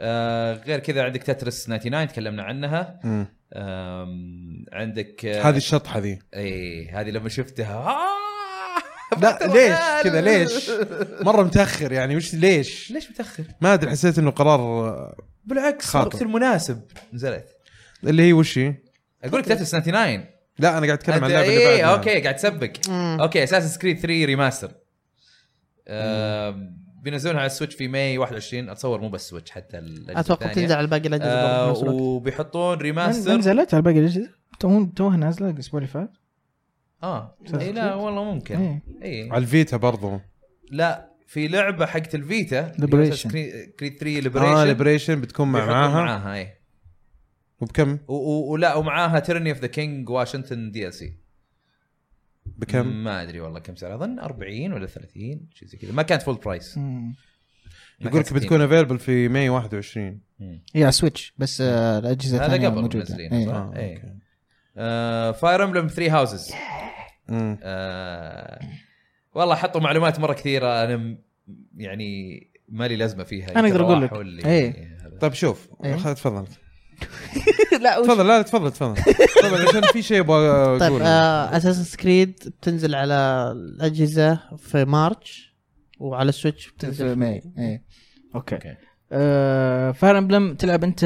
آه غير كذا عندك تترس 99 تكلمنا عنها مم. آم، عندك آه، هذه الشطحه ذي اي هذه لما شفتها آه لا ليش كذا ليش مره متاخر يعني وش ليش ليش متاخر؟ ما ادري حسيت انه قرار آه، بالعكس خاطر. الوقت المناسب نزلت اللي هي وش هي؟ اقول لك تترس 99 لا انا قاعد اتكلم عن اللعبه اللي اي بعدها اوكي إيه، قاعد تسبك مم. اوكي اساس سكريد 3 ريماستر آم، بينزلونها على السويتش في ماي 21 اتصور مو بس سويتش حتى الاجهزه اتوقع الثانية. تنزل على باقي الاجهزه برضه آه، في نفس الوقت. وبيحطون ما ريماستر نزلت على باقي الاجهزه تو توها نازله الاسبوع اللي فات اه أساس اي لا سكريد. والله ممكن إيه. اي على الفيتا برضو لا في لعبه حقت الفيتا Liberation. كريد 3 اه ليبريشن ليبريشن بتكون مع معاها معاها اي وبكم و- و- ولا ومعاها تيرني اوف ذا كينج واشنطن دي ال سي بكم ما ادري والله كم سعرها اظن 40 ولا 30 شيء زي كذا ما كانت فول برايس مم. يقول ما لك كانت 60. بتكون افيلبل في ماي 21 مم. هي على سويتش بس آه، الاجهزه هذا الثانيه قبل موجوده نازلين، إيه. صح؟ اه إيه. اوكي فاير امبلم 3 هاوسز مم. آه، والله حطوا معلومات مره كثيره انا م- يعني مالي لازمه فيها أنا أقدر أقول لك. إيه. طيب شوف إيه. خل- تفضل لا وش- تفضل لا لا، تفضل تفضل تفضل عشان في شيء ابغى طيب اقوله اساسن سكريد بتنزل على الاجهزه في مارتش وعلى السويتش بتنزل في ماي إيه. اوكي أوكي. فاير امبلم تلعب انت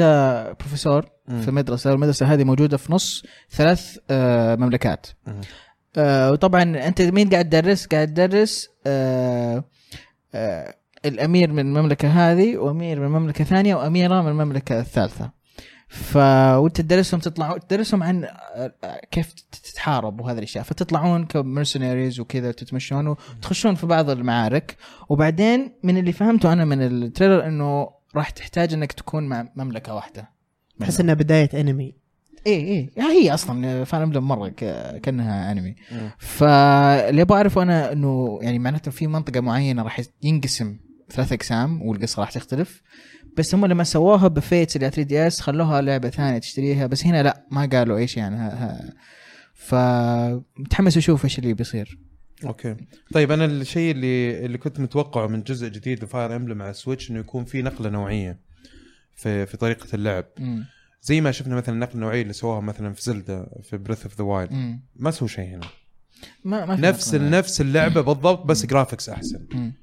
بروفيسور مم. في مدرسه المدرسه هذه موجوده في نص ثلاث آه، مملكات مم. آه، وطبعا انت مين قاعد تدرس قاعد تدرس آه، آه، الامير من المملكه هذه وامير من مملكه ثانيه واميره من المملكه الثالثه ف وانت تدرسهم تطلعوا تدرسهم عن آه، آه، كيف تتحارب وهذه الاشياء فتطلعون كمرسنيريز وكذا تتمشون وتخشون في بعض المعارك وبعدين من اللي فهمته انا من التريلر انه راح تحتاج انك تكون مع مملكه واحده تحس انها بدايه انمي اي اي إيه، يعني هي اصلا فان امبلم مره ك- كانها انمي مم. فاللي ابغى اعرفه انا انه يعني معناته في منطقه معينه راح ينقسم ثلاث اقسام والقصه راح تختلف بس هم لما سووها بفيتس اللي 3 دي اس خلوها لعبه ثانيه تشتريها بس هنا لا ما قالوا اي شيء عنها فمتحمس اشوف ايش اللي بيصير اوكي طيب انا الشيء اللي اللي كنت متوقعه من جزء جديد لفاير امبلم على السويتش انه يكون في نقله نوعيه في في طريقه اللعب مم. زي ما شفنا مثلا النقله النوعيه اللي سووها مثلا في زلدا في بريث اوف ذا وايلد مم. ما سووا شيء هنا ما ما في نفس مقارنة. نفس اللعبه بالضبط بس جرافيكس احسن مم.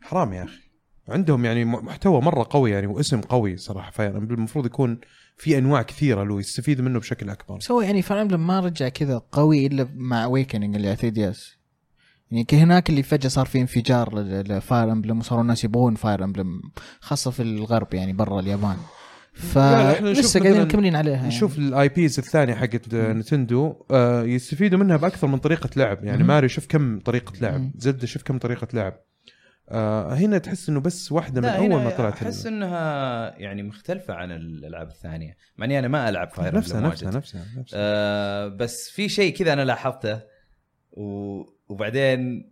حرام يا اخي عندهم يعني م- محتوى مره قوي يعني واسم قوي صراحه فاير امبلم المفروض يكون في انواع كثيره له يستفيد منه بشكل اكبر بس هو يعني فان امبلم ما رجع كذا قوي الا مع اويكننج اللي على 3 دي اس يعني ك- هناك اللي فجاه صار في انفجار لفاير امبلم وصاروا الناس يبغون فاير امبلم خاصه في الغرب يعني برا اليابان ف لا، إحنا نشوف لسه قاعدين مثلاً- مكملين عليها يعني. نشوف الاي بيز الثانيه حقت نتندو آه، يستفيدوا منها باكثر من طريقه لعب يعني مم. ماريو شوف كم طريقه لعب مم. زلدا شوف كم طريقه لعب آه، هنا تحس انه بس واحده من لا اول هنا ما طلعت احس ال- انها يعني مختلفه عن الالعاب الثانيه مع اني انا ما العب فاير نفسها امبلم نفسها واجد نفسها نفسها آه، بس في شيء كذا انا لاحظته و... وبعدين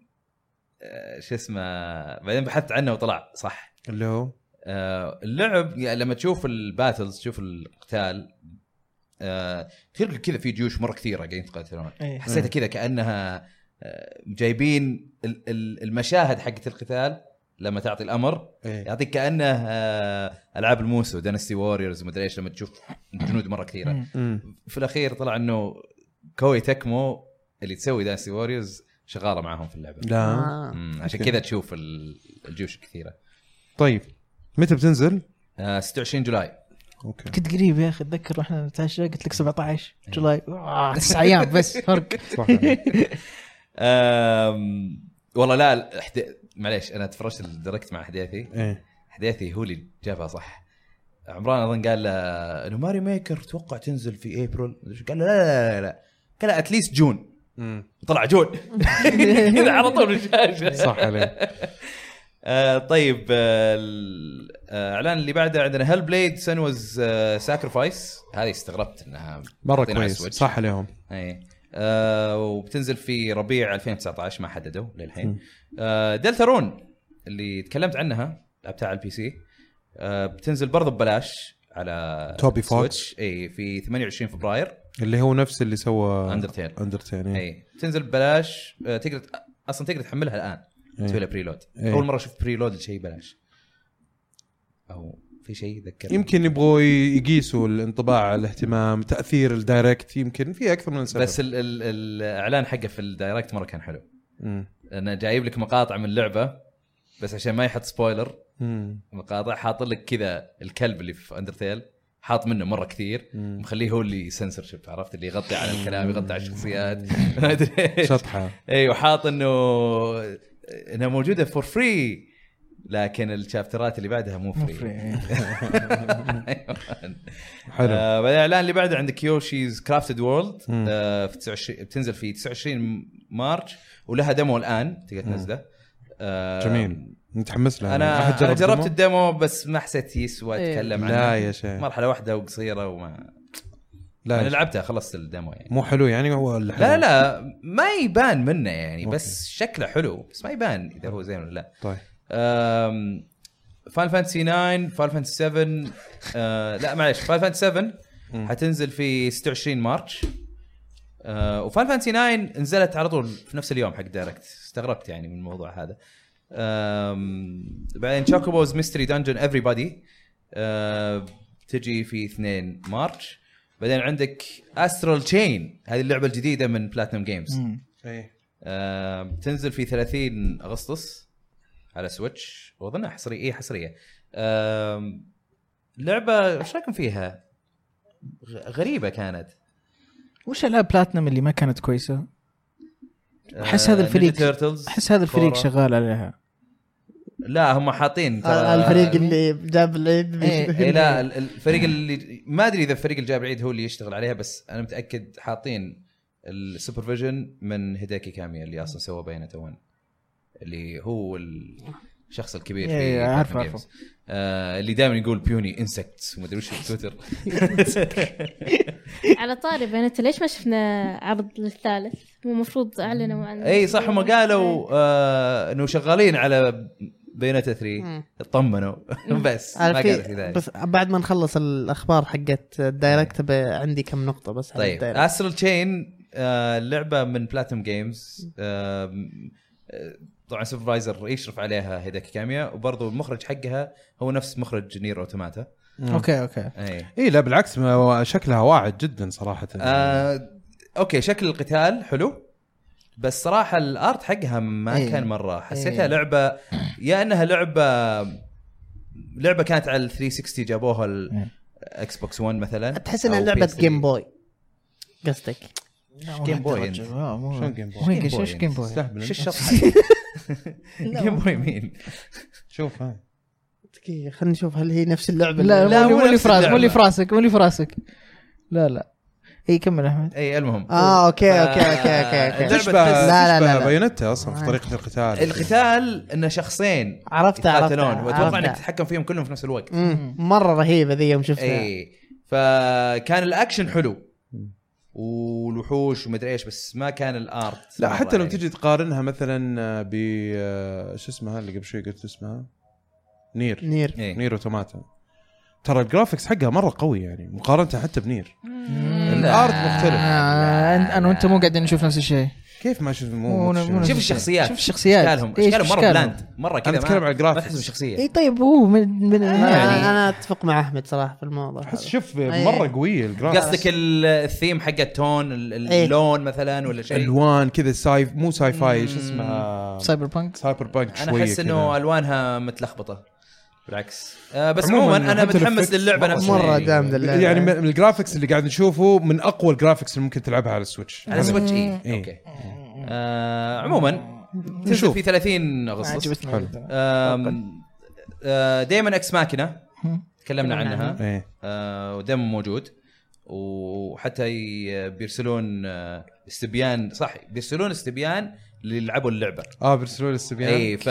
آه، شو اسمه بعدين بحثت عنه وطلع صح اللي هو آه، اللعب يعني لما تشوف الباتلز تشوف القتال آه، تلقى كذا في جيوش مره كثيره قاعدين يتقاتلون إيه. حسيتها كذا كانها آه، جايبين ال- ال- المشاهد حقت القتال لما تعطي الامر إيه. يعطيك كانه آه، العاب الموسو دانستي ووريرز ومدري ايش لما تشوف جنود مره كثيره مم. مم. في الاخير طلع انه كوي تكمو اللي تسوي دانستي ووريرز شغاله معاهم في اللعبه لا آه. مم، عشان أوكي. كذا تشوف ال- الجيوش الكثيره طيب متى بتنزل؟ آه، 26 جولاي اوكي كنت قريب يا اخي اتذكر احنا نتعشى قلت لك 17 إيه. جولاي آه، تسع ايام بس فرق صح عليك. أم... والله لا حد... معليش انا تفرجت الدركت مع حديثي ايه حديثي هو اللي جابها صح عمران اظن قال له انه ماري ميكر توقع تنزل في ابريل مدري إيش. قال له لا لا لا لا قال له اتليست جون مم. طلع جون كذا على طول من الشاشه صح عليك آه طيب آه، ال- آه، الاعلان اللي بعده عندنا هيل بليد سنوز ساكرفايس آه، هذه استغربت انها مره حاطينها على كويس السويتش. صح عليهم اي إيه. آه وبتنزل في ربيع 2019 ما حددوا م. للحين آه دلترون اللي تكلمت عنها لعبتها على البي سي آه بتنزل برضه ببلاش على توبي Switch. فوكس. اي في 28 فبراير اللي هو نفس اللي سوى اندرتيل اندرتيل إيه. اي بتنزل ببلاش آه تقدر ت- اصلا تقدر تحملها الان إيه. تسوي لها بريلود إيه. اول مره اشوف بريلود لشيء ببلاش او في شيء يذكرني يمكن يبغوا ي- يقيسوا الانطباع الاهتمام تاثير الدايركت يمكن في اكثر من سبب بس ال ال الاعلان حقه في الدايركت مره كان حلو مم. انا جايب لك مقاطع من اللعبه بس عشان ما يحط سبويلر مم. مقاطع حاط لك كذا الكلب اللي في اندرتيل حاط منه مره كثير مم. مخليه هو اللي سنسور شيب عرفت اللي يغطي على الكلام يغطي على الشخصيات ما ادري ايش شطحه ايوه حاط انه انها موجوده فور فري لكن الشابترات اللي بعدها مو فري إيه. حلو آه، بعدين الاعلان اللي بعده عندك يوشيز كرافتد وورلد مم. آه، في 29 بتنزل في 29 مارش ولها ديمو الان تقدر تنزله آه، جميل متحمس له انا أحد أنا جربت الديمو؟ الديمو بس ما حسيت يسوى إيه. اتكلم لا عنها يا شيخ مرحله واحده وقصيره وما لا انا يا شيخ. لعبتها خلصت الديمو يعني مو حلو يعني هو اللي حلو لا لا ما يبان منه يعني أوكي. بس شكله حلو بس ما يبان اذا هو زين ولا لا طيب فان فانتسي 9 فان فانتسي 7 آه، لا معلش فان فانتسي 7 مم. حتنزل في 26 مارش آه، وفان فانتسي 9 نزلت على طول في نفس اليوم حق دايركت استغربت يعني من الموضوع هذا آم، بعدين تشاكوبوز ميستري دنجن افري بادي آه، تجي في 2 مارش بعدين عندك استرال تشين هذه اللعبه الجديده من بلاتنم جيمز ايه آم، تنزل في 30 اغسطس على سويتش واظنها حصريه اي حصريه آم، لعبه ايش رايكم فيها؟ غ- غريبه كانت وش العاب بلاتنم اللي ما كانت كويسه؟ أحس آه، هذا الفريق- تيرتلز احس هذا الفريق شغال عليها لا هم حاطين آه، الفريق يعني اللي جاب العيد إيه إيه لا ال- الفريق اللي ما ادري اذا الفريق اللي جاب العيد هو اللي يشتغل عليها بس انا متاكد حاطين السوبرفيجن من هيداكي كاميا اللي اصلا سوى بينته 1 اللي هو الشخص الكبير في إيه، أعرف- Platinum أعرفه. Games. آه اللي دائما يقول بيوني انسكتس وما ادري وش في تويتر على طاري بنت ليش ما شفنا عرض للثالث؟ مو المفروض اعلنوا عن اي إيه، صح هم قالوا آه انه شغالين على بينته 3 مم. اطمنوا بس ما أنا في- قالوا في ذلك بس بعد ما نخلص الاخبار حقت الدايركت ب- عندي كم نقطه بس عن إيه. طيب الدايركت. استرال تشين لعبه من بلاتينوم جيمز طبعا سوبرفايزر آه، يشرف عليها هيداكي كاميا وبرضه المخرج حقها هو نفس مخرج إيه. نير اوتوماتا اوكي اوكي اي ايه لا بالعكس ما- شكلها واعد جدا صراحه آه، اوكي شكل القتال حلو بس صراحه الارت حقها ما إيه. كان مره حسيتها إيه. لعبه يا انها لعبه لعبه كانت على ال 360 جابوها إيه. الاكس بوكس 1 مثلا تحس انها أو إيه. لعبه PS3. جيم بوي قصدك جيم بوي أنت. شلون جيم بوي؟ وين جيم ايش بوي جيم بوي؟ استهبل شو الشط الشطحه جيم بوي مين شوف ها دقيقه خلينا نشوف هل هي نفس اللعبه لا لا، لا مو مو اللي نفس في راسك مو اللي اللعبة. في راسك مو اللي في راسك لا لا اي كمل احمد اي إيه، المهم آه. اه اوكي اوكي اوكي اوكي, أوكي. اللعبة تشبه تحس- لا، لا، لا، آه. تشبه لا. بايونيتا اصلا في طريقه القتال القتال انه شخصين عرفت عرفت يتقاتلون واتوقع انك عرفت. تتحكم فيهم كلهم في نفس الوقت مم، مره رهيبه ذي يوم شفتها اي فكان الاكشن حلو والوحوش ومدري ايش بس ما كان الارت لا مرة حتى لو يعني. تجي تقارنها مثلا ب آه، شو اسمها اللي قبل شوي قلت اسمها نير نير إيه. نير اوتوماتا ترى الجرافكس حقها مره قوي يعني مقارنه حتى بنير الارت مختلف آه أنت- انا وانت مو قاعدين نشوف نفس الشيء كيف ما شوف مو مو- مو- مو- شوف الشخصيات شوف الشخصيات. اشكالهم إيه، اشكالهم مره إشكالهم. بلاند مره كذا أنا أتكلم ما- على الجرافيكس. ما تحسهم شخصيه اي طيب هو من من انا يعني أنا اتفق مع احمد صراحه في الموضوع احس هذا. شوف أي. مره قويه الجرافكس قصدك ال- الثيم حق التون ال- إيه. اللون مثلا ولا شيء الوان كذا ساي مو ساي فاي شو اسمها سايبر بانك سايبر بانك انا شويه احس انه كذا. الوانها متلخبطه بالعكس آه بس عموماً عموما انا حتى متحمس الeffects للعبه مرة نفسها مره إيه. جامده اللعبه يعني من من الجرافكس اللي قاعد نشوفه من اقوى الجرافكس اللي ممكن تلعبها على السويتش على سويتش اي إيه. اوكي آه عموما تنزل نشوف. في 30 اغسطس حلو. عجبتني دائما اكس ماكينه تكلمنا عنها ايه آه، ودم موجود وحتى ي- بيرسلون آه، استبيان صح بيرسلون استبيان اللي يلعبوا اللعبه اه بيرسلوا لي السبيان اي ف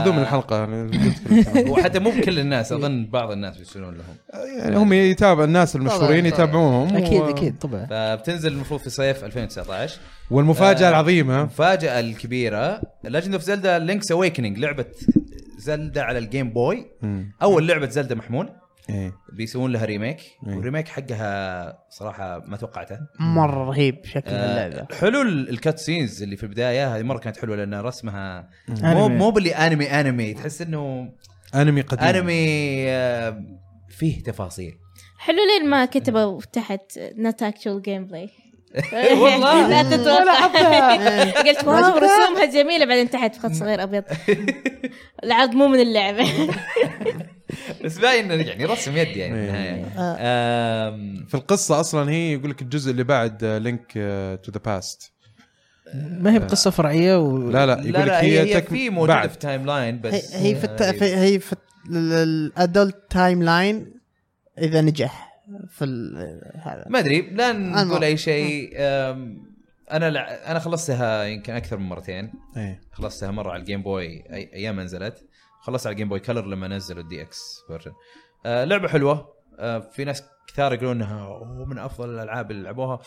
خذوه من الحلقه أنا قلت لكم. وحتى مو بكل الناس اظن بعض الناس بيرسلون لهم يعني هم يتابع الناس المشهورين يتابعوهم اكيد و- اكيد طبعا فبتنزل المفروض في صيف 2019 والمفاجاه آه. العظيمه المفاجاه الكبيره ليجند اوف زلدا لينكس اويكننج لعبه زلدا على الجيم بوي مم. اول لعبه زلدا محمول ايه بيسوون لها ريميك إيه. والريميك حقها صراحه ما توقعته مره رهيب شكل آه، اللعبه حلو ال- الكات سينز اللي في البدايه هذه مره كانت حلوه لان رسمها مو أنمي. مو باللي انمي انمي تحس انه انمي قديم انمي آه، فيه تفاصيل حلو لين ما كتبوا تحت نوت اكشوال جيم بلاي إيه، والله. لا تتوقع قلت واو رسومها جميله بعدين تحت خط صغير ابيض العرض مو من اللعبه بس باين إنه يعني رسم يد يعني إيه. بالنهايه آه. آم، في القصه اصلا هي يقول لك الجزء اللي بعد آه، لينك تو ذا باست ما هي بقصه فرعيه و... لا لا يقول آه. لا لك لا هي, هي, هي تك- في موجوده بعد. في تايم لاين بس هي هي في الت... آه، في هي في الادلت تايم لاين اذا نجح في ال- هذا ما ادري لا نقول المهم. اي شيء آم، انا لع... انا خلصتها يمكن اكثر من مرتين إيه. خلصتها مره على الجيم بوي أي... ايام ما نزلت خلصت على الجيم بوي كلر لما نزلوا الدي اكس فيرجن آه لعبه حلوه آه في ناس كثار يقولون انها أوه، من افضل الالعاب اللي لعبوها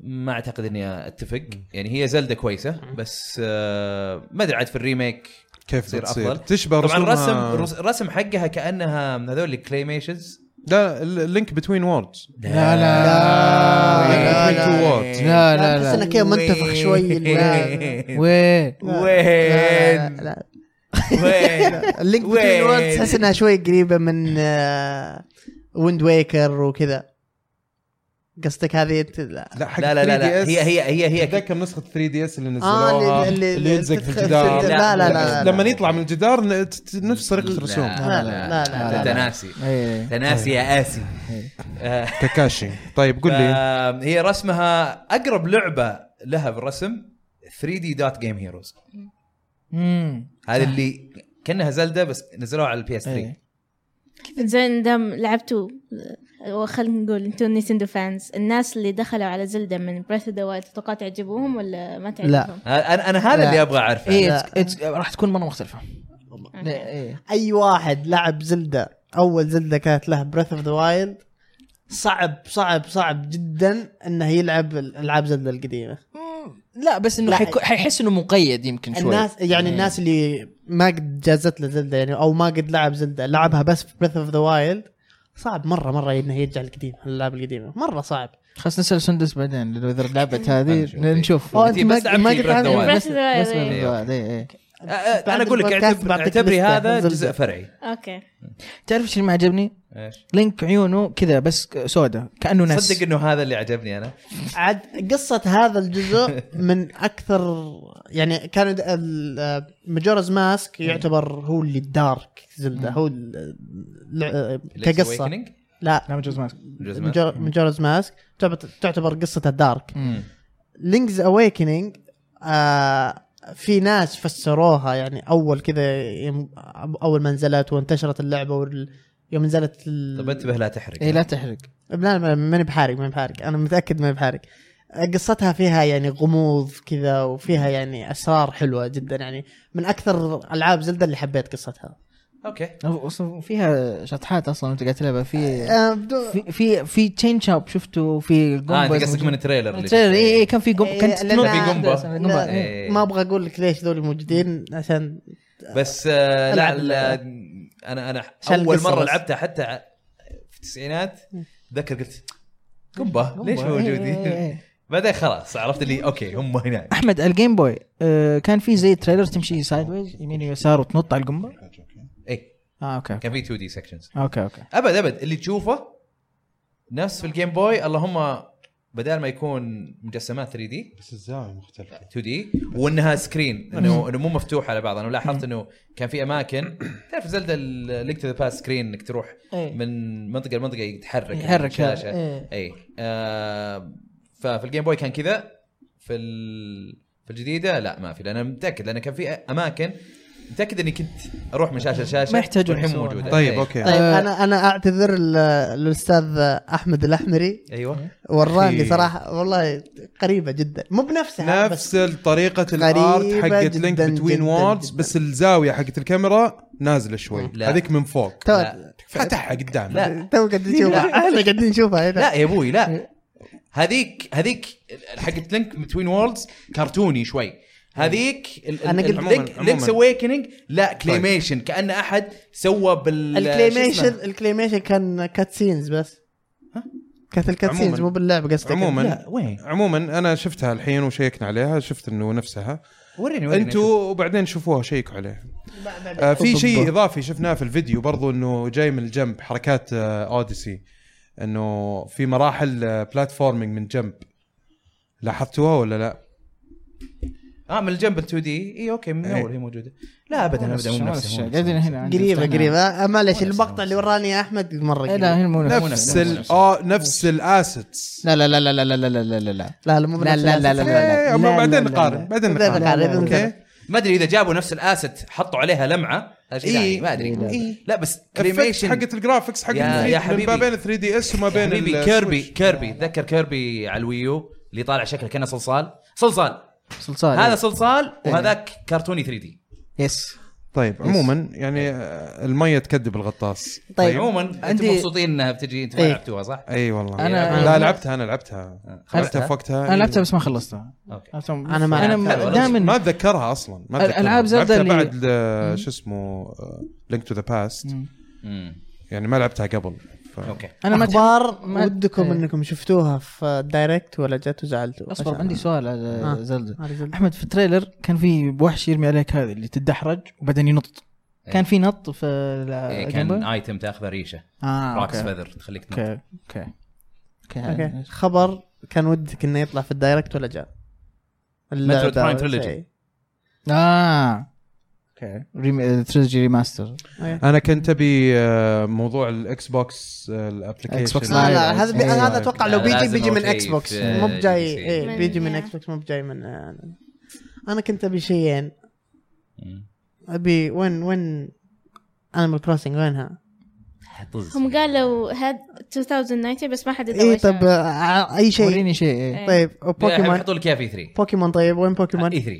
ما اعتقد اني اتفق يعني هي زلده كويسه بس آه ما ادري عاد في الريميك كيف تصير بتصير أفضل. تشبه طبعا رسومها- الرسم رس- الرسم حقها كانها من هذول الكليميشنز لا لينك بتوين ووردز لا لا، لا، لا. لا لا أحس لا إنه كذا منتفخ شوي. وين وين لا، وين لا، لا، وين لا. اللينك وين؟ بين ووردز تحس انها شوي قريبه من ويند ويكر وكذا قصدك هذه انت لا لا حق لا لا لا, لا. 3DS. هي هي هي هي تتذكر نسخه 3 دي اس اللي آه، نزلوها اللي- اللي- اللي يلزق في تدخل- الجدار تدخل- لا، لا، لا، لا. لما يطلع من الجدار ن- ت- ت- نفس طريقه الرسوم لا، لا، لا، لا. انت ناسي إيه. تناسي يا اسي تكاشي طيب قول لي آم، آه، هي رسمها اقرب لعبه لها بالرسم 3 دي دوت جيم هيروز مم. هذه اللي كانها زلده بس نزلوها على البي اس 3 إيه. زين دام لعبتوا وخلينا أه، نقول انتم نينتندو فانز الناس اللي دخلوا على زلدة من بريث اوف ذا وايلد تتوقع تعجبوهم ولا ما تعجبهم؟ انا انا هذا لا. اللي ابغى اعرفه إيه، لا. it's- it's- راح تكون مره مختلفه لا، أوكي. إيه. اي واحد لعب زلدة اول زلدة كانت له بريث اوف ذا وايلد صعب صعب صعب جدا انه يلعب العاب زلدة القديمة مم. لا بس انه لا. حيكون- حيحس انه مقيد يمكن شوي الناس يعني الناس اللي ما قد جازت له زلدة يعني او ما قد لعب زلدة لعبها بس في بريث اوف ذا وايلد صعب مرة مرة انه يرجع القديم الالعاب القديمة مرة صعب خلص نسال سندس بعدين لو اذا لعبت هذه نشوف. نشوف أوه، أنت بس لعبتي Breath of the عارف- Wild. بس- بس Breath of the Wild، Breath of the Wild، إيه، إيه. آه، آه، انا بعد اقول لك البودكاست اعتبر- بعطيك اعتبري لستة هذا زلدة. جزء فرعي اوكي تعرف شو اللي ما عجبني؟ ايش لينك عيونه كذا بس سوداء كانه ناس صدق انه هذا اللي عجبني انا عاد قصة هذا الجزء من أكثر يعني كان مجورز ماسك يعتبر هو اللي الدارك زلدة هو ال- ال- كقصة Awakening؟ لا لا مجوز ماسك جزء ما- مجورز ماسك تعتبر- تعتبر قصة الدارك لينكز اويكننج آه في ناس فسروها يعني اول كذا يم- اول ما نزلت وانتشرت اللعبه وال- يوم نزلت ال- طب انتبه لا تحرق اي إيه، لا تحرق لا لا، ماني بحارق ماني بحارق انا متاكد ماني بحارق قصتها فيها يعني غموض كذا وفيها يعني اسرار حلوه جدا يعني من اكثر العاب زلدة اللي حبيت قصتها اوكي أصلاً فيها شطحات اصلا وانت قاعد تلعبها في آه، بدو- في في في تشين شوب شفته في اه انت قنبز قصدك من التريلر اللي التريلر شفته. اي اي كان في قنب كانت إيه، لأن- تنط- في قنبة. أصلاً قنبة، لا، إيه. ما ابغى اقول لك ليش ذول موجودين عشان بس آه لا, ألعب لا انا انا عشان اول القصة مره بس. لعبتها حتى ع- في التسعينات ذكر قلت قنبه ليش موجودين؟ إيه. بعدين خلاص عرفت اللي اوكي هم هنا احمد الجيم بوي آه، كان في زي تريلر تمشي سايد ويز يمين ويسار وتنط على القنبه اي اه اوكي إيه، كان في 2 دي سكشنز اوكي اوكي ابد ابد اللي تشوفه نفس في الجيم بوي اللهم بدل ما يكون مجسمات 3 دي بس الزاويه مختلفه 2 دي وانها سكرين انه انه مو مفتوح على بعض انا لاحظت انه كان في اماكن تعرف زلدة لينك تو ذا باس سكرين انك تروح إيه. من منطقه لمنطقه يتحرك يعني يحرك الشاشه إيه. اي آه ففي الجيم بوي كان كذا في ال- في الجديده لا ما في لان انا متاكد لان كان في اماكن متاكد اني كنت اروح من شاشه لشاشه ما يحتاجون والحين يسوون موجوده هذا. طيب إيه. اوكي طيب آه. انا انا اعتذر ل- للاستاذ احمد الاحمري ايوه إيه. وراني أخي. صراحه والله قريبه جدا مو بنفسها بس نفس طريقه الارت غريبة حقت لينك جداً بتوين جداً ووردز جداً. بس الزاويه حقت الكاميرا نازله شوي لا. هذيك من فوق تو- لا. فتحها قدام لا تو قاعد نشوفها احنا قاعدين نشوفها إيه. هنا لا يا ابوي لا هذيك هذيك حقت لينك بتوين ووردز كرتوني شوي هذيك أنا قلت- لينك عموماً. طيب. لينكس اويكننج لا كليميشن كان احد سوى بال شو الكليميشن اسمه؟ الكليميشن كان كات سينز بس ها؟ كانت الكات عموماً. سينز مو باللعب قصدك عموما لا وين عموما انا شفتها الحين وشيكنا عليها شفت انه نفسها وريني وريني انتوا وبعدين شوفوها شيكوا عليه آه في شيء اضافي شفناه في الفيديو برضو انه جاي من الجنب حركات آه اوديسي انه في مراحل آه بلاتفورمينج من جنب لاحظتوها ولا لا؟ اه من الجنب ال 2 دي اي اوكي من إيه. اول هي موجوده لا ابدا ابدا مو نفسها مو قاعدين نفسها. هنا عندي قريبه فتحنا. قريبه آه، معلش نفس- المقطع اللي وراني احمد مره إيه، لا قريب. هنا مو نفس- مو نفس نفس ال اه نفس الاسيتس لا لا لا لا لا لا لا لا لا لا لا لا مو لا، لا، لا، لا، لا. إيه، أما لا، بعدين لا، لا. نقارن بعدين بعدين نقارن، نقارن بعدين اوكي نقارن. ما ادري اذا جابوا نفس الاسيت حطوا عليها لمعه هذا شيء إيه. ثاني، ما ادري إيه. لا بس الإفكت كريميشن حقت الجرافكس حقت يا- ال يا 3D من ما حبيبي. بين 3 دي اس وما بين حبيبي ال كيربي Switch. كيربي تذكر كيربي على الويو اللي طالع شكله كانه صلصال صلصال صلصال هذا هذا صلصال إيه. وهذاك كرتوني 3 دي يس طيب عموما يعني آه، المية تكذب الغطاس طيب عموما انتم عندي- مبسوطين انها بتجي انتم ما إيه. لعبتوها صح؟ اي والله أنا- لا لعبتها انا لعبتها لعبتها خلصتها؟ في وقتها انا لعبتها بس ما خلصتها اوكي أه. عرفتم؟ أنا ما انا لعبتها. ما دائما اتذكرها اصلا ما اتذكرها الألعاب زلدة لعبتها اللي- بعد ل- شو اسمه آه، لينك تو ذا باست أمم. يعني ما لعبتها قبل ف... اوكي آه، انا ما اخبار ما- ودكم إيه. انكم شفتوها في الدايركت ولا جت وزعلتوا اصبر عندي سؤال على آه. زلدة عارف زلدة؟ احمد في التريلر كان في وحش يرمي عليك هذا اللي تدحرج وبعدين ينط كان في نط في إيه، ال- كان جنبه؟ ايتم تاخذه ريشه آه، اه راكس اوكي فيذر تخليك تنط. اوكي اوكي اوكي اوكي خبر كان ودك انه يطلع في الدايركت ولا جاء؟ اللعبة Prime ولا Trilogy. شيء. اه اوكي ريم... تريلوجي ريماستر انا كنت ابي آه، موضوع آه، الاكس بوكس إكس بوكس الابلكيشن لا لايف. لا هذا بي... إيه. هذا اتوقع لو لا، بيجي لازم بيجي من أوكي اكس بوكس في- مو بجاي في- إيه من- بيجي من يا. اكس بوكس مو بجاي من آه، انا كنت ابي شيئين أمم. ابي وين وين انيمال كروسنج وينها؟ طز. هم قالوا هاد 2019 بس ما حد اي إيه، طب آه، اي شيء وريني شيء إيه. طيب بوكيمون يحطوا لك اياها في 3 بوكيمون طيب وين اي بوكيمون؟ 3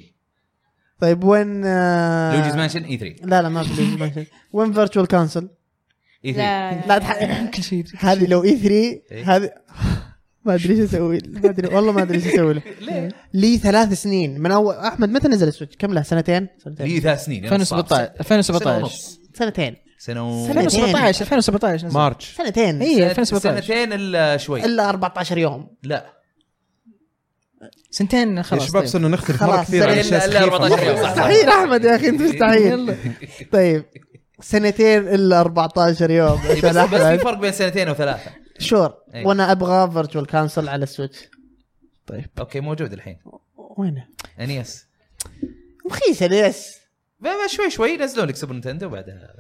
طيب وين آه، لوجيز مانشن اي 3 لا لا ما في لوجيز مانشن وين فيرتشوال كونسل؟ اي 3 لا لا تح- كل شيء هذه لو اي 3 إيه. هذه ما ادري ايش اسوي ما ادري والله ما ادري ايش اسوي له لي ثلاث سنين من اول احمد متى نزل السويتش كم له سنتين لي سنتين ثلاث سنين أنا صعب. 2017 2017 ونص. سنتين سنه سنة. ونص 2017 2017 نزل. إيه، مارتش سنتين اي سنة- 2017 سنتين الا شوي الا 14 يوم لا سنتين يا خلاص شباب طيب. صرنا نختلف مره خلاص، كثير عن سنة أشياء إلا- إلا سخيفة. 14 يوم. صح. مستحيل احمد يا اخي انت مستحيل طيب سنتين الا 14 يوم إيه، بس عشان بس في احمد فرق بين سنتين وثلاثه شور إيه. وانا ابغى فيرتشوال كانسل على السويتش اوكي موجود الحين وينه؟ انيس مخيسه ليش؟ بقى شوي شوي نزلوا لك سوبر نينتندو وبعدها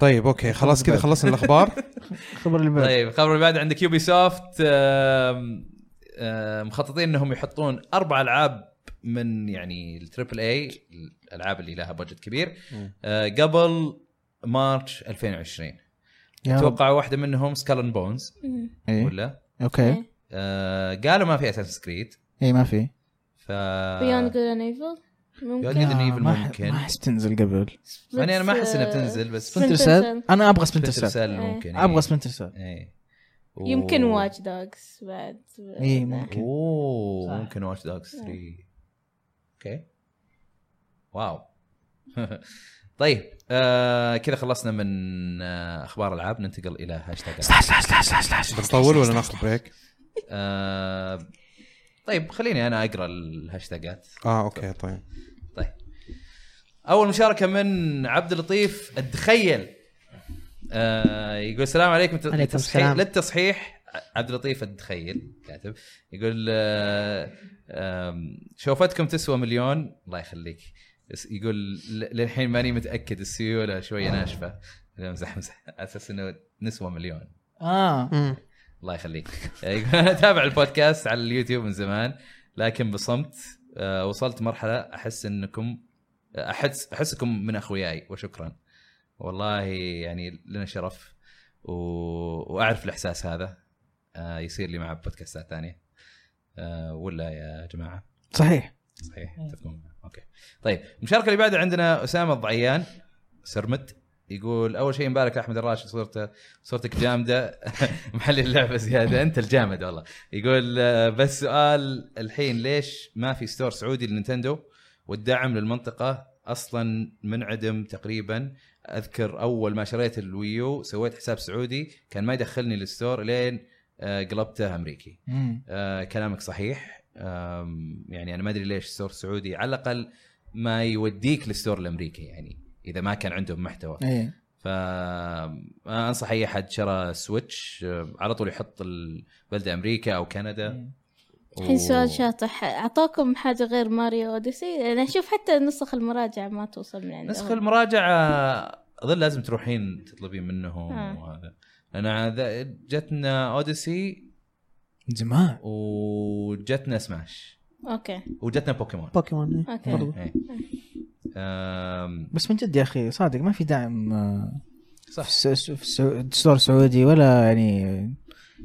طيب اوكي خلاص كذا خلصنا الاخبار الخبر اللي بعده طيب الخبر اللي بعد عندك يوبي سوفت آم، آم، مخططين انهم يحطون اربع العاب من يعني التريبل اي الالعاب اللي لها بجت كبير آه، قبل مارش 2020 يا رب. اتوقع واحده منهم سكالن بونز مم. إيه. ولا اوكي إيه. آه، قالوا ما في اساس كريد اي ما في ف بيوند جود اند ايفل Beyond Good ممكن and- آه، Evil ما ح- ممكن. ما احس تنزل قبل يعني انا ما احس انها بتنزل بس آه، Splinter سبنتر Cell. سيل انا ابغى سبنتر سبنتر سيل سيل ممكن إيه. ابغى سبنتر سيل إيه. و- يمكن واتش دوجز بعد اي ممكن اوه صح. ممكن واتش دوجز 3 اوكي واو طيب آه كذا خلصنا من آه اخبار العاب ننتقل الى هاشتاج بنطول ولا ناخذ بريك؟ آه طيب خليني انا اقرا الهاشتاجات اه اوكي طيب طيب اول مشاركه من عبد اللطيف تخيل آه يقول السلام عليكم عليكم للتصحيح السلام. للتصحيح عبد اللطيف الدخيل كاتب يقول آه آم، شوفتكم تسوى مليون الله يخليك بس يقول ل- للحين ماني متاكد السيوله شويه ناشفه لا، امزح امزح على اساس انه نسوى مليون اه مم. الله يخليك يقول انا اتابع البودكاست على اليوتيوب من زمان لكن بصمت آه، وصلت مرحله احس انكم احس احسكم من اخوياي وشكرا والله يعني لنا شرف و... واعرف الاحساس هذا آه، يصير لي مع بودكاستات ثانيه آه، ولا يا جماعه صحيح صحيح تفهمون اوكي طيب المشاركه اللي بعدها عندنا اسامه الضعيان سرمت يقول اول شيء مبارك احمد الراشد صورته صورتك جامده محل اللعبه زياده انت الجامد والله يقول آه، بس سؤال الحين ليش ما في ستور سعودي لنينتندو والدعم للمنطقه اصلا منعدم تقريبا اذكر اول ما شريت الويو سويت حساب سعودي كان ما يدخلني للستور لين آه، قلبته امريكي مم. آه كلامك صحيح آم، يعني انا ما ادري ليش السور السعودي على الاقل ما يوديك للستور الامريكي يعني اذا ما كان عندهم محتوى اي فانصح اي احد شرى سويتش آه، على طول يحط البلده امريكا او كندا الحين سؤال شاطح اعطاكم حاجه غير ماريو اوديسي انا اشوف حتى نسخ المراجعه ما توصل يعني. من عندهم نسخ المراجعه اظن لازم تروحين تطلبين منهم آه. وهذا انا ذا- جتنا اوديسي زمان وجتنا سماش اوكي وجتنا بوكيمون بوكيمون إيه. اوكي برضو. إيه. أم، بس من جد يا اخي صادق ما في دعم آه، صح. في الس- في السو- ستور سعودي ولا يعني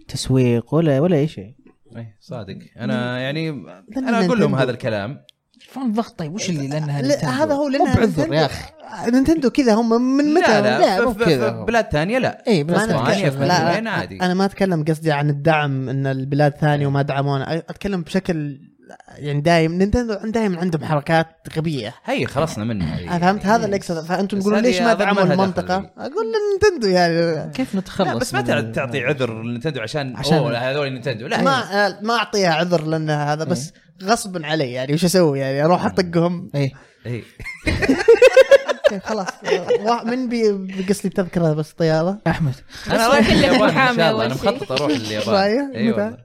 تسويق ولا ولا اي شيء إيه، صادق انا يعني انا لأن اقول لهم نينتندو. هذا الكلام فين ضغط طيب وش اللي لانها لا، نينتندو؟ هذا هو مو لانها بعذر يا نينتندو. اخي نينتندو كذا هم من متى لا لا مو ف- ف- كذا ف- هو. بلاد ثانيه لا اي ما بس أنا لا، أتكلم- لا، لا لا، عادي. أنا ما أتكلم قصدي عن الدعم أن البلاد ثانية وما دعمونا أ- أتكلم بشكل يعني دايم نينتندو دايم عندهم حركات غبية هي خلصنا منها هي. أنا فهمت هذا اللي أقصده فأنتم إيه. بس تقولون هذه ليش ما أظن دعموا لها دخل المنطقة أقول نينتندو يعني كيف لا نتخلص بس ما من- تع- تعطي عذر لنتندو عشان عشان- اوه هذول نتندو لا إيه. ما آه، ما أعطيها عذر لأنها هذا بس غصب علي يعني وش أسوي يعني أروح أطقهم اي إيه. أوكي، خلاص آه، من بي- بيقص لي تذكرة بس طيارة احمد انا روح رايح لك اليابان ان محامي شاء الله أول انا شيء. مخطط اروح اليابان رايح؟ اي متى؟ والله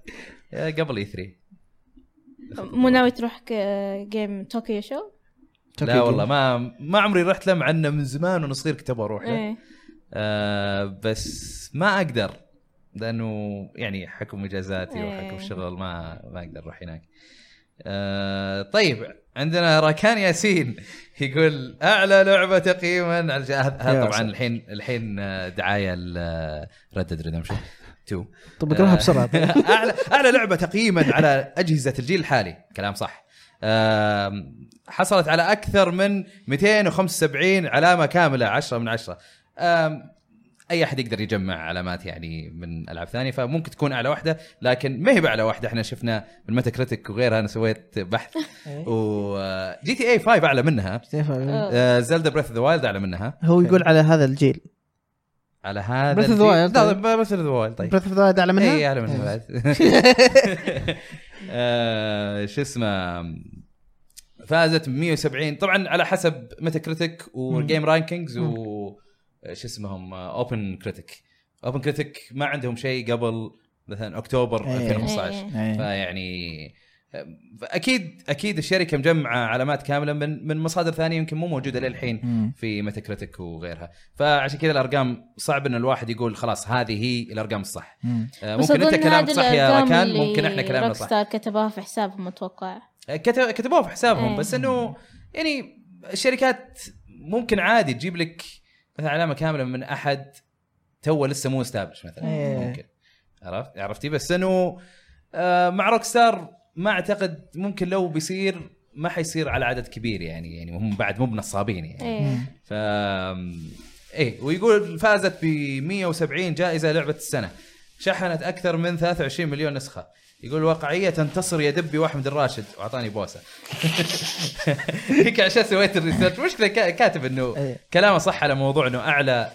آه، قبل اي 3 مو ناوي تروح ك- جيم طوكيو شو؟ لا والله ما ما عمري رحت له مع انه من زمان وانا صغير كنت ابغى اروح له ايه آه بس ما اقدر لانه يعني حكم اجازاتي إيه. وحكم شغل ما ما اقدر اروح هناك. آه طيب عندنا راكان ياسين يقول اعلى لعبه تقييما على الج- هذا- هذا يا طبعا ساتر. الحين الحين آه، دعايه لردد ريدمشن 2 طب اقراها آه. بسرعه طيب. اعلى اعلى لعبه تقييما على اجهزه الجيل الحالي كلام صح آم، حصلت على اكثر من 275 علامه كامله 10 من 10 آم، اي احد يقدر يجمع علامات يعني من العاب ثانيه فممكن تكون اعلى واحده لكن ما هي باعلى واحده احنا شفنا من متى كريتك وغيرها انا سويت بحث إيه. وجي تي اي 5 اعلى منها آه، كيف أقول؟ إيه، زلدا بريث ذا وايلد اعلى منها هو يقول على هذا الجيل على هذا Breath of the الجيل- Wild، لا طيب. بريث ذا وايلد طيب بريث اوف ذا على منها اي اهلا وسهلا بعد آه، شو اسمه فازت ب 170 طبعا على حسب ميتا كريتيك وجيم رانكينجز و شو اسمهم آه، اوبن كريتيك اوبن كريتيك ما عندهم شيء قبل مثلا اكتوبر إيه. 2015 إيه. فيعني آه، اكيد اكيد الشركه مجمعه علامات كامله من من مصادر ثانيه يمكن مو موجوده للحين مم. في ميتا كريتيك وغيرها فعشان كذا الارقام صعب ان الواحد يقول خلاص هذه هي الارقام الصح مم. آه، بس ممكن انت أظن كلامك هذه صح يا الأرقام ركان اللي ممكن احنا كلامنا صح روكستار كتبوها في حسابهم اتوقع آه، كت- كتبوها في حسابهم إيه. بس انه يعني الشركات ممكن عادي تجيب لك مثلا علامه كامله من احد تو لسه مو استابلش مثلا إيه. ممكن عرفت عرفتي بس انه آه، مع روك ستار ما اعتقد ممكن لو بيصير ما حيصير على عدد كبير يعني يعني هم بعد مو بنصابين يعني ايه ف ايه ويقول فازت ب 170 جائزه لعبه السنه شحنت اكثر من 23 مليون نسخه يقول واقعيه تنتصر يا دبي واحمد الراشد واعطاني بوسه هيك عشان سويت الريسيرش مشكله كا- كاتب انه إيه. كلامه صح على موضوع انه اعلى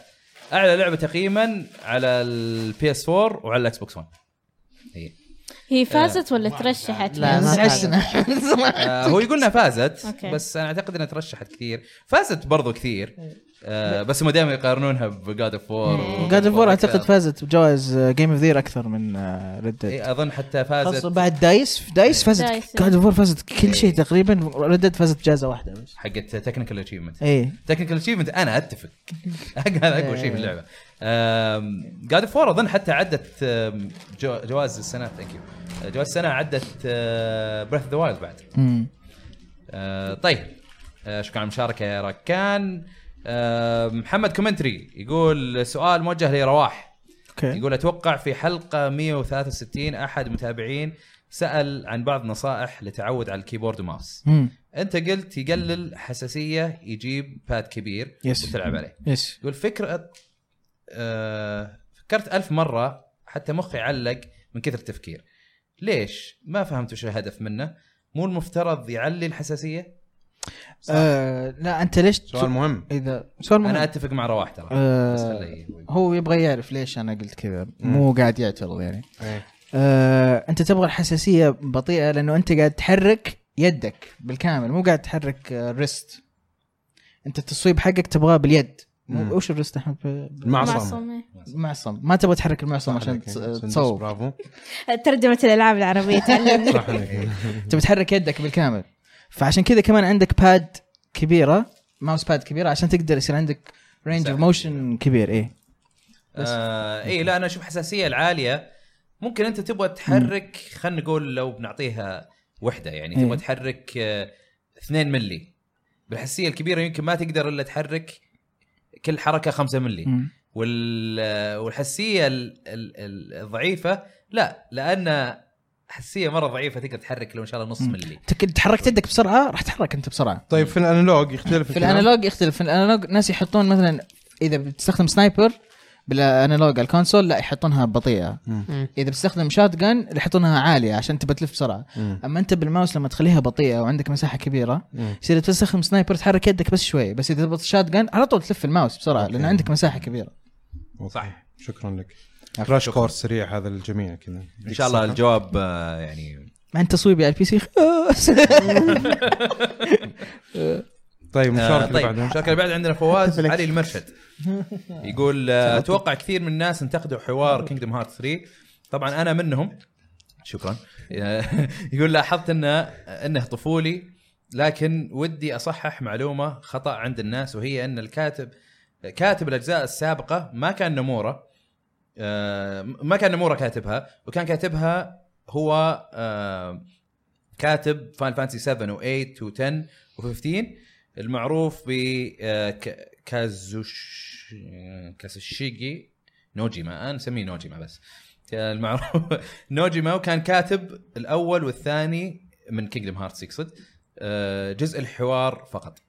اعلى لعبه تقييما على البي اس 4 وعلى الاكس بوكس إيه. 1 هي هي فازت ولا ترشحت؟ يعني لا، يعني ما عشنا آه هو يقول انها فازت أوكي. بس انا اعتقد انها ترشحت كثير فازت برضو كثير آه بس هم دائما يقارنونها بجاد اوف وور جاد اوف اعتقد فازت بجوائز جيم اوف ذير اكثر من ريد ديد اظن إيه، حتى خاصه فازت بعد دايس في دايس دايس. فازت جاد اوف فازت كل شيء تقريبا ريد ديد فازت إيه، بجائزه واحده بس حقت تكنيكال اتشيفمنت اي تكنيكال اتشيفمنت انا اتفق هذا اقوى شيء في اللعبه جاد اوف وور اظن حتى عدت آم، جو جواز السنه ثانك يو جواز السنه عدت بريث ذا وايلد بعد آه، طيب آه، شكرا على المشاركه يا ركان آه، محمد كومنتري يقول سؤال موجه لرواح اوكي يقول اتوقع في حلقه 163 احد متابعين سال عن بعض نصائح لتعود على الكيبورد وماوس مم. انت قلت يقلل حساسيه يجيب باد كبير يس. وتلعب عليه يس يقول فكره آه فكرت ألف مره حتى مخي علق من كثر التفكير ليش ما فهمت وش الهدف منه مو المفترض يعلي الحساسيه آه، لا انت ليش سؤال مهم اذا سؤال مهم انا اتفق مع رواح ترى آه، بس خليه هو يقول. هو يبغى يعرف ليش انا قلت كذا مو قاعد يعترض يعني إيه. آه، انت تبغى الحساسيه بطيئه لانه انت قاعد تحرك يدك بالكامل مو قاعد تحرك ريست انت التصويب حقك تبغاه باليد مم. مو وش الريست احمد ب- معصم المعصم ما تبغى تحرك المعصم صح عشان عليك. تس- سندس، تصوب برافو ترجمة الألعاب العربية تعلمني صح عليك. انت بتحرك يدك بالكامل فعشان كذا كمان عندك باد كبيره ماوس باد كبيره عشان تقدر يصير عندك رينج اوف مساحة موشن كبير ايه آه اي لا انا اشوف الحساسيه العاليه ممكن انت تبغى تحرك خلينا نقول لو بنعطيها وحده يعني إيه. تبغى تحرك آه 2 ملي بالحساسيه الكبيره يمكن ما تقدر الا تحرك كل حركه 5 ملي مم. وال والحساسيه ال- ال- ال- الضعيفه لا لان حساسيه مره ضعيفه تقدر تحرك لو ان شاء الله نص مم. ملي تك- تحركت يدك بسرعه راح تحرك انت بسرعه طيب في الانالوج يختلف في الكلام؟ الانالوج يختلف في الانالوج ناس يحطون مثلا اذا بتستخدم سنايبر بالانالوج على الكونسول لا يحطونها بطيئه مم. اذا بتستخدم شات جن يحطونها عاليه عشان تبى تلف بسرعه مم. اما انت بالماوس لما تخليها بطيئه وعندك مساحه كبيره مم. يصير تستخدم سنايبر تحرك يدك بس شوي بس اذا تضغط شات جن على طول تلف الماوس بسرعه لان أوكي. عندك مساحه كبيره صح شكرا لك كراش كورس سريع هذا الجميع كذا ان شاء الله الجواب آه، يعني مع ان تصويبي على البي سي خاص. طيب آه مشاركة طيب اللي بعدها المشاركه اللي بعد عندنا فواز لك. علي المرشد يقول آه، اتوقع كثير من الناس انتقدوا حوار كينجدم هارت 3 طبعا انا منهم شكرا آه، يقول لاحظت انه انه طفولي لكن ودي اصحح معلومه خطا عند الناس وهي ان الكاتب كاتب الاجزاء السابقه ما كان نموره آه، ما كان نموره كاتبها وكان كاتبها هو آه، كاتب فان فانسي 7 و8 و10 و15 المعروف ب آه، ك- كازوش كازوشيجي نوجيما انا نسميه نوجيما بس المعروف نوجيما وكان كاتب الاول والثاني من كينجدم هارت يقصد آه، جزء الحوار فقط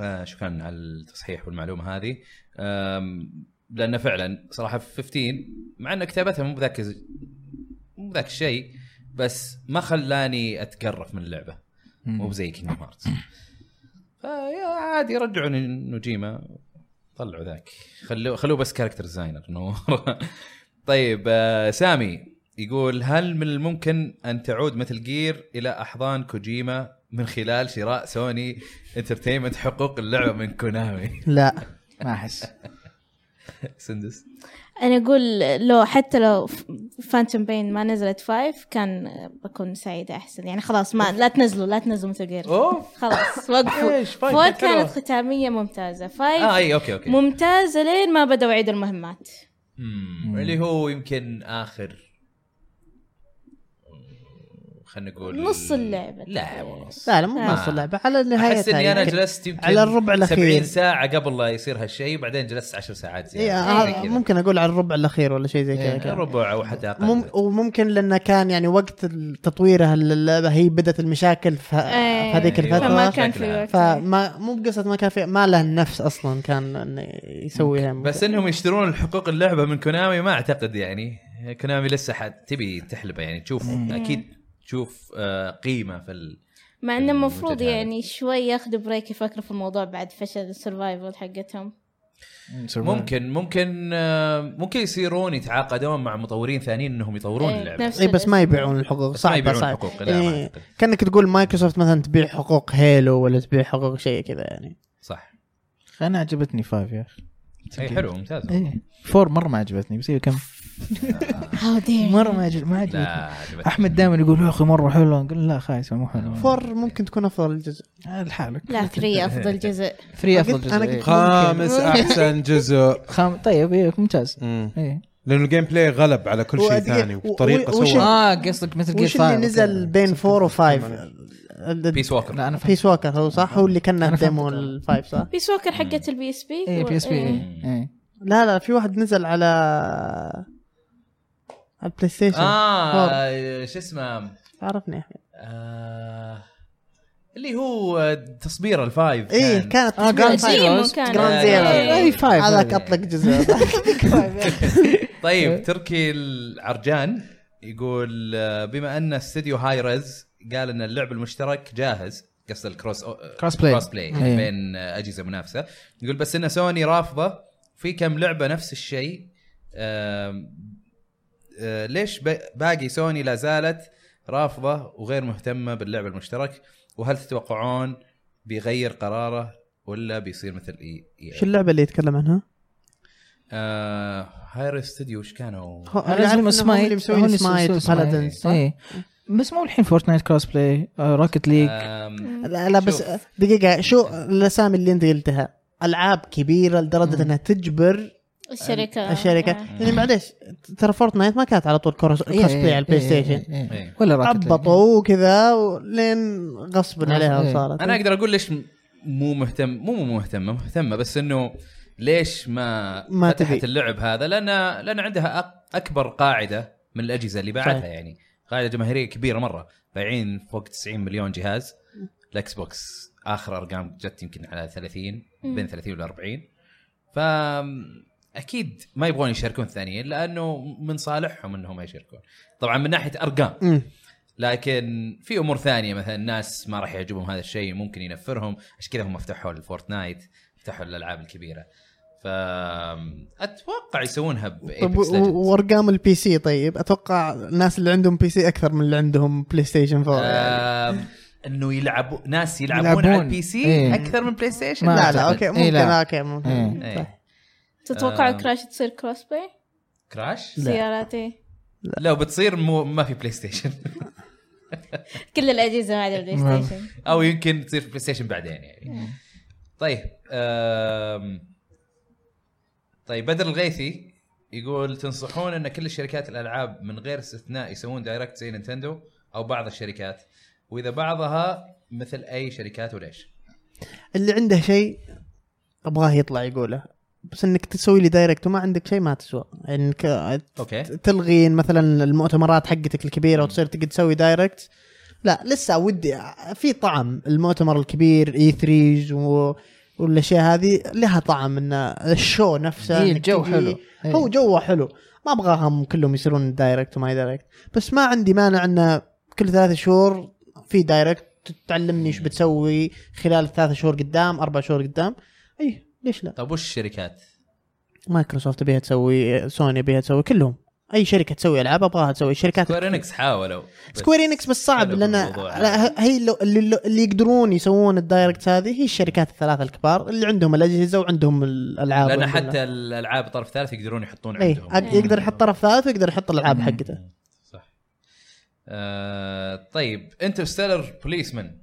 آه، شكرا على التصحيح والمعلومه هذه آم، لانه فعلا صراحه في 15 مع ان كتابتها مو بذاك الز- مو بذاك الشيء بس ما خلاني اتقرف من اللعبه مو بزي كينجدم هارت فيا عادي رجعوا نوجيما طلعوا ذاك خلوه خلوه بس كاركتر ديزاينر انه طيب آه، سامي يقول هل من الممكن ان تعود مثل جير الى احضان كوجيما من خلال شراء سوني انترتينمنت حقوق اللعبه من كونامي لا ما احس سندس أنا أقول لو حتى لو فانتوم بين ما نزلت فايف كان بكون سعيدة أحسن يعني خلاص ما لا تنزلوا لا تنزلوا مثل غير اوف خلاص وقفوا إيش، فايف فور كانت حلوة. كانت ختامية ممتازة اه فايف اي اوكي اوكي ممتازة لين ما بدأوا يعيدوا المهمات مم. اللي هو يمكن اخر خلينا نقول نص اللعبة لا ونص لا لا مو آه. نص اللعبة على نهايتها يعني. احس اني انا يمكن. جلست يمكن على الربع الأخير. 70 ساعه قبل لا يصير هالشيء بعدين جلست 10 ساعات إيه، زياده آه، زي يعني كذا. ممكن اقول على الربع الاخير ولا شيء زي كذا إيه، كان. ربع او حتى اقل مم وممكن لانه كان يعني وقت تطويرها اللعبه هي بدات المشاكل في, إيه. ه- في هذيك أيوة. فما الفتره كان في وقت فما مو بقصه ما كان في ما له النفس اصلا كان انه يسويها بس انهم يشترون الحقوق اللعبه من كونامي ما اعتقد يعني كونامي لسه حد تبي تحلبه يعني تشوف إيه. اكيد تشوف آه، قيمه في ال... مع انه المفروض المنتج هذا. يعني شوي ياخذوا بريك يفكروا في الموضوع بعد فشل السرفايفل حقتهم ممكن ممكن آه، ممكن يصيرون يتعاقدون مع مطورين ثانيين انهم يطورون إيه، اللعبه نفس اي بس ما الاسم. يبيعون الحقوق بس ما صعبه يبيعون صعبه الحقوق لا ما إيه. أعتقد. كانك تقول مايكروسوفت مثلا تبيع حقوق هيلو ولا تبيع حقوق شيء كذا يعني صح انا عجبتني فايف يا اخي اي حلو ممتاز إيه. ايه فور مره ما عجبتني بس هي كم How dare you. مره ما عجبتني ما لا عجبتني عجبتني. احمد دائما يقول يا اخي مره حلوه نقول لا خايسه مو حلوه فور ممكن تكون افضل جزء عاد لحالك لا ثري افضل جزء ثري أنا افضل قلت- جزء أنا إيه. قلت- خامس احسن جزء خام طيب ايه ممتاز مم. ايه لانه الجيم بلاي غلب على كل شيء وأدقى- ثاني وبطريقه و- وش- سوى اه قصدك مثل جير وش اللي نزل بين فور وفايف بيس ووكر لا انا فهمت بيس ووكر هو صح هو اللي كان أنا فهمت ديمو الآن. الفايف صح؟ بيس ووكر حقت البي اس بي ايه بي اس بي إيه. إيه. ايه لا لا في واحد نزل على على البلاي ستيشن آه. اه آه، شو اسمه عرفني احمد آه، اللي هو تصبير الفايف ايه كانت آه، جراند Grand زيرو Zeroes. كان آه، إيه. Grand Zero. اي فايف هذاك اطلق جزء طيب تركي العرجان يقول آه، بما ان استديو هاي ريز قال ان اللعب المشترك جاهز قصد الكروس Cross play. كروس بلاي إيه. بين آه، اجهزه منافسه يقول بس ان سوني رافضه في كم لعبه نفس الشيء آم، آه، ليش ب- باقي سوني لا زالت رافضه وغير مهتمه باللعب المشترك وهل تتوقعون بيغير قراره ولا بيصير مثل E اي شو اللعبه اللي يتكلم عنها؟ آه هاير استوديو وش كانوا؟ هو- انا عارف اسمه إنهم هم اللي سمايت مسوين سمايت بلدن صح؟ اي إيه. بس مو الحين آه، فورتنايت كروس بلاي روكت ليج آه، آم، لا, لا بس شوف. دقيقه شو الاسامي اللي انت قلتها؟ العاب كبيره لدرجه مم. انها تجبر الشركه الشركه آه. يعني معليش ترى فورتنايت ما كانت على طول كروس إيه، كروس بلاي على البلاي ستيشن إيه. ولا روكت عبطوا وكذا لين غصبا آه، عليها إيه. صارت انا اقدر اقول ليش مو مهتم مو مو مهتمه مهتمه بس انه ليش ما, ما فتحت تبي. اللعب هذا لان لان عندها أك- اكبر قاعده من الاجهزه اللي باعتها صحيح. يعني قاعده جماهيريه كبيره مره بايعين فوق 90 مليون جهاز الاكس بوكس اخر ارقام جت يمكن على 30 مم. بين 30 وال 40 ف اكيد ما يبغون يشاركون الثانيين لانه من صالحهم انهم ما يشاركون طبعا من ناحيه ارقام مم. لكن في امور ثانيه مثلا الناس ما راح يعجبهم هذا الشيء ممكن ينفرهم عشان كذا هم فتحوا الفورتنايت فتحوا الالعاب الكبيره فاتوقع يسوونها طب بايبكس و- وارقام البي سي طيب اتوقع الناس اللي عندهم بي سي اكثر من اللي عندهم بلاي ستيشن آه، 4 يعني. انه يلعبوا ناس يلعبون, يلعبون. على البي سي إيه. اكثر من بلاي ستيشن ما لا لا أعتقد. اوكي إيه، ممكن لا. اوكي ممكن إيه. صح. إيه. تتوقع آم. كراش تصير كروس بلاي؟ كراش سياراتي لو بتصير مو ما في بلاي ستيشن كل الاجهزه ما عدا البلاي ستيشن او يمكن تصير في بلاي ستيشن بعدين يعني طيب أم طيب بدر الغيثي يقول تنصحون ان كل الشركات الالعاب من غير استثناء يسوون دايركت زي نينتندو او بعض الشركات واذا بعضها مثل اي شركات وليش؟ اللي عنده شيء ابغاه يطلع يقوله بس انك تسوي لي دايركت وما عندك شيء ما تسوى انك اوكي تلغي مثلا المؤتمرات حقتك الكبيره وتصير تقعد تسوي دايركت لا لسه ودي في طعم المؤتمر الكبير اي 3 و... والاشياء هذه لها طعم ان الشو نفسه إيه، إنك الجو تجي- حلو. إيه. هو جوه حلو ما ابغاهم كلهم يصيرون دايركت وما دايركت بس ما عندي مانع انه كل ثلاث شهور في دايركت تعلمني ايش بتسوي خلال ثلاث شهور قدام اربع شهور قدام اي ليش لا طيب وش الشركات؟ مايكروسوفت بيها تسوي سوني بيها تسوي كلهم اي شركه تسوي العاب ابغاها تسوي شركات سكوير انكس حاولوا بس سكوير انكس بس صعب حلو لان الموضوع. لا، هي اللي, اللي, اللي يقدرون يسوون الدايركت هذه هي الشركات الثلاثه الكبار اللي عندهم الاجهزه وعندهم الالعاب لان والحمد لله. حتى الالعاب طرف ثالث يقدرون يحطون ايه عندهم أق- يقدر يحط طرف ثالث ويقدر يحط الالعاب مم. حقته صح آه طيب انترستيلر بوليسمان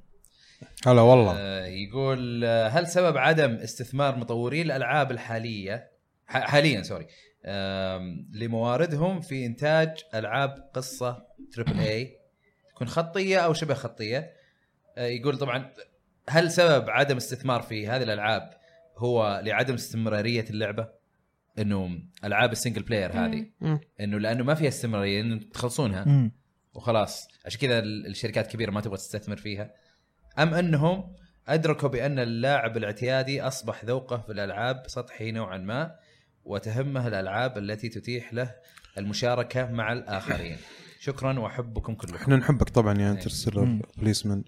هلا والله آه، يقول آه، هل سبب عدم استثمار مطوري الالعاب الحاليه ح- حاليا سوري آم، لمواردهم في انتاج العاب قصه تريبل اي تكون خطيه او شبه خطيه آه، يقول طبعا هل سبب عدم استثمار في هذه الالعاب هو لعدم استمراريه اللعبه انه العاب السنجل بلاير هذه مم. انه لانه ما فيها استمراريه انه تخلصونها وخلاص عشان كذا ال- الشركات الكبيره ما تبغى تستثمر فيها ام انهم ادركوا بان اللاعب الاعتيادي اصبح ذوقه في الالعاب سطحي نوعا ما وتهمه الالعاب التي تتيح له المشاركه مع الاخرين شكرا واحبكم كلكم احنا نحبك طبعا يا آه. انترستيلر مم. بوليسمان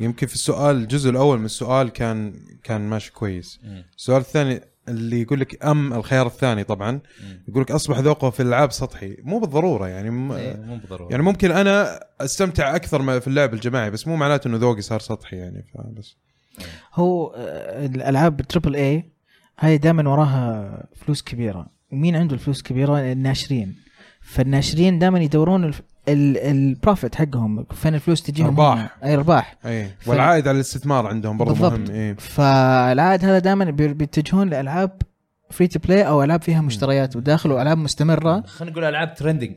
يمكن في السؤال الجزء الاول من السؤال كان كان ماشي كويس مم. السؤال الثاني اللي يقول لك ام الخيار الثاني طبعا مم. يقول لك اصبح ذوقه في الالعاب سطحي مو بالضروره يعني م... إيه، مو بضروره يعني ممكن انا استمتع اكثر ما في اللعب الجماعي بس مو معناته انه ذوقي صار سطحي يعني فبس هو آه، الالعاب تريبل اي هاي دائما وراها فلوس كبيره ومين عنده الفلوس كبيره الناشرين فالناشرين دائما يدورون الف- ال- البروفيت حقهم فين الفلوس تجيهم أرباح. هم. اي ارباح اي ف- والعائد على الاستثمار عندهم برضه بالضبط. مهم إيه. اي فالعائد هذا دائما بيتجهون لالعاب فري تو بلاي او العاب فيها مشتريات وداخل والعاب مستمره خلينا نقول العاب ترندنج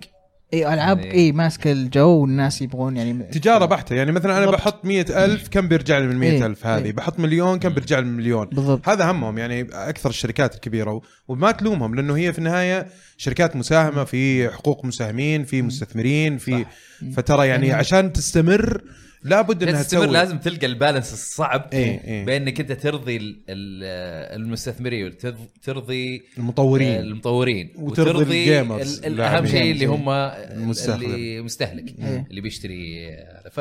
اي العاب إيه. اي ماسكه الجو والناس يبغون يعني تجاره بحته يعني مثلا انا بالضبط. بحط مئة ألف كم بيرجع لي من إيه، مئة ألف هذه إيه. بحط مليون كم بيرجع لي من مليون بالضبط هذا همهم يعني اكثر الشركات الكبيره و- وما تلومهم لانه هي في النهايه شركات مساهمه في حقوق مساهمين في مستثمرين في فترى يعني يعني- عشان تستمر لابد انها تستمر تسوي لازم تلقى البالانس الصعب إيه، إيه. بانك انت ترضي ال- ال- المستثمرين وترضي آه، المطورين المطورين وترضي الجيمرز، ال- ال- اهم اللاعبين. شيء اللي إيه. هم المستهلك. اللي مستهلك إيه. اللي بيشتري ف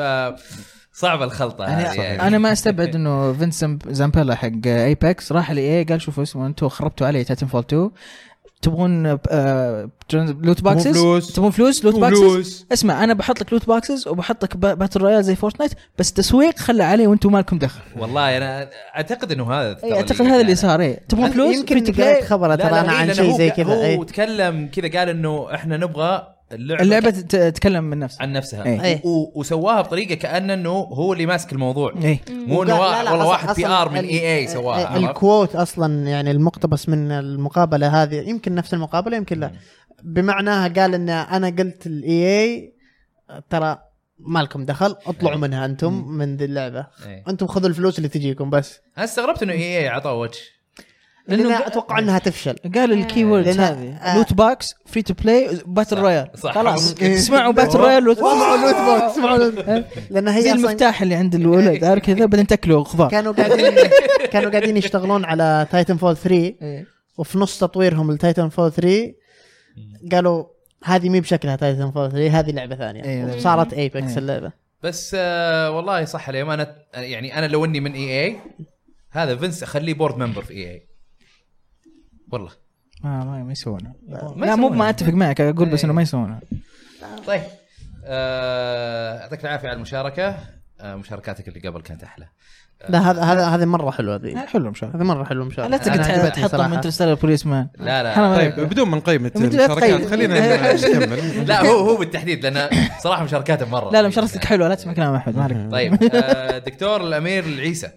صعبه الخلطه هذه يعني. انا انا ما استبعد انه فينسنت زامبيلا حق ايباكس راح لاي قال شوفوا اسمه انتم خربتوا علي تاتن فول 2 تبغون آه، لوت مو باكسز فلوس تبغون فلوس لوت مو باكسز فلوس اسمع انا بحط لك لوت باكسز وبحط لك با- باتل رويال زي فورتنايت بس تسويق خلى عليه وانتم مالكم دخل والله انا اعتقد انه إيه، هذا أي، يعني. اعتقد هذا اللي صار ايه تبغون أنا فلوس يمكن free to play. قرأت خبره ترى انا عن شيء زي كذا هو إيه. تكلم كذا قال انه احنا نبغى اللعبه اللعبه تت- تتكلم من نفسها عن نفسها إيه. و- و- وسواها بطريقه كان انه هو اللي ماسك الموضوع ايه مو انه إيه. وا- وقال- لا، لا، والله أصلاً- واحد بي أصلاً ار من ال- اي اي ال- سواها عرفت؟ الكوت اصلا يعني المقتبس من المقابله هذه يمكن نفس المقابله يمكن لا بمعناها قال ان انا قلت الاي اي ترى مالكم دخل اطلعوا منها انتم من ذي اللعبه إيه. انتم خذوا الفلوس اللي تجيكم بس انا استغربت انه اي اي عطاه وجه لان لأنه- اتوقع انها إيه. تفشل قال الكي ووردز لأن- هذه آه. لوت باكس فري تو بلاي باتل صح، رويال صح. خلاص إيه، ممكن. اسمعوا باتل والله. رويال لوت وضعوا باكس لوت بوكس اسمعوا لوت بوكس. لان زي هي اصلا المفتاح اللي عند الولد عارف كذا بعدين تاكله خضار كانوا قاعدين كانوا قاعدين يشتغلون على تايتن فول 3 إيه. وفي نص تطويرهم لتايتن فول 3 قالوا هذه مي بشكلها تايتن فول 3 هذه لعبه ثانيه إيه. وصارت ايبكس إيه. اللعبه بس آه والله صح اليوم انا يعني انا لو اني من اي اي هذا فينس اخليه بورد ممبر في اي اي والله ما آه، ما ما يسوونها ما لا مو يسوونها. ما اتفق معك اقول بس إيه. انه ما يسوونها طيب آه، يعطيك العافيه على المشاركه آه، مشاركاتك اللي قبل كانت احلى لا هذا هذا هذه مره حلوه لا، ذي حلو ان شاء الله هذه مره حلوه مش لا أنا تقعد عجبتني تحطهم انترستيلر بوليس مان لا لا حرام طيب عليك. بدون ما نقيم بدون ما المشاركات تقيم. خلينا نكمل لا هو هو بالتحديد لان صراحه مشاركاته مره لا لا مشاركتك حلوه لا تسمع كلام احمد ما عليك طيب آه، دكتور الامير العيسى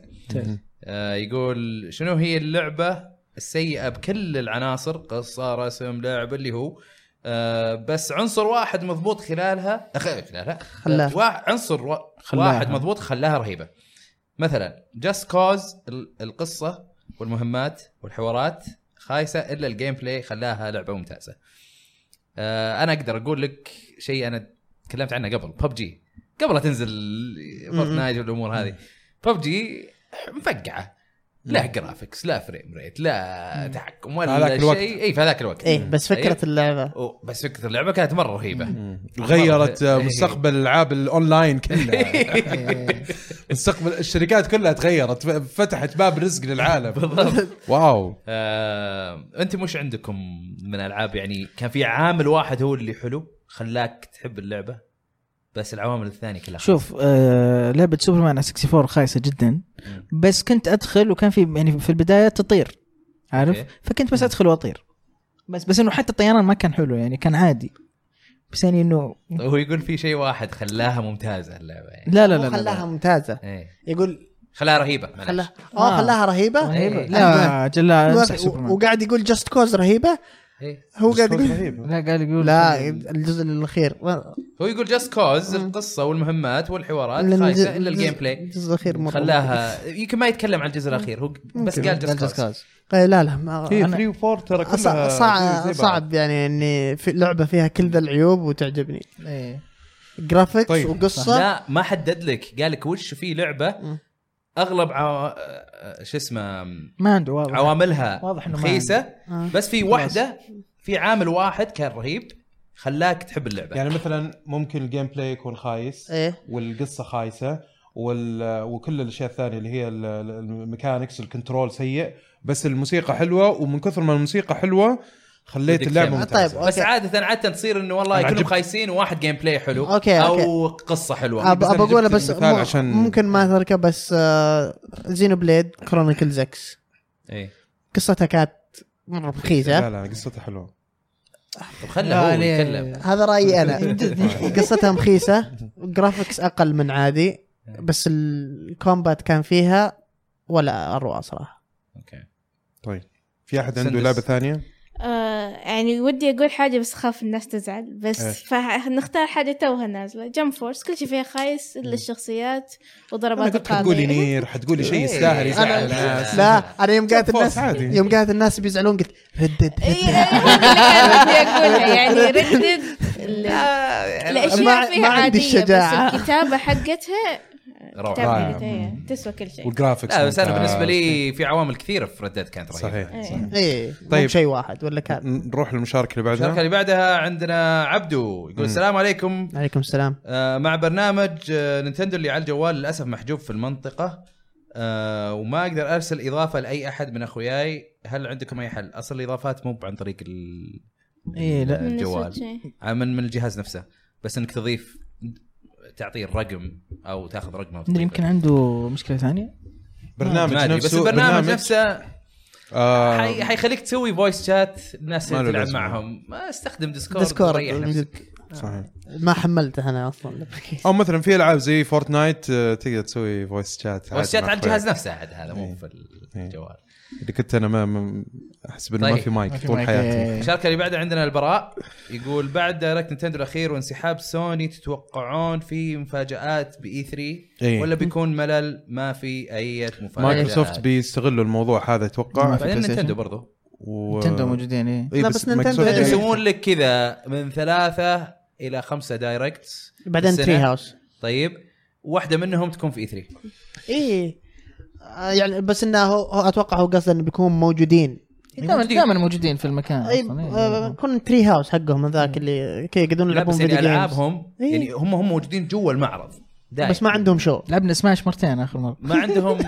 آه، يقول شنو هي اللعبه السيئه بكل العناصر قصه رسم لعب اللي هو آه، بس عنصر واحد مضبوط خلالها أخ- خلالها خلاها. وا- عنصر وا- خلاها. واحد مضبوط خلاها رهيبه مثلا جاست كوز القصه والمهمات والحوارات خايسه الا الجيم بلاي خلاها لعبه ممتازه آه، انا اقدر اقول لك شيء انا تكلمت عنه قبل ببجي قبل لا تنزل فورتنايت والامور هذه ببجي مفقعه لا جرافيكس لا فريم ريت لا تحكم هذاك ولا الوقت. شيء اي في هذاك الوقت ايه بس فكره اللعبه و- بس فكره اللعبه كانت مره رهيبه غيرت مستقبل العاب الاونلاين كلها مستقبل الشركات كلها تغيرت فتحت باب رزق للعالم بالضبط واو آه، انت مش عندكم من العاب يعني كان في عامل واحد هو اللي حلو خلاك تحب اللعبه بس العوامل الثانيه كلها شوف آه لعبه سوبرمان على 64 خايسه جدا بس كنت ادخل وكان في يعني في البدايه تطير عارف أوكي. فكنت بس ادخل واطير بس بس انه حتى الطيران ما كان حلو يعني كان عادي بس يعني انه هو يقول في شيء واحد خلاها ممتازه اللعبه يعني لا لا هو لا, لا, خلاها لا. ممتازه ايه يقول خلاها رهيبه معلش. خلاها آه. اه خلاها رهيبه رهيبة. أنا- إيه، لا جلا امسح و- سوبرمان وقاعد يقول جاست كوز رهيبه إيه. هو قاعد يعني يقول رهيب لا قال يقول لا الجزء الاخير هو يقول جاست كوز القصه والمهمات والحوارات خايسه الا الجيم بلاي الجزء الاخير مره خلاها يمكن ما يتكلم عن الجزء الاخير هو بس قال جاست كوز إيه، لا لا ما في أنا- 3 و 4 ترى كلها زي- صعب, زي صعب, بعض. صعب يعني اني في لعبه فيها كل ذا العيوب وتعجبني إيه. جرافيكس طيب. طيب. وقصه لا ما حدد لك قال لك وش في لعبه مم. اغلب عو... آه، شو اسمه ما عنده واضح عواملها واضح إنه ما خيسه آه. بس في واحده في عامل واحد كان رهيب خلاك تحب اللعبه يعني مثلا ممكن الجيم بلاي يكون خايس ايه والقصه خايسه وال... وكل الاشياء الثانيه اللي هي ال- ال- الميكانكس الكنترول سيء بس الموسيقى حلوه ومن كثر ما الموسيقى حلوه خليت بدك اللعبه تعمل. ممتازه طيب. بس أوكي. عاده عاده تصير انه والله يعني أنا كلهم عجبت- خايسين وواحد جيم بلاي حلو أوكي، او قصه حلوه اب بس أنا بقوله يعني جبت بس المثال مو- عشان- ممكن ما تركه بس آه زينو بليد كرونيكلز اكس ايه قصتها كانت مره لا رخيصه لا قصتها حلوه طب خله هو يعني لا، يتكلم هذا رايي انا قصتها مخيسه جرافيكس اقل من عادي بس الكومبات كان فيها ولا اروع صراحه اوكي طيب في احد عنده سندس. لعبه ثانيه؟ آه يعني ودي اقول حاجه بس اخاف الناس تزعل إيه. بس فنختار حاجه توها نازله جم فورس كل شيء فيها خايس الا الشخصيات انا وضربات قلت يعني حتقولي القاضي نير حتقولي شيء إيه. يستاهل يزعل أنا- الناس لا انا يوم قالت جاب الناس فوز عادي. يوم قالت الناس بيزعلون قلت ردد اي إي، هذا إيه، اللي كان ودي اقولها يعني ردد ال- ما- الاشياء فيها ما عندي عادية الشجاعة. بس الكتابه حقتها روعه رائع. الكتابه حقتها تسوى كل شيء والجرافكس لا بس انا ممتاز. بالنسبه لي في عوامل كثيره في ردات كانت رهيبه صحيح إيه. صحيح. ايه طيب. طيب شيء واحد ولا كان نروح للمشاركه اللي الشركه بعدها اللي بعدها عندنا عبدو يقول السلام عليكم عليكم السلام آه، مع برنامج آه، نينتندو اللي على الجوال للاسف محجوب في المنطقه آه وما اقدر ارسل اضافه لاي احد من اخوياي هل عندكم اي حل اصل الاضافات مو عن طريق ال... إيه، لا. من الجوال السويتش. آه، من من الجهاز نفسه بس انك تضيف تعطيه الرقم او تاخذ رقمه مدري يمكن عنده مشكله ثانيه برنامج برنامج نفسه بس البرنامج نفسه آه حي... حيخليك تسوي فويس شات الناس ما له تلعب لازمة. معهم ما استخدم ديسكورد ديسكورد وريح نفسك. صحيح ما حملته انا اصلا او مثلا في العاب زي فورتنايت آه، تقدر تسوي فويس شات عادي فويس شات مع على الجهاز أخوياك. نفسه عاد هذا إيه. مو في الجوال اللي كنت انا ما- ما احسب انه ما طيب. في ما مايك في طول مايك، حياتي إيه. الشركه اللي بعدها عندنا البراء يقول بعد دايركت نينتندو الاخير وانسحاب سوني تتوقعون في مفاجات باي 3 إيه. ولا بيكون ملل ما في اي مفاجات مايكروسوفت بيستغلوا الموضوع هذا اتوقع ما في بعدين PlayStation. نينتندو برضو و... نتندو موجودين ايه إيه لا، بس بس نينتندو مايكروسوفت- إيه. يسوون لك كذا من ثلاثه الى خمسه دايركت بعدين السنة. تري هاوس طيب واحده منهم تكون في اي 3 ايه آه، يعني بس انه هو هو اتوقع هو قصده انه بيكون موجودين دائما دائما موجودين في المكان اي أصلاً، إيه. آه، يكون تري هاوس حقهم هذاك اللي كي يقدرون لا يلعبون بس فيديو يعني جيمز العابهم إيه. يعني هم هم موجودين جوا المعرض دايم. بس ما عندهم شو لعبنا سماش مرتين اخر مره ما عندهم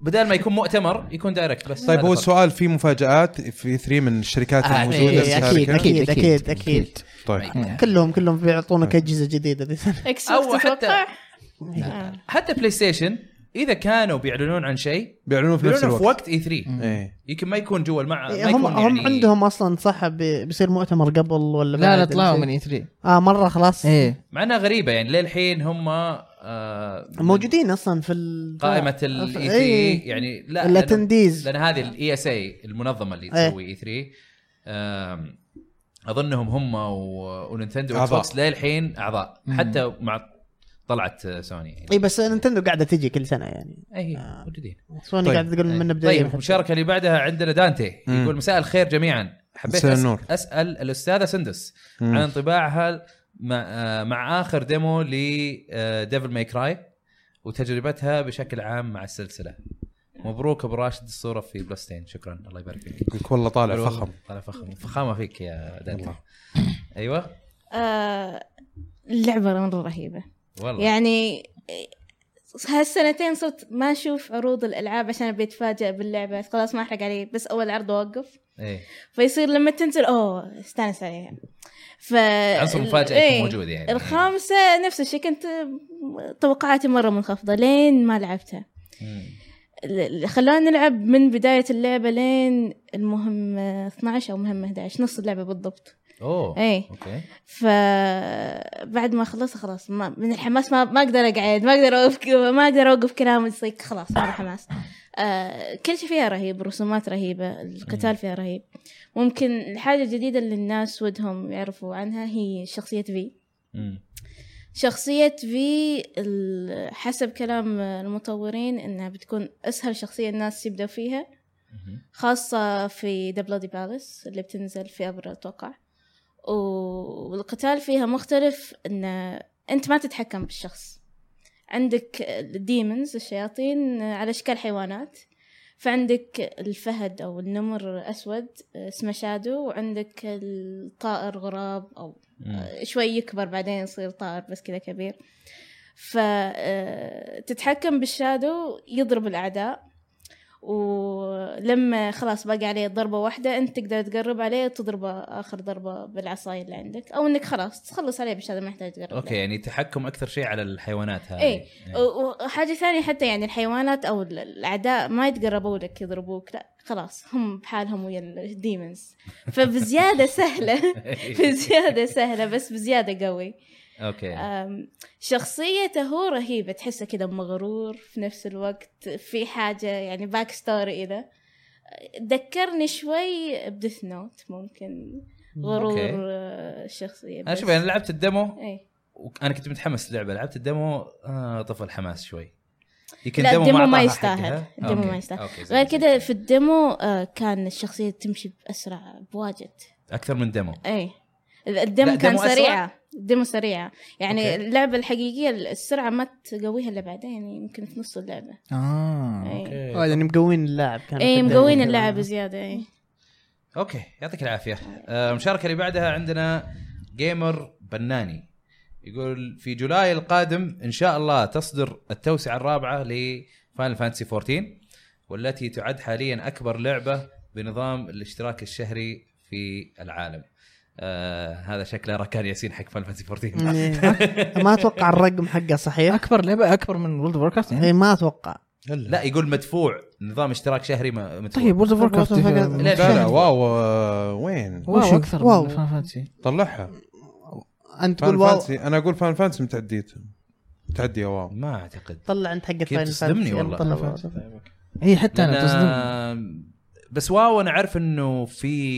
بدل ما يكون مؤتمر يكون دايركت بس طيب هذا هو الفرق. السؤال في مفاجات في 3 من الشركات آه، الموجوده إيه، في أكيد، الشركة؟ أكيد، إيه. أكيد، أكيد. طيب كلهم كلهم بيعطونك اجهزه جديده ذي السنة. اكس أو أو حتى- تتوقع لا. حتى بلاي ستيشن اذا كانوا بيعلنون عن شيء بيعلنون في نفس بيعلنون في الوقت وقت اي 3 ايه يمكن ما يكون جوا المع ما إيه، هم يكون هم يعني- عندهم اصلا صح بي- بيصير مؤتمر قبل ولا لا لا بعد طلعوا شيء. من E اي 3 اه مره خلاص ايه مع انها غريبه يعني للحين هم آه موجودين اصلا في ال- قائمه الاي 3 إيه. يعني لا لأنه- الاتنديز لان هذه الاي اس اي المنظمه اللي إيه. تسوي اي 3 آم، اظنهم هم و- ونينتندو أعضاء. اعضاء للحين اعضاء حتى مع طلعت سوني اي بس نينتندو قاعده تجي كل سنه يعني اي موجودين سوني طيب. طيب. قاعده تقول من البدايه طيب المشاركه اللي بعدها عندنا دانتي مم. يقول مساء الخير جميعا حبيت مساء أس... النور. اسال الاستاذه سندس مم. عن انطباعها مع, آه، مع اخر ديمو ل آه، ديفل ماي كراي وتجربتها بشكل عام مع السلسله مبروك ابو راشد الصوره في بلاستين شكرا الله يبارك فيك يقولك والله طالع حلو. فخم طالع فخم فخامه فيك يا دانتي والله. ايوه آه، اللعبه مره رهيبه والله يعني هالسنتين صرت ما اشوف عروض الالعاب عشان ابي اتفاجئ باللعبه خلاص ما احرق عليه بس اول عرض اوقف ايه فيصير لما تنزل اوه استانس عليها ف عنصر المفاجاه يعني إيه. يكون موجود يعني الخامسه نفس الشيء كنت م- توقعاتي مره منخفضه لين ما لعبتها مم. ال- خلونا نلعب من بدايه اللعبه لين المهمه 12 او مهمه 11 نص اللعبه بالضبط اوه إيه. اوكي فبعد ما خلصت خلاص ما من الحماس ما ما اقدر اقعد ما اقدر اوقف ما اقدر اوقف كلام صيك خلاص هذا حماس آه كل شيء فيها رهيب رسومات رهيبه القتال فيها رهيب ممكن الحاجه الجديده اللي الناس ودهم يعرفوا عنها هي شخصيه في مم. شخصية في ال- حسب كلام المطورين انها بتكون اسهل شخصية الناس يبدأوا فيها مم. خاصة في ذا بلودي بالاس اللي بتنزل في أبريل أتوقع و- والقتال فيها مختلف إن أنت ما تتحكم بالشخص عندك الديمونز الشياطين على أشكال حيوانات فعندك الفهد أو النمر أسود اسمه شادو وعندك الطائر غراب أو مم. شوي يكبر بعدين يصير طائر بس كذا كبير فتتحكم بالشادو يضرب الأعداء ولما خلاص باقي عليه ضربة واحدة أنت تقدر تقرب عليه تضربه آخر ضربة بالعصاية اللي عندك أو أنك خلاص تخلص عليه بالشادو ما يحتاج تقرب له. اوكي يعني تحكم اكثر شيء على الحيوانات هذه يعني. إيه. و- وحاجة ثانية حتى يعني الحيوانات أو ال- الأعداء ما يتقربوا لك يضربوك لا خلاص هم بحالهم ويا الديمونز فبزيادة سهلة بزيادة سهلة بس بزيادة قوي اوكي أم، شخصيته هو رهيبة تحسه كذا مغرور في نفس الوقت في حاجة يعني باك ستوري إذا ذكرني شوي بديث نوت ممكن أوكي. غرور آه، الشخصية انا بس. شوف يعني انا لعبت الديمو إيه. وانا كنت متحمس للعبه لعبت الديمو آه طفى الحماس شوي يمكن لا، الديمو أعطاها ما يستاهل. حقها. الديمو ما أوكي. يستاهل. أوكي، زين، غير زين. كذا في الديمو آه، كان الشخصية تمشي بأسرع بواجد اكثر من ديمو اي لا، الديمو كان ديمو أسرع؟ سريعة الديمو سريعة يعني أوكي. اللعبة الحقيقية السرعة ما تقويها إلا بعدين يعني يمكن في نص اللعبة اه أي. آه، يعني مقوين اللاعب كانوا في اي الدنيا. إيه، مقوين إيه. اللعب زياده اي اوكي يعطيك العافيه آه، المشاركه اللي بعدها عندنا جيمر بناني يقول في جولاي القادم ان شاء الله تصدر التوسعه الرابعه ل فاينل فانتسي 14 والتي تعد حاليا اكبر لعبه بنظام الاشتراك الشهري في العالم آه هذا شكله ركان ياسين حق فاينل فانتسي 14 إيه. ما اتوقع الرقم حقه صحيح اكبر لعبه اكبر من وورلد اوف كاست يعني إيه، ما اتوقع لا يقول مدفوع نظام اشتراك شهري م- مدفوع طيب وورلد اوف كاست إيه، لا، لا لا شهر. واو آه، وين واو اكثر واو. من فان فانتسي طلعها انت تقول فان واو فانسي انا اقول فان فانسي متعديت متعديه واو ما اعتقد طلع انت حق كيف فاين تصدمني فانتسي، يلا طلع والله واو. اي إيه، حتى انا تصدم أنا بس واو انا اعرف انه في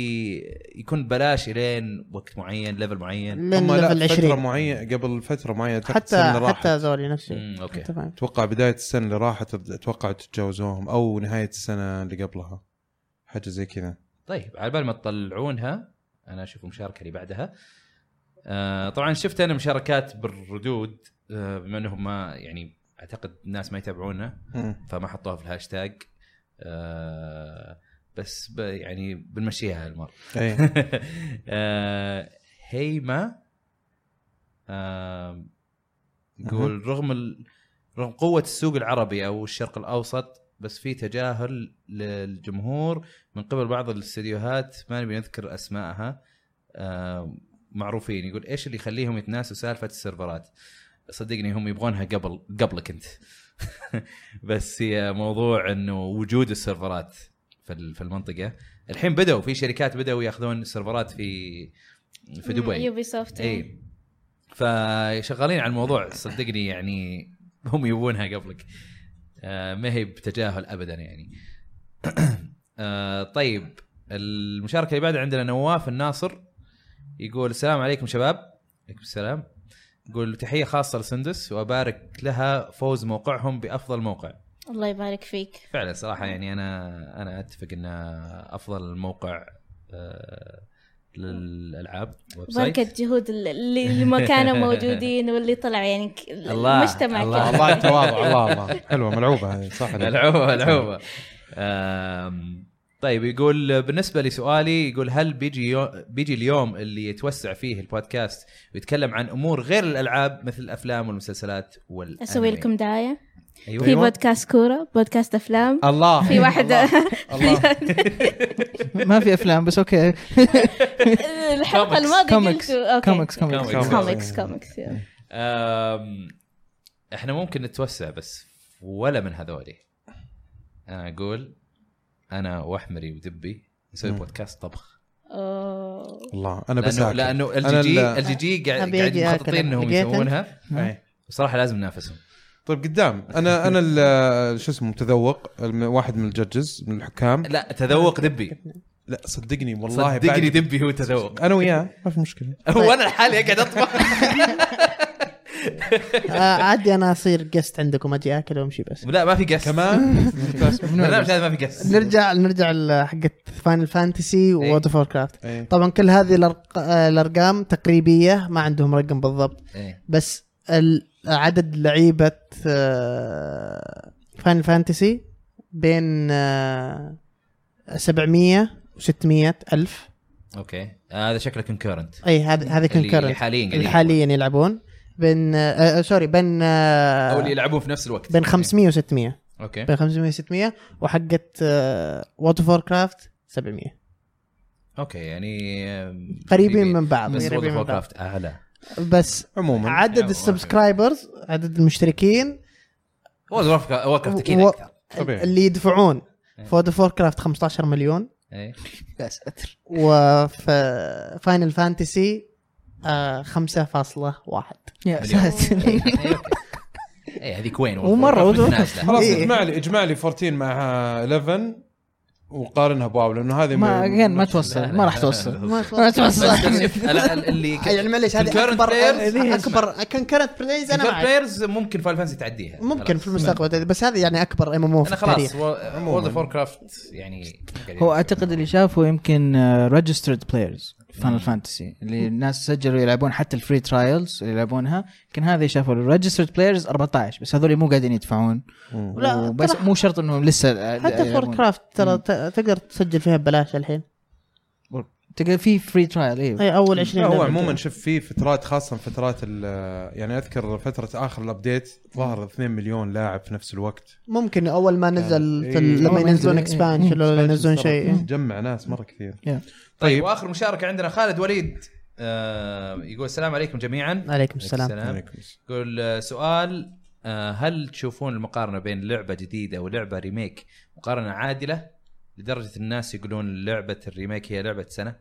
يكون بلاش الين وقت معين ليفل معين لين هم لا ليفل فتره 20 معينه قبل فتره معينه أعتقد السنة اللي حتى راحت. حتى زوري نفسه مم، اوكي انت فاهم اتوقع بدايه السنه اللي راحت أبد- اتوقع تتجاوزوهم او نهايه السنه اللي قبلها حاجه زي كذا طيب على بال ما تطلعونها انا اشوف المشاركه اللي بعدها آه طبعا شفت انا مشاركات بالردود آه بما انهم ما يعني اعتقد الناس ما يتابعونا مم. فما حطوها في الهاشتاج آه بس ب يعني بنمشيها هالمره اي آه، هيما آه، يقول رغم ال... رغم قوة السوق العربي او الشرق الاوسط بس في تجاهل للجمهور من قبل بعض الاستديوهات ما نبي نذكر اسمائها آه، معروفين يقول ايش اللي يخليهم يتناسوا سالفة السيرفرات صدقني هم يبغونها قبل قبلك انت بس هي موضوع انه وجود السيرفرات في ال- في المنطقه الحين بدأوا في شركات بدأوا ياخذون سيرفرات في في دبي إيه. يوبي سوفت اي فشغالين على الموضوع صدقني يعني هم يبونها قبلك آه، ما هي بتجاهل ابدا يعني آه، طيب المشاركه اللي بعدها عندنا نواف الناصر يقول السلام عليكم شباب عليكم السلام يقول تحيه خاصه لسندس وابارك لها فوز موقعهم بافضل موقع الله يبارك فيك فعلا صراحه يعني انا انا اتفق انه افضل موقع آه، للالعاب ويب سايت بركة جهود ال- اللي اللي ما كانوا موجودين واللي طلعوا يعني ك- الله، المجتمع الله، كله. الله تواضع الله الله حلوه ملعوبه هذه صح عليك. العوبه العوبه آم، طيب يقول بالنسبه لسؤالي يقول هل بيجي يو... بيجي اليوم اللي يتوسع فيه البودكاست ويتكلم عن امور غير الالعاب مثل الافلام والمسلسلات والانمي اسوي لكم دعايه أيوة. في بودكاست كوره بودكاست افلام الله في واحد الله ما في افلام بس اوكي الحلقه الماضيه كوميكس قلتوا اوكي كوميكس كوميكس كوميكس. كوميكس كوميكس يلا. أم، احنا ممكن نتوسع بس ولا من هذولي انا اقول انا واحمري ودبي نسوي مم. بودكاست طبخ أوه. الله انا بس لانه آكل. لانه أنا ال جي لا- ال جي قاعد أبي قاعد أجي آكل. مخططين انهم لقيت أنت؟ يسوونها أي. بصراحه لازم ننافسهم طيب قدام انا انا ال- شو اسمه متذوق الم- واحد من الجدجز من الحكام لا تذوق دبي لا صدقني والله صدقني بعد- دبي هو تذوق انا وياه ما في مشكله وانا لحالي اقعد اطبخ آه، عادي انا اصير قست عندكم اجي اكل وامشي بس لا ما في قس كمان لا مش هذا ما في قس نرجع نرجع حقت فاينل فانتسي وورد اوف كرافت إيه. طبعا كل هذه الأرق- آه، الارقام تقريبيه ما عندهم رقم بالضبط إيه. بس ال- عدد لعيبه فاينل فانتسي بين آه، 700 و600 الف اوكي آه، هذا شكله كونكورنت اي هذه هذه اللي كونكرنت حاليا قاعدين اللي حاليا يلعبون بين آه، آه، سوري بين آه، او اللي يلعبون في نفس الوقت إيه، بين 500 و600 اوكي بين 500 و600 وحقت آه، وات اوف كرافت 700 اوكي يعني آم، قريبين من بعض بس وورد قريبين من اوف بعض كرافت اعلى بس عموما عدد السبسكرايبرز عدد المشتركين وورد اوف كرافت اكيد و- اكثر طبيعي. اللي يدفعون في وورد اوف كرافت 15 مليون إيه. يا ساتر وفي فاينل فانتسي آه، 5.1 يا مليون. ساتر إيه، أوكي. ايه هذيك وين ومرة وورد وورد اوف أوف كرافت نازلة. خلاص إيه. اجمع لي اجمع لي 14 مع 11 وقارنها بواو لانه هذه ما من- again ما توصل ما راح توصل ما توصل بس شوف، ال- ال- اللي يعني معليش هذه concurrent اكبر players- اكبر كان كانت بلايز انا concurrent معك players ممكن فايل فانسي تعديها ممكن خلاص. في المستقبل بس هذه يعني اكبر ام ام او في انا خلاص التاريخ وورد اوف كرافت يعني قاعدين هو نشوف. اعتقد اللي شافه يمكن آه, ريجسترد بلايرز فان فانتسي اللي الناس سجلوا يلعبون حتى الفري ترايلز اللي يلعبونها يمكن هذا شافوا الريجسترد بلايرز 14 بس هذول مو قاعدين يدفعون مم. لا، بس ترى- مو شرط انهم لسه آه, حتى في يلعبون. كرافت ترى ت- تقدر تسجل فيها ببلاش الحين تقدر في فري ترايل ايوه اي اول لا 20 هو لعبة. عموما شوف في فترات خاصه فترات ال- يعني اذكر فتره اخر الابديت ظهر 2 مليون لاعب في نفس الوقت ممكن اول ما نزل إيه. في ال- لما أول ما ينزلون نزل، إيه. اكسبانشن ولا ينزلون صراحة شيء إيه. جمع ناس مره كثير طيب واخر مشاركه عندنا خالد وليد آه يقول السلام عليكم جميعا عليكم السلام عليكم. يقول آه، سؤال آه، هل تشوفون المقارنه بين لعبه جديده ولعبه ريميك مقارنه عادله لدرجه الناس يقولون لعبه الريميك هي لعبه سنه؟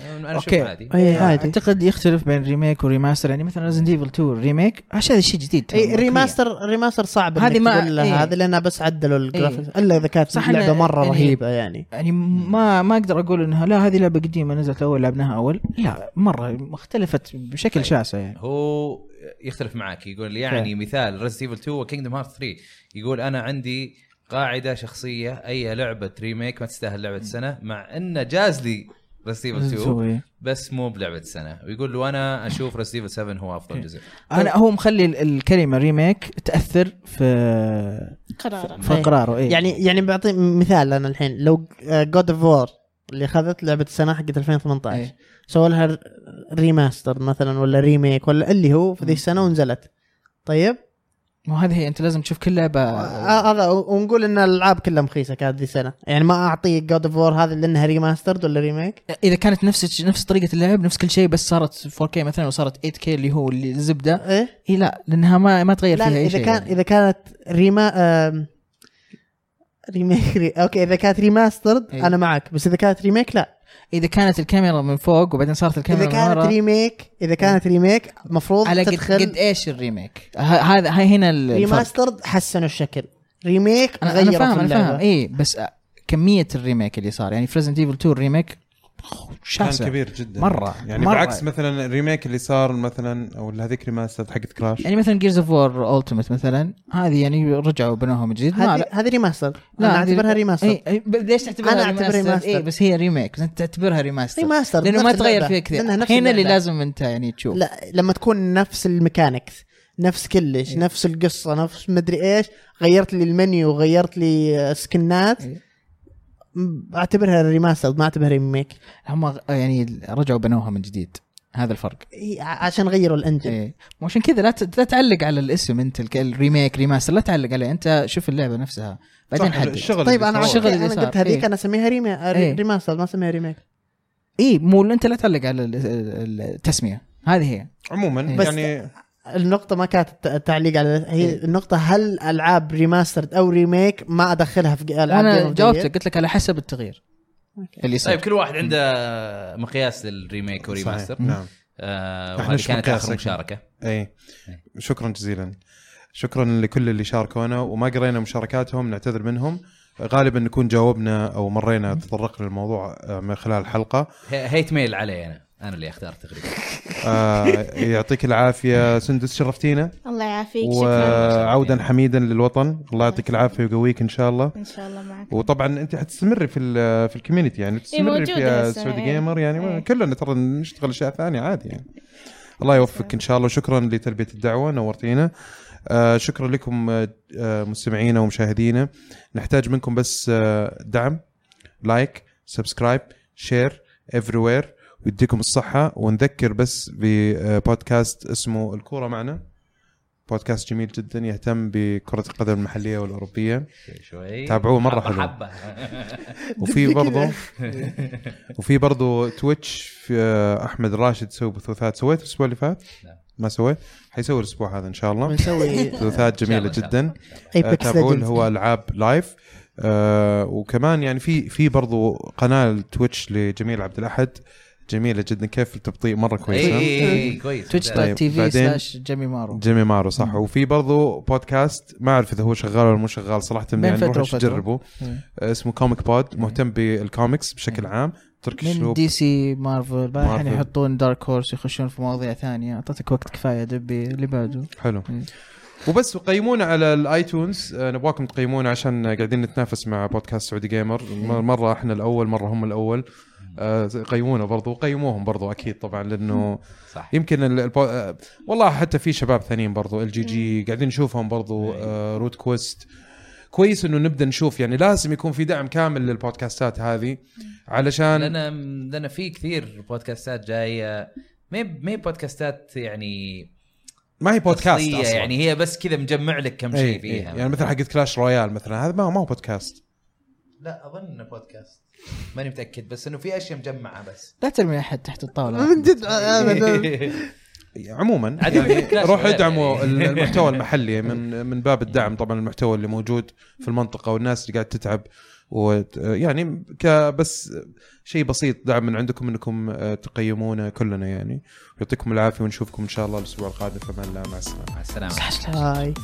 آه، انا أوكي. اشوف عادي اي إيه، إيه، آه، عادي اعتقد يختلف بين ريميك وريماستر يعني مثلا ريزن ديفل 2 ريميك عشان هذا شيء جديد اي ريماستر ريماستر إيه، صعب هذه هذه ما- ما تقول إيه. لها هذه لانها بس عدلوا الجرافيكس الا اذا كانت صح لعبه إن- مره إن هي- رهيبه يعني يعني ما ما اقدر اقول انها لا هذه لعبه قديمه نزلت اول لعبناها اول لا مره اختلفت طيب. بشكل شاسع يعني هو يختلف معك يقول يعني مثال ريزنت ايفل 2 وكينجدم هارت 3 يقول انا عندي قاعده شخصيه اي لعبه ريميك ما تستاهل لعبه سنه مع انه جاز لي ريزنت ايفل 2 نسوي. بس مو بلعبه سنه ويقول وانا اشوف ريزنت ايفل 7 هو افضل أوكي. جزء طيب. انا هو مخلي ال- الكلمه ريميك تاثر في قرارا في قراره اي يعني يعني بعطي مثال انا الحين لو آه، جود اوف وور اللي اخذت لعبه السنه حقت 2018 إيه. سووا لها ر- ريماستر مثلا ولا ريميك ولا اللي هو في ذي السنه ونزلت طيب وهذه هي انت لازم تشوف كل لعبه آه، هذا ونقول ان الالعاب كلها مخيسه كانت ذي السنه يعني ما اعطي جود اوف وور هذه لانها ريماسترد ولا ريميك اذا كانت نفس نفس طريقه اللعب نفس كل شيء بس صارت 4K مثلا وصارت 8K اللي هو اللي الزبده ايه اي لا لانها ما ما تغير لا إيه، فيها اي اذا شيء كان يعني. اذا كانت ريما آم، ريميك ري... اوكي اذا كانت ريماسترد إيه. انا معك بس اذا كانت ريميك لا اذا كانت الكاميرا من فوق وبعدين صارت الكاميرا اذا من ورا كانت ريميك اذا كانت ريميك مفروض إيه. على قد, تدخل قد يعني ايش الريميك ه- هذا هاي هنا ال- الفرق ريماسترد حسنوا الشكل ريميك انا انا غيروا فاهم في انا فاهم اللعبه اي بس آه، كميه الريميك اللي صار يعني فريزنت ايفل 2 الريميك كان شاسع كبير جدا مرة. يعني مرة. بعكس مثلا الريميك اللي صار مثلا او هذيك ريماستر حقت كراش يعني مثلا جيرز اوف وور التيمت مثلا هذه يعني رجعوا بنوها من جديد ما هذه لا هذه ريماستر لا إيه، انا اعتبرها ريماستر اي أي، ب- ليش تعتبرها أنا أعتبر ريماستر. اي بس هي ريميك بس انت تعتبرها ريماستر ريماستر لانه ما بنفس تغير اللعبة. فيها كثير لأنها نفس هنا اللي اللعبة. لازم انت يعني تشوف لا لما تكون نفس الميكانكس نفس كلش إيه. نفس القصه نفس مدري ايش غيرت لي المنيو وغيرت لي آه، سكنات إيه. م- اعتبرها ريماستر ما اعتبرها ريميك هم يعني رجعوا بنوها من جديد هذا الفرق إيه، ع- عشان غيروا الانجن ايه وعشان كذا لا ت- لا تعلق على الاسم انت الك- الريميك ريماستر لا تعلق عليه انت شوف اللعبه نفسها بعدين صح، حدد الشغل طيب اللي انا صار. عشان الشغل اللي انا صار. قلت هذيك إيه. انا اسميها ريمي... آه، ري- إيه. ريماستر ما اسميها ريميك اي إيه، مو انت لا تعلق على ال- ال- التسميه هذه هي عموما بس- يعني النقطة ما كانت الت- التعليق على هي إيه. النقطة هل العاب ريماسترد او ريميك ما ادخلها في العاب Game of انا the جاوبتك Year؟ قلت لك على حسب التغيير اللي يصير طيب كل واحد عنده مقياس للريميك وريماستر صحيح، نعم إيه. آه إحنا وهذه إيش كانت اخر مقياسك؟ مشاركه اي شكرا جزيلا شكرا لكل اللي شاركونا وما قرينا مشاركاتهم نعتذر منهم غالبا نكون جاوبنا او مرينا تطرقنا للموضوع آه، من خلال الحلقه هي- هيت ميل علي انا انا اللي اختار تقريبا آه، يعطيك العافيه سندس شرفتينا الله إيه، يعافيك شكرا وعودا حميدا للوطن الله نعم. يعطيك العافيه ويقويك ان شاء الله ان شاء الله معك وطبعا انت حتستمري في ال في الكوميونتي يعني تستمري موجودة في لسه، سعودي إيه. جيمر يعني ما- إيه. كلنا ترى نشتغل اشياء ثانيه عادي يعني الله يوفقك ان شاء الله وشكرا لتلبيه الدعوه نورتينا آه شكرا لكم آه آه، مستمعينا ومشاهدينا نحتاج منكم بس آه دعم لايك سبسكرايب شير افري وير ويديكم الصحه ونذكر بس ببودكاست اسمه الكوره معنا بودكاست جميل جدا يهتم بكره القدم المحليه والاوروبيه شوي تابعوه مرة حبة حلو. حبة. وفي برضه وفي برضه تويتش في آه، احمد راشد يسوي بثوثات سويت الاسبوع اللي فات؟ لا. ما سويت؟ حيسوي الاسبوع هذا ان شا الله ونسوي بثوثات جميله إن شاء الله، إن جدا شاء الله. آه، ايبكس تابعوه اللي هو العاب لايف آه وكمان يعني في في برضه قناه التويتش لجميل عبد الاحد جميله جدا كيف التبطيء مره إي- كويسه إي- إي، إيه، كويس تويتش طيب، تي في بعدين- سلاش جيمي مارو جيمي مارو صح وفي برضه بودكاست ما اعرف اذا هو شغال ولا مو شغال صراحه بين يعني فترة روحوا وفترة. تجربوا آه، اسمه كوميك بود مهتم بالكوميكس بشكل عام تركي من شلوب دي سي مارفل بعدين الحين مارفل. يحطون دارك هورس يخشون في مواضيع ثانيه اعطيتك وقت كفايه دبي اللي بعده حلو مم. وبس وقيمونا على الايتونز آه، نبغاكم تقيمونا عشان قاعدين نتنافس مع بودكاست سعودي جيمر م- مره احنا الاول مره هم الاول آه، قيمونا برضو وقيموهم برضو اكيد طبعا لانه صح يمكن ال- البو... آه، إيه. والله حتى في شباب ثانيين برضو ال جي جي قاعدين نشوفهم برضو آه، روت كويست كويس انه نبدا نشوف يعني لازم يكون في دعم كامل للبودكاستات هذه علشان لنا لنا في كثير بودكاستات جايه ما هي ما هي بودكاستات يعني ما هي بودكاست أصلية، اصلا يعني هي بس كذا مجمع لك كم شيء إيه، إيه. فيها يعني مثل حقت كلاش رويال مثلا هذا ما ما هو بودكاست لا اظن بودكاست ماني متاكد بس انه في اشياء مجمعه بس لا ترمي احد تحت إيه. الطاوله من جد آه، ابدا عموما عاد يعني كلاش روحوا رويال ادعموا يعني. المحتوى المحلي من من باب الدعم طبعا المحتوى اللي موجود في المنطقه والناس اللي قاعد تتعب وت- يعني ك بس شيء بسيط دعم من عندكم انكم آه، تقيمونا كلنا يعني يعطيكم العافيه ونشوفكم ان شاء الله الاسبوع القادم فمان الله مع السلامه مع السلامه هاي